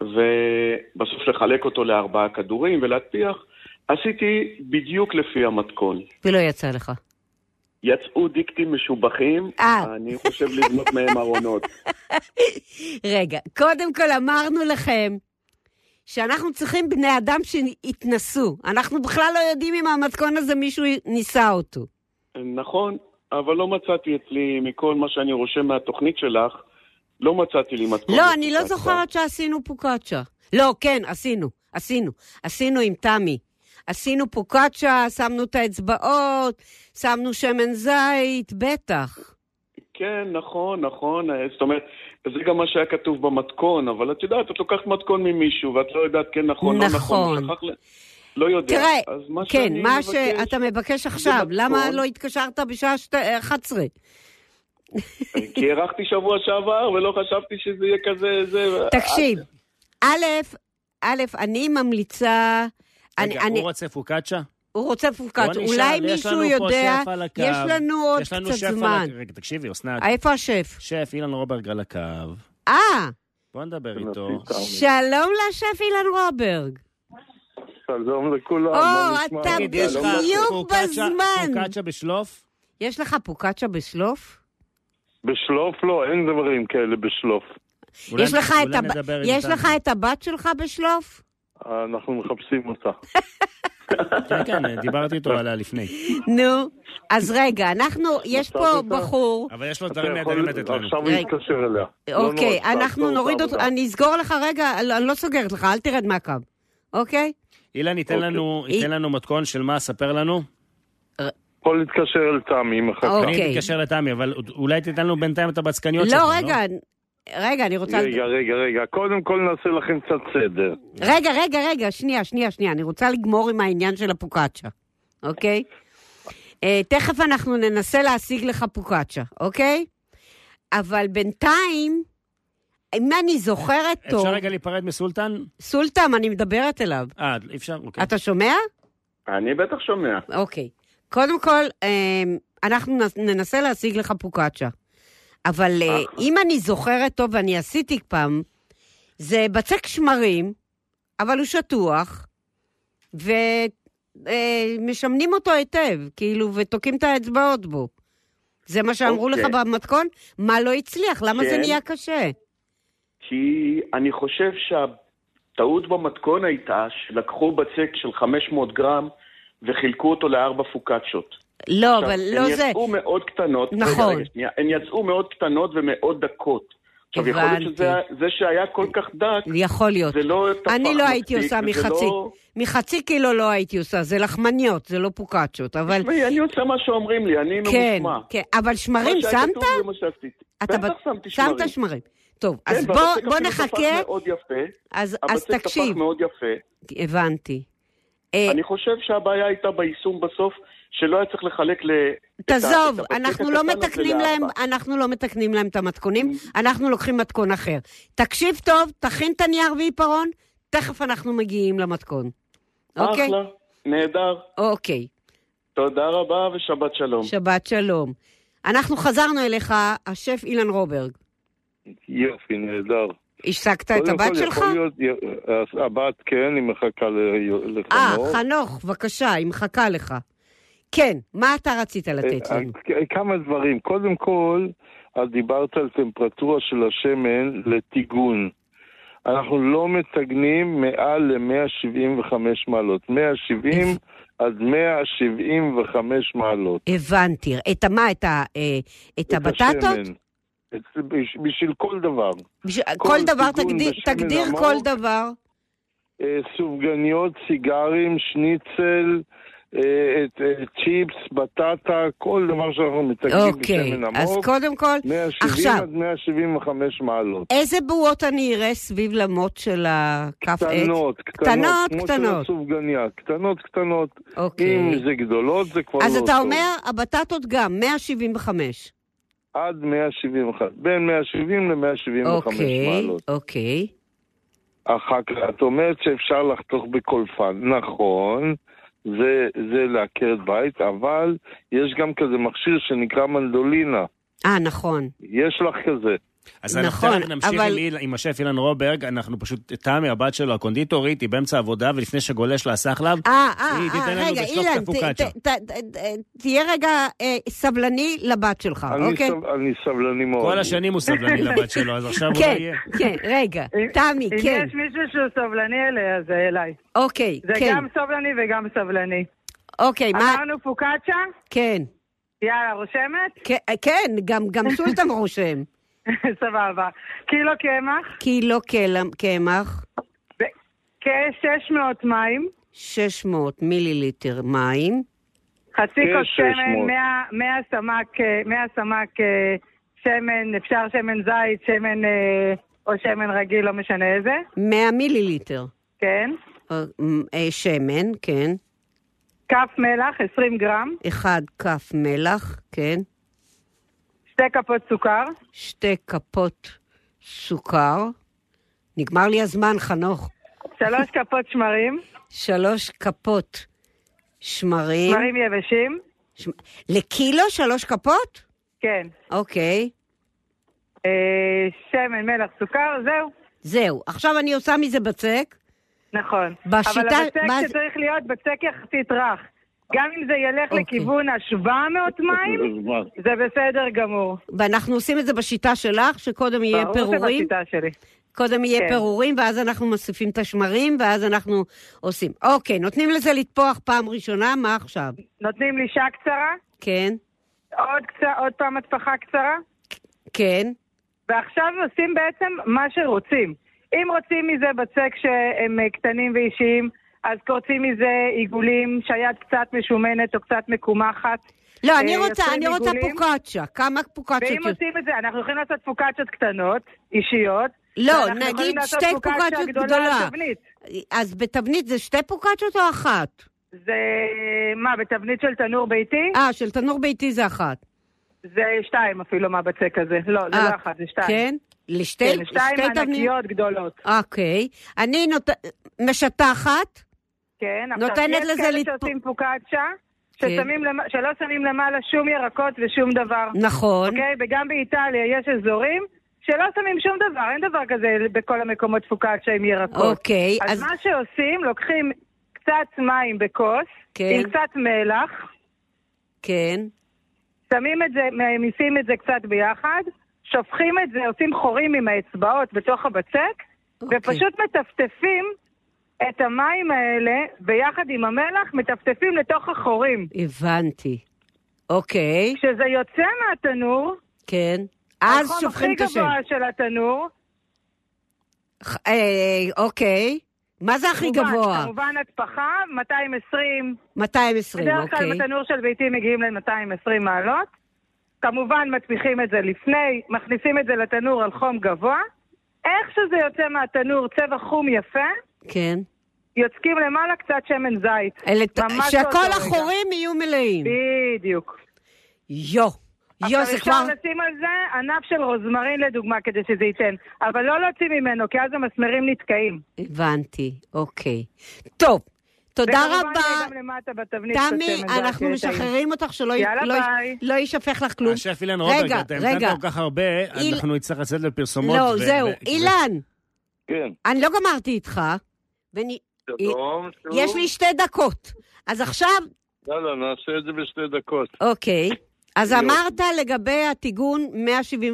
[SPEAKER 9] ובסוף לחלק אותו לארבעה כדורים ולהטפיח. עשיתי בדיוק לפי המתכון.
[SPEAKER 2] ולא יצא לך.
[SPEAKER 9] יצאו דיקטים משובחים,
[SPEAKER 2] אה.
[SPEAKER 9] אני חושב לבנות מהם ארונות.
[SPEAKER 2] רגע, קודם כל אמרנו לכם שאנחנו צריכים בני אדם שיתנסו. אנחנו בכלל לא יודעים אם המתכון הזה מישהו ניסה אותו.
[SPEAKER 9] נכון, אבל לא מצאתי אצלי, מכל מה שאני רושם מהתוכנית שלך, לא מצאתי לי מתכון.
[SPEAKER 2] לא, אני לא
[SPEAKER 9] לפוקצ'ה.
[SPEAKER 2] זוכרת שעשינו פוקאצ'ה. לא, כן, עשינו, עשינו. עשינו עם תמי. עשינו פוקאצ'ה, שמנו את האצבעות, שמנו שמן זית, בטח.
[SPEAKER 9] כן, נכון, נכון. אה, זאת אומרת, זה גם מה שהיה כתוב במתכון, אבל את יודעת, את לוקחת מתכון ממישהו, ואת לא יודעת כן נכון, לא נכון.
[SPEAKER 2] נכון.
[SPEAKER 9] שכח ל- לא יודע.
[SPEAKER 2] תראה,
[SPEAKER 9] אז מה
[SPEAKER 2] כן,
[SPEAKER 9] שאני
[SPEAKER 2] מה
[SPEAKER 9] מבקש-
[SPEAKER 2] שאתה מבקש עכשיו,
[SPEAKER 9] מתכון.
[SPEAKER 2] למה לא התקשרת בשעה שת- 11?
[SPEAKER 9] כי הארכתי שבוע שעבר, ולא חשבתי שזה יהיה כזה, זה...
[SPEAKER 2] תקשיב, א', א', אני ממליצה... אני,
[SPEAKER 3] רגע,
[SPEAKER 2] אני,
[SPEAKER 3] הוא רוצה פוקאצ'ה?
[SPEAKER 2] הוא רוצה פוקאצ'ה,
[SPEAKER 3] בוא נשאל,
[SPEAKER 2] אולי
[SPEAKER 3] יש
[SPEAKER 2] מישהו
[SPEAKER 3] לנו פה
[SPEAKER 2] יודע,
[SPEAKER 3] שף על הקו.
[SPEAKER 2] יש לנו עוד
[SPEAKER 3] יש לנו
[SPEAKER 2] קצת
[SPEAKER 3] שף על
[SPEAKER 2] זמן.
[SPEAKER 3] הק- רגע, תקשיבי, אסנת.
[SPEAKER 2] איפה השף?
[SPEAKER 3] שף אילן רוברג על הקו.
[SPEAKER 2] אה,
[SPEAKER 3] בוא נדבר איתו.
[SPEAKER 2] שלום לשף אילן רוברג.
[SPEAKER 10] שלום לכולם,
[SPEAKER 2] או, אתה
[SPEAKER 3] תגיד,
[SPEAKER 10] לא
[SPEAKER 3] יש לך
[SPEAKER 2] בדיוק
[SPEAKER 3] פוקאצ'ה-
[SPEAKER 2] בזמן.
[SPEAKER 3] פוקאצ'ה בשלוף?
[SPEAKER 2] יש לך פוקאצ'ה בשלוף?
[SPEAKER 10] בשלוף לא, אין דברים כאלה בשלוף.
[SPEAKER 3] אולי-
[SPEAKER 2] יש לך את
[SPEAKER 3] אולי
[SPEAKER 2] הב-
[SPEAKER 3] נדבר עם
[SPEAKER 2] יש
[SPEAKER 3] תמי.
[SPEAKER 2] לך את הבת שלך בשלוף?
[SPEAKER 10] אנחנו מחפשים אותה.
[SPEAKER 3] כן, כן, דיברתי איתו עליה לפני.
[SPEAKER 2] נו, אז רגע, אנחנו, יש פה
[SPEAKER 10] אותה?
[SPEAKER 2] בחור,
[SPEAKER 3] אבל יש לו
[SPEAKER 10] אתה
[SPEAKER 3] דברים
[SPEAKER 10] יכול
[SPEAKER 3] נהדרים לתת לנו.
[SPEAKER 10] עכשיו
[SPEAKER 2] רגע.
[SPEAKER 10] להתקשר אליה. לא
[SPEAKER 2] אוקיי,
[SPEAKER 10] נורא,
[SPEAKER 2] אנחנו
[SPEAKER 10] תעצור את
[SPEAKER 2] נוריד אותו,
[SPEAKER 10] העבודה.
[SPEAKER 2] אני אסגור לך רגע, אני אני לא סוגרת לך, אל תרד מהקו, אוקיי?
[SPEAKER 3] אילן ייתן לנו- ייתן לנו מתכון של מה, ספר לנו.
[SPEAKER 10] יכול להתקשר אל תמי, היא מחכה.
[SPEAKER 2] אוקיי.
[SPEAKER 3] אני מתקשר לתמי, אבל אולי תיתן לנו בינתיים את הבצקניות שלך,
[SPEAKER 2] לא, רגע, רגע, אני רוצה...
[SPEAKER 10] רגע, רגע, רגע, קודם כל נעשה לכם קצת סדר.
[SPEAKER 2] רגע, רגע, רגע, שנייה, שנייה, שנייה, אני רוצה לגמור עם העניין של הפוקאצ'ה, אוקיי? אה, תכף אנחנו ננסה להשיג לך פוקאצ'ה, אוקיי? אבל בינתיים, אם אני זוכרת טוב,
[SPEAKER 3] לא? אפשר רגע להיפרד מסולטן?
[SPEAKER 2] סולטם, אני מדברת אליו.
[SPEAKER 3] אה, אי אפשר? אוקיי.
[SPEAKER 2] אתה שומע?
[SPEAKER 9] אני בטח שומע.
[SPEAKER 2] אוקיי. קודם כל, אה, אנחנו נס- ננסה להשיג לך פוקאצ'ה. אבל אה, אם אני זוכרת טוב, ואני עשיתי פעם, זה בצק שמרים, אבל הוא שטוח, ומשמנים אותו היטב, כאילו, ותוקעים את האצבעות בו. זה מה שאמרו לך
[SPEAKER 9] אוקיי.
[SPEAKER 2] במתכון? מה לא הצליח? למה זה
[SPEAKER 9] כן.
[SPEAKER 2] נהיה קשה?
[SPEAKER 9] כי אני חושב שהטעות במתכון הייתה שלקחו בצק של 500 גרם וחילקו אותו לארבע פוקאצ'ות.
[SPEAKER 2] לא,
[SPEAKER 9] עכשיו,
[SPEAKER 2] אבל לא זה.
[SPEAKER 9] הן יצאו מאוד קטנות. רגע,
[SPEAKER 2] נכון.
[SPEAKER 9] רגע, שנייה. הן יצאו מאוד קטנות ומאוד דקות. עכשיו, יכול להיות
[SPEAKER 2] הבנתי.
[SPEAKER 9] שזה זה שהיה כל כך דק,
[SPEAKER 2] יכול להיות.
[SPEAKER 9] זה לא טפח
[SPEAKER 2] אני לא הייתי
[SPEAKER 9] מספיק,
[SPEAKER 2] עושה
[SPEAKER 9] וזה
[SPEAKER 2] מחצי.
[SPEAKER 9] לא-
[SPEAKER 2] מחצי קילו לא הייתי עושה, זה לחמניות, זה לא פוקאצ'ות, אבל...
[SPEAKER 9] תשמעי, אני עושה מה שאומרים לי, אני
[SPEAKER 2] כן,
[SPEAKER 9] ממושמע.
[SPEAKER 2] כן, אבל
[SPEAKER 9] מה
[SPEAKER 2] שמרים
[SPEAKER 9] שהיה
[SPEAKER 2] שמת?
[SPEAKER 9] כתוב זה מה שעשיתי.
[SPEAKER 2] אתה
[SPEAKER 9] בטח
[SPEAKER 2] ב-
[SPEAKER 9] שמתי שמרים.
[SPEAKER 2] שמת שמרים. טוב,
[SPEAKER 9] כן,
[SPEAKER 2] אז
[SPEAKER 9] והבצק
[SPEAKER 2] בוא- בוא
[SPEAKER 9] אפילו תפח
[SPEAKER 2] נחכה,
[SPEAKER 9] מאוד יפה.
[SPEAKER 2] אז אז
[SPEAKER 9] הבצק
[SPEAKER 2] תקשיב,
[SPEAKER 9] תפח מאוד יפה.
[SPEAKER 2] הבנתי. אה,
[SPEAKER 9] אני חושב שהבעיה הייתה ביישום בסוף, שלא היה צריך לחלק ל... את ה-
[SPEAKER 2] תעזוב,
[SPEAKER 9] את הבצק
[SPEAKER 2] אנחנו לא
[SPEAKER 9] הקטן הזה
[SPEAKER 2] מתקנים
[SPEAKER 9] לארבע.
[SPEAKER 2] להם, אנחנו לא מתקנים להם את המתכונים, אנחנו לוקחים מתכון אחר. תקשיב טוב, תכין את הנייר ועיפרון, תכף אנחנו מגיעים למתכון. אוקיי?
[SPEAKER 9] אחלה, נהדר.
[SPEAKER 2] אוקיי.
[SPEAKER 9] תודה רבה ושבת שלום.
[SPEAKER 2] שבת שלום. אנחנו חזרנו אליך, השף אילן רוברג.
[SPEAKER 10] יופי, נהדר.
[SPEAKER 2] השגת את
[SPEAKER 10] קודם
[SPEAKER 2] הבת
[SPEAKER 10] כל,
[SPEAKER 2] שלך?
[SPEAKER 10] יכול להיות- אה, הבת, כן, היא מחכה ל-
[SPEAKER 2] אה,
[SPEAKER 10] לחנוך.
[SPEAKER 2] חנוך, בבקשה, היא מחכה לך. כן, מה אתה רצית לתת לנו?
[SPEAKER 10] אה, כמה דברים. קודם כל, את דיברת על טמפרטורה של השמן לטיגון. אנחנו לא מטגנים מעל ל-175 מעלות. 170 עד 175 מעלות.
[SPEAKER 2] הבנתי. את מה? את, ה, אה, את
[SPEAKER 10] את
[SPEAKER 2] הבטטות?
[SPEAKER 10] השמן. את- בש- בשביל כל דבר.
[SPEAKER 2] בש... כל,
[SPEAKER 10] כל
[SPEAKER 2] דבר,
[SPEAKER 10] טיגון
[SPEAKER 2] תגדיר,
[SPEAKER 10] בשמן
[SPEAKER 2] תגדיר
[SPEAKER 10] עמוק.
[SPEAKER 2] כל דבר.
[SPEAKER 10] אה, סופגניות, סיגרים, שניצל, אה, את- אה, צ'יפס, בטטה, כל דבר שאנחנו מטגנים
[SPEAKER 2] אוקיי,
[SPEAKER 10] בשמן עמוק.
[SPEAKER 2] אז קודם כל,
[SPEAKER 10] 170
[SPEAKER 2] עכשיו,
[SPEAKER 10] עד 175 מעלות.
[SPEAKER 2] איזה בועות אני אראה סביב למוט של הכף עץ?
[SPEAKER 10] קטנות,
[SPEAKER 2] אוקיי. קטנות,
[SPEAKER 10] קטנות, כמו
[SPEAKER 2] קטנות.
[SPEAKER 10] של הסופגניה, קטנות, קטנות.
[SPEAKER 2] אוקיי.
[SPEAKER 10] אם זה גדולות, זה כבר
[SPEAKER 2] אז
[SPEAKER 10] לא
[SPEAKER 2] אתה
[SPEAKER 10] טוב.
[SPEAKER 2] אומר, הבטטות גם, 175.
[SPEAKER 10] עד 171, בין 170 ל-175
[SPEAKER 2] אוקיי,
[SPEAKER 10] מעלות.
[SPEAKER 2] אוקיי.
[SPEAKER 10] אחר כך, את אומרת שאפשר לחתוך בקולפן, נכון, זה, זה לעקרת בית, אבל יש גם כזה מכשיר שנקרא מנדולינה.
[SPEAKER 2] אה, נכון.
[SPEAKER 10] יש לך כזה.
[SPEAKER 3] אז אנחנו
[SPEAKER 2] נכון,
[SPEAKER 3] תכף נמשיך
[SPEAKER 2] אבל-
[SPEAKER 3] עם איל- עם השף אילן רוברג, אנחנו פשוט, תמי, הבת שלו, הקונדיטורית, היא באמצע עבודה, ולפני שגולש לה הסחלב,
[SPEAKER 2] אה, אה,
[SPEAKER 3] היא תיתן
[SPEAKER 2] אה,
[SPEAKER 3] לנו
[SPEAKER 2] רגע,
[SPEAKER 3] בשלוף
[SPEAKER 2] אילן,
[SPEAKER 3] קפוקצ'ה.
[SPEAKER 2] ת- ת- ת- ת- תהיה רגע אה, סבלני לבת שלך,
[SPEAKER 10] אני
[SPEAKER 2] אוקיי?
[SPEAKER 10] סב- אני סבלני מאוד.
[SPEAKER 3] כל השנים הוא סבלני לבת שלו, אז עכשיו הוא לא
[SPEAKER 2] כן,
[SPEAKER 3] יהיה.
[SPEAKER 2] כן, רגע, תמי,
[SPEAKER 11] אם
[SPEAKER 2] כן,
[SPEAKER 11] אה, יש מישהו שהוא סבלני אליה, זה אליי.
[SPEAKER 2] אוקיי,
[SPEAKER 11] זה
[SPEAKER 2] כן,
[SPEAKER 11] גם סבלני וגם סבלני.
[SPEAKER 2] אוקיי, מה,
[SPEAKER 11] אמרנו פוקאצ'ה?
[SPEAKER 2] כן,
[SPEAKER 11] יאללה, רושמת? [laughs]
[SPEAKER 2] כן, כן, גם, גם סולטן רושם,
[SPEAKER 11] סבבה. קילו קמח,
[SPEAKER 2] קילו קלם- לא קמח,
[SPEAKER 11] ב- כ-600 מים,
[SPEAKER 2] 600 מיליליטר מים,
[SPEAKER 11] חצי
[SPEAKER 2] אה,
[SPEAKER 11] כוס
[SPEAKER 10] כ-600.
[SPEAKER 11] שמן, 100 100 סמ"ק, אה, 100 סמ"ק אה, שמן, אפשר שמן זית, שמן אה, או שמן רגיל, לא משנה איזה,
[SPEAKER 2] 100 מיליליטר
[SPEAKER 11] כן.
[SPEAKER 2] אה, מ- אה, שמן, כן,
[SPEAKER 11] כף מלח, 20 גרם,
[SPEAKER 2] 1 כף מלח, כן,
[SPEAKER 11] שתי כפות סוכר,
[SPEAKER 2] שתי כפות סוכר, נגמר לי הזמן, חנוך.
[SPEAKER 11] שלוש
[SPEAKER 2] [laughs]
[SPEAKER 11] כפות שמרים,
[SPEAKER 2] שלוש כפות שמרים.
[SPEAKER 11] שמרים יבשים,
[SPEAKER 2] ש... לקילו שלוש כפות?
[SPEAKER 11] כן.
[SPEAKER 2] אוקיי.
[SPEAKER 11] אה, שמן, מלח, סוכר, זהו.
[SPEAKER 2] זהו. עכשיו אני עושה מזה בצק.
[SPEAKER 11] נכון.
[SPEAKER 2] בשיטה-
[SPEAKER 11] אבל הבצק
[SPEAKER 2] מה זה-
[SPEAKER 11] שצריך להיות בצק יחסית רך. גם אם זה ילך
[SPEAKER 2] אוקיי.
[SPEAKER 11] לכיוון ה-700 מים, זה בסדר גמור.
[SPEAKER 2] ואנחנו עושים את זה בשיטה שלך, שקודם יהיה
[SPEAKER 11] ברור
[SPEAKER 2] פירורים,
[SPEAKER 11] שבשיטה שלי.
[SPEAKER 2] קודם יהיה
[SPEAKER 11] כן.
[SPEAKER 2] פירורים, ואז אנחנו מוסיפים את השמרים, ואז אנחנו עושים. אוקיי, נותנים לזה לטפוח פעם ראשונה, מה עכשיו?
[SPEAKER 11] נותנים לי שעה קצרה,
[SPEAKER 2] כן,
[SPEAKER 11] עוד, קצ- עוד פעם הטפחה קצרה,
[SPEAKER 2] כן,
[SPEAKER 11] ועכשיו עושים בעצם מה שרוצים. אם רוצים מזה בצק שהם אה, קטנים ואישיים, אז קורצים מזה עיגולים שהיד קצת משומנת או קצת מקומחת.
[SPEAKER 2] לא, אני
[SPEAKER 11] אה,
[SPEAKER 2] רוצה,
[SPEAKER 11] יוצרים
[SPEAKER 2] אני רוצה
[SPEAKER 11] עיגולים.
[SPEAKER 2] פוקאצ'ה. כמה פוקאצ'ות?
[SPEAKER 11] ואם עושים את זה, אנחנו יכולים לעשות פוקאצ'ות קטנות, אישיות.
[SPEAKER 2] לא,
[SPEAKER 11] ואנחנו יכולים
[SPEAKER 2] נגיד
[SPEAKER 11] לעשות
[SPEAKER 2] שתי
[SPEAKER 11] פוקאצ'ה
[SPEAKER 2] פוקאצ'ות גדולה.
[SPEAKER 11] גדולה. תבנית.
[SPEAKER 2] אז בתבנית זה שתי פוקאצ'ות או אחת?
[SPEAKER 11] זה, מה, בתבנית של תנור ביתי?
[SPEAKER 2] אה, של תנור ביתי זה אחת.
[SPEAKER 11] זה שתיים אפילו מהבצק הזה. לא, זה
[SPEAKER 2] אה,
[SPEAKER 11] לא אחת, זה שתיים.
[SPEAKER 2] כן? לשתי
[SPEAKER 11] כן,
[SPEAKER 2] שתי
[SPEAKER 11] שתיים ענקיות גדולות.
[SPEAKER 2] אוקיי. אני נות... משטחת,
[SPEAKER 11] כן,
[SPEAKER 2] נותנת
[SPEAKER 11] יש
[SPEAKER 2] לזה כן.
[SPEAKER 11] כאלה
[SPEAKER 2] לתפ-
[SPEAKER 11] שעושים פוקאצ'ה, ששמים למ- שלא שמים למעלה שום ירקות ושום דבר.
[SPEAKER 2] נכון.
[SPEAKER 11] אוקיי? וגם באיטליה יש אזורים שלא שמים שום דבר, אין דבר כזה בכל המקומות פוקאצ'ה עם ירקות.
[SPEAKER 2] אוקיי,
[SPEAKER 11] אז,
[SPEAKER 2] אז-
[SPEAKER 11] אז מה שעושים, לוקחים קצת מים בכוס,
[SPEAKER 2] כן.
[SPEAKER 11] עם קצת מלח,
[SPEAKER 2] כן.
[SPEAKER 11] שמים את זה, מעמיסים את זה קצת ביחד, שופכים את זה, עושים חורים עם האצבעות בתוך הבצק,
[SPEAKER 2] אוקיי.
[SPEAKER 11] ופשוט מטפטפים את המים האלה ביחד עם המלח, מטפטפים לתוך החורים.
[SPEAKER 2] הבנתי. אוקיי,
[SPEAKER 11] כשזה יוצא מהתנור,
[SPEAKER 2] כן. אז
[SPEAKER 11] החום
[SPEAKER 2] שופכים את
[SPEAKER 11] הכי
[SPEAKER 2] השם.
[SPEAKER 11] גבוה של התנור,
[SPEAKER 2] ח- אה, אוקיי. מה זה הכי
[SPEAKER 11] כמובן,
[SPEAKER 2] גבוה?
[SPEAKER 11] כמובן הטפחה, 220.
[SPEAKER 2] 220,
[SPEAKER 11] בדרך כלל
[SPEAKER 2] אוקיי.
[SPEAKER 11] בתנור של ביתי מגיעים ל-220 מעלות. כמובן מטפיחים את זה לפני, מכניסים את זה לתנור על חום גבוה. איך שזה יוצא מהתנור צבע חום יפה,
[SPEAKER 2] כן.
[SPEAKER 11] יוצקים למעלה קצת שמן זית.
[SPEAKER 2] אלה ת-
[SPEAKER 11] ממש באותו
[SPEAKER 2] שכל
[SPEAKER 11] רגע.
[SPEAKER 2] החורים יהיו מלאים.
[SPEAKER 11] בדיוק.
[SPEAKER 2] יו. יו,
[SPEAKER 11] עכשיו
[SPEAKER 2] זה כבר...
[SPEAKER 11] אפשר לשים על זה ענף של רוזמרין לדוגמה כדי שזה ייתן, אבל לא להוציא ממנו, כי אז המסמרים נתקעים.
[SPEAKER 2] הבנתי, אוקיי. טוב, תודה
[SPEAKER 11] וכמובן גם
[SPEAKER 2] רבה.
[SPEAKER 11] למטה בתבנית קצת
[SPEAKER 2] תמי,
[SPEAKER 11] שמן זית,
[SPEAKER 2] אנחנו
[SPEAKER 4] אוקיי,
[SPEAKER 11] שיהיה טעים.
[SPEAKER 2] משחררים אותך שלא י-
[SPEAKER 11] יאללה,
[SPEAKER 2] לא י-
[SPEAKER 11] ביי.
[SPEAKER 2] לא יישפך לך כלום.
[SPEAKER 3] השף אילן רוברג,
[SPEAKER 2] רגע,
[SPEAKER 3] אתה המתנת
[SPEAKER 2] רגע.
[SPEAKER 3] כל כך הרבה,
[SPEAKER 2] איל-
[SPEAKER 3] אנחנו נצטרך לצאת לפרסומות.
[SPEAKER 2] לא,
[SPEAKER 3] ו-
[SPEAKER 2] זהו.
[SPEAKER 3] ו-
[SPEAKER 2] אילן,
[SPEAKER 10] כן.
[SPEAKER 2] אני לא גמרתי איתך. ואני-
[SPEAKER 10] שלום, שוב.
[SPEAKER 2] לא- יש לי שתי דקות. אז עכשיו,
[SPEAKER 10] יאללה, נעשה את זה בשתי דקות.
[SPEAKER 2] אוקיי. אז
[SPEAKER 10] יופי.
[SPEAKER 2] אמרת לגבי הטיגון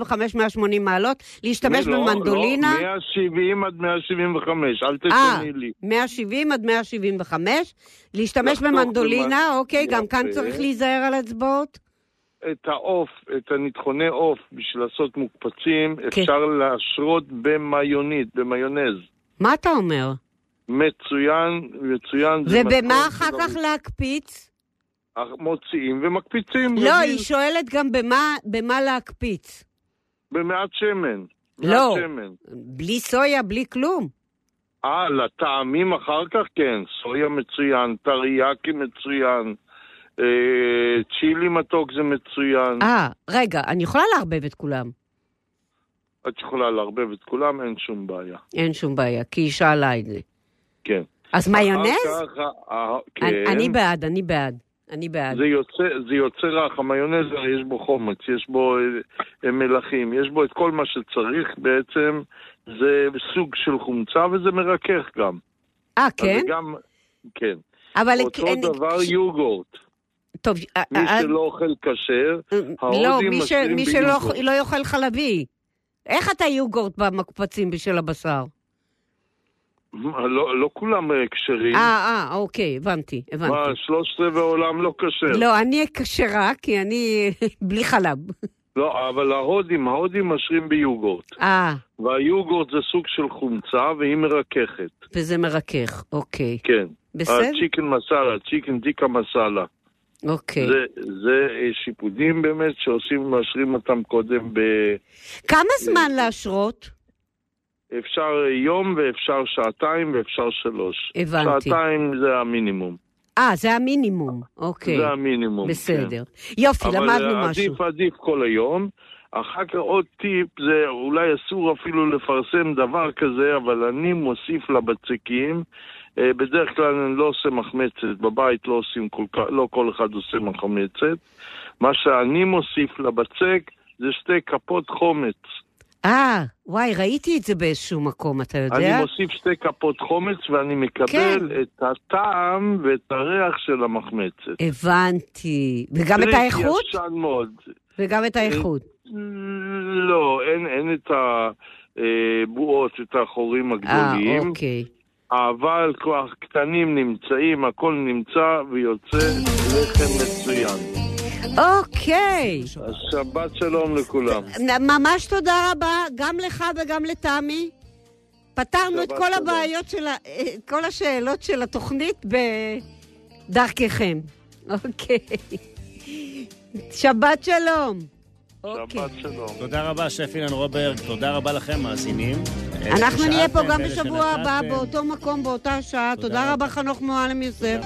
[SPEAKER 2] 175-180 מעלות, להשתמש
[SPEAKER 10] לא, לא,
[SPEAKER 2] במנדולינה.
[SPEAKER 10] 170 עד 175, אל
[SPEAKER 2] אה,
[SPEAKER 10] תשני לי.
[SPEAKER 2] 170 עד 175, להשתמש
[SPEAKER 10] לחתוך
[SPEAKER 2] במנדולינה,
[SPEAKER 10] במס-
[SPEAKER 2] אוקיי, גם כאן
[SPEAKER 10] יפה.
[SPEAKER 2] צריך להיזהר על אצבעות.
[SPEAKER 10] את העוף, את הניטחוני עוף, בשביל לעשות מוקפצים,
[SPEAKER 2] כן.
[SPEAKER 10] אפשר להשרות במיונית, במיונז.
[SPEAKER 2] מה אתה אומר?
[SPEAKER 10] מצוין, מצוין. זה
[SPEAKER 2] ובמה
[SPEAKER 10] מתכון
[SPEAKER 2] אחר
[SPEAKER 10] שלא-
[SPEAKER 2] כך להקפיץ?
[SPEAKER 10] מוציאים ומקפיצים.
[SPEAKER 2] לא,
[SPEAKER 10] רגיל,
[SPEAKER 2] היא שואלת גם במה- במה להקפיץ.
[SPEAKER 10] במעט שמן. מעט
[SPEAKER 2] לא.
[SPEAKER 10] שמן.
[SPEAKER 2] בלי סויה, בלי כלום.
[SPEAKER 10] אה, לטעמים אחר כך? כן, סויה מצוין, טריאקי מצוין, אה, צ'ילי מתוק זה מצוין.
[SPEAKER 2] אה, רגע, אני יכולה לערבב את כולם.
[SPEAKER 10] את יכולה לערבב את כולם, אין שום בעיה.
[SPEAKER 2] אין שום בעיה, כי היא שאלה את זה.
[SPEAKER 10] כן.
[SPEAKER 2] אז מיונז?
[SPEAKER 10] אחר כך, אה,
[SPEAKER 2] אני-
[SPEAKER 10] כן.
[SPEAKER 2] אני בעד, אני בעד. אני בעד.
[SPEAKER 10] זה יוצא, זה יוצא רך, המיונז יש בו חומץ, יש בו אה, מלחים, יש בו את כל מה שצריך בעצם, זה סוג של חומצה וזה מרכך גם.
[SPEAKER 2] אה,
[SPEAKER 10] אז
[SPEAKER 2] כן?
[SPEAKER 10] זה גם, כן.
[SPEAKER 2] אבל...
[SPEAKER 10] אותו
[SPEAKER 2] אין-
[SPEAKER 10] דבר
[SPEAKER 2] ש-
[SPEAKER 10] יוגורט.
[SPEAKER 2] טוב, אה,
[SPEAKER 10] מי
[SPEAKER 2] אה,
[SPEAKER 10] שלא אוכל כשר,
[SPEAKER 2] לא,
[SPEAKER 10] ההודים
[SPEAKER 2] מי, ש...
[SPEAKER 10] משלים
[SPEAKER 2] מי שלא
[SPEAKER 10] ביוגורט.
[SPEAKER 2] לא יאכל חלבי. איך אתה יוגורט במקפצים בשל הבשר?
[SPEAKER 10] לא, לא כולם אה, כשרים.
[SPEAKER 2] אה, אה, אוקיי, הבנתי,
[SPEAKER 10] מה,
[SPEAKER 2] הבנתי.
[SPEAKER 10] שלושת רבעי עולם לא כשר.
[SPEAKER 2] לא, אני כשרה, כי אני [laughs] בלי חלב.
[SPEAKER 10] לא, אבל ההודים, ההודים משרים ביוגורט.
[SPEAKER 2] אה,
[SPEAKER 10] והיוגורט זה סוג של חומצה והיא מרככת,
[SPEAKER 2] וזה מרכך, אוקיי.
[SPEAKER 10] כן.
[SPEAKER 2] בסדר?
[SPEAKER 10] הצ'יקן מסאלה, צ'יקן דיקה מסאלה.
[SPEAKER 2] אוקיי.
[SPEAKER 10] זה, זה אה, שיפודים באמת שעושים, מאשרים אותם קודם ב...
[SPEAKER 2] כמה זמן להשרות?
[SPEAKER 10] אפשר יום ואפשר שעתיים ואפשר שלוש.
[SPEAKER 2] הבנתי.
[SPEAKER 10] שעתיים זה המינימום.
[SPEAKER 2] אה, זה המינימום, אוקיי.
[SPEAKER 10] זה המינימום.
[SPEAKER 2] בסדר.
[SPEAKER 10] כן.
[SPEAKER 2] יופי,
[SPEAKER 10] אבל אה,
[SPEAKER 2] למדנו משהו.
[SPEAKER 10] עדיף, עדיף כל היום. אחר כך עוד טיפ, זה אולי אסור אפילו לפרסם דבר כזה, אבל אני מוסיף לבצקים. אה, בדרך כלל אני לא עושה מחמצת, בבית לא עושים כל כך, לא כל אחד עושה מחמצת. מה שאני מוסיף לבצק זה שתי כפות חומץ.
[SPEAKER 2] אה, וואי, ראיתי את זה באיזשהו מקום, אתה יודע?
[SPEAKER 10] אני מוסיף שתי כפות חומץ ואני מקבל
[SPEAKER 2] כן.
[SPEAKER 10] את הטעם ואת הריח של המחמצת.
[SPEAKER 2] הבנתי. וגם את
[SPEAKER 10] טריק
[SPEAKER 2] האיכות?
[SPEAKER 10] ישן מאוד.
[SPEAKER 2] וגם את האיכות.
[SPEAKER 10] לא, אין, אין את הבועות, את החורים
[SPEAKER 2] אה,
[SPEAKER 10] הגדולים,
[SPEAKER 2] אוקיי.
[SPEAKER 10] אבל כוח קטנים נמצאים, הכל נמצא ויוצא לחם מצוין.
[SPEAKER 2] אוקיי.
[SPEAKER 10] אז שבת שלום לכולם.
[SPEAKER 2] נ- ממש תודה רבה, גם לך וגם לתמי. פתרנו את
[SPEAKER 10] שבת
[SPEAKER 2] כל
[SPEAKER 10] שלום.
[SPEAKER 2] הבעיות של ה... אה, כל השאלות של התוכנית בדרככם. [laughs] אוקיי. שבת שלום. אוקיי.
[SPEAKER 10] שבת שלום.
[SPEAKER 3] תודה רבה, שף אילן רוברט, תודה רבה לכם, מאזינים. אלה
[SPEAKER 2] אנחנו נהיה פה
[SPEAKER 3] ששאלתם,
[SPEAKER 2] גם
[SPEAKER 3] אלה
[SPEAKER 2] בשבוע הבא,
[SPEAKER 3] שנתתם.
[SPEAKER 2] באותו מקום, באותה שעה.
[SPEAKER 3] תודה
[SPEAKER 2] תודה
[SPEAKER 3] רבה.
[SPEAKER 2] רבה, חנוך מועלם יוסף.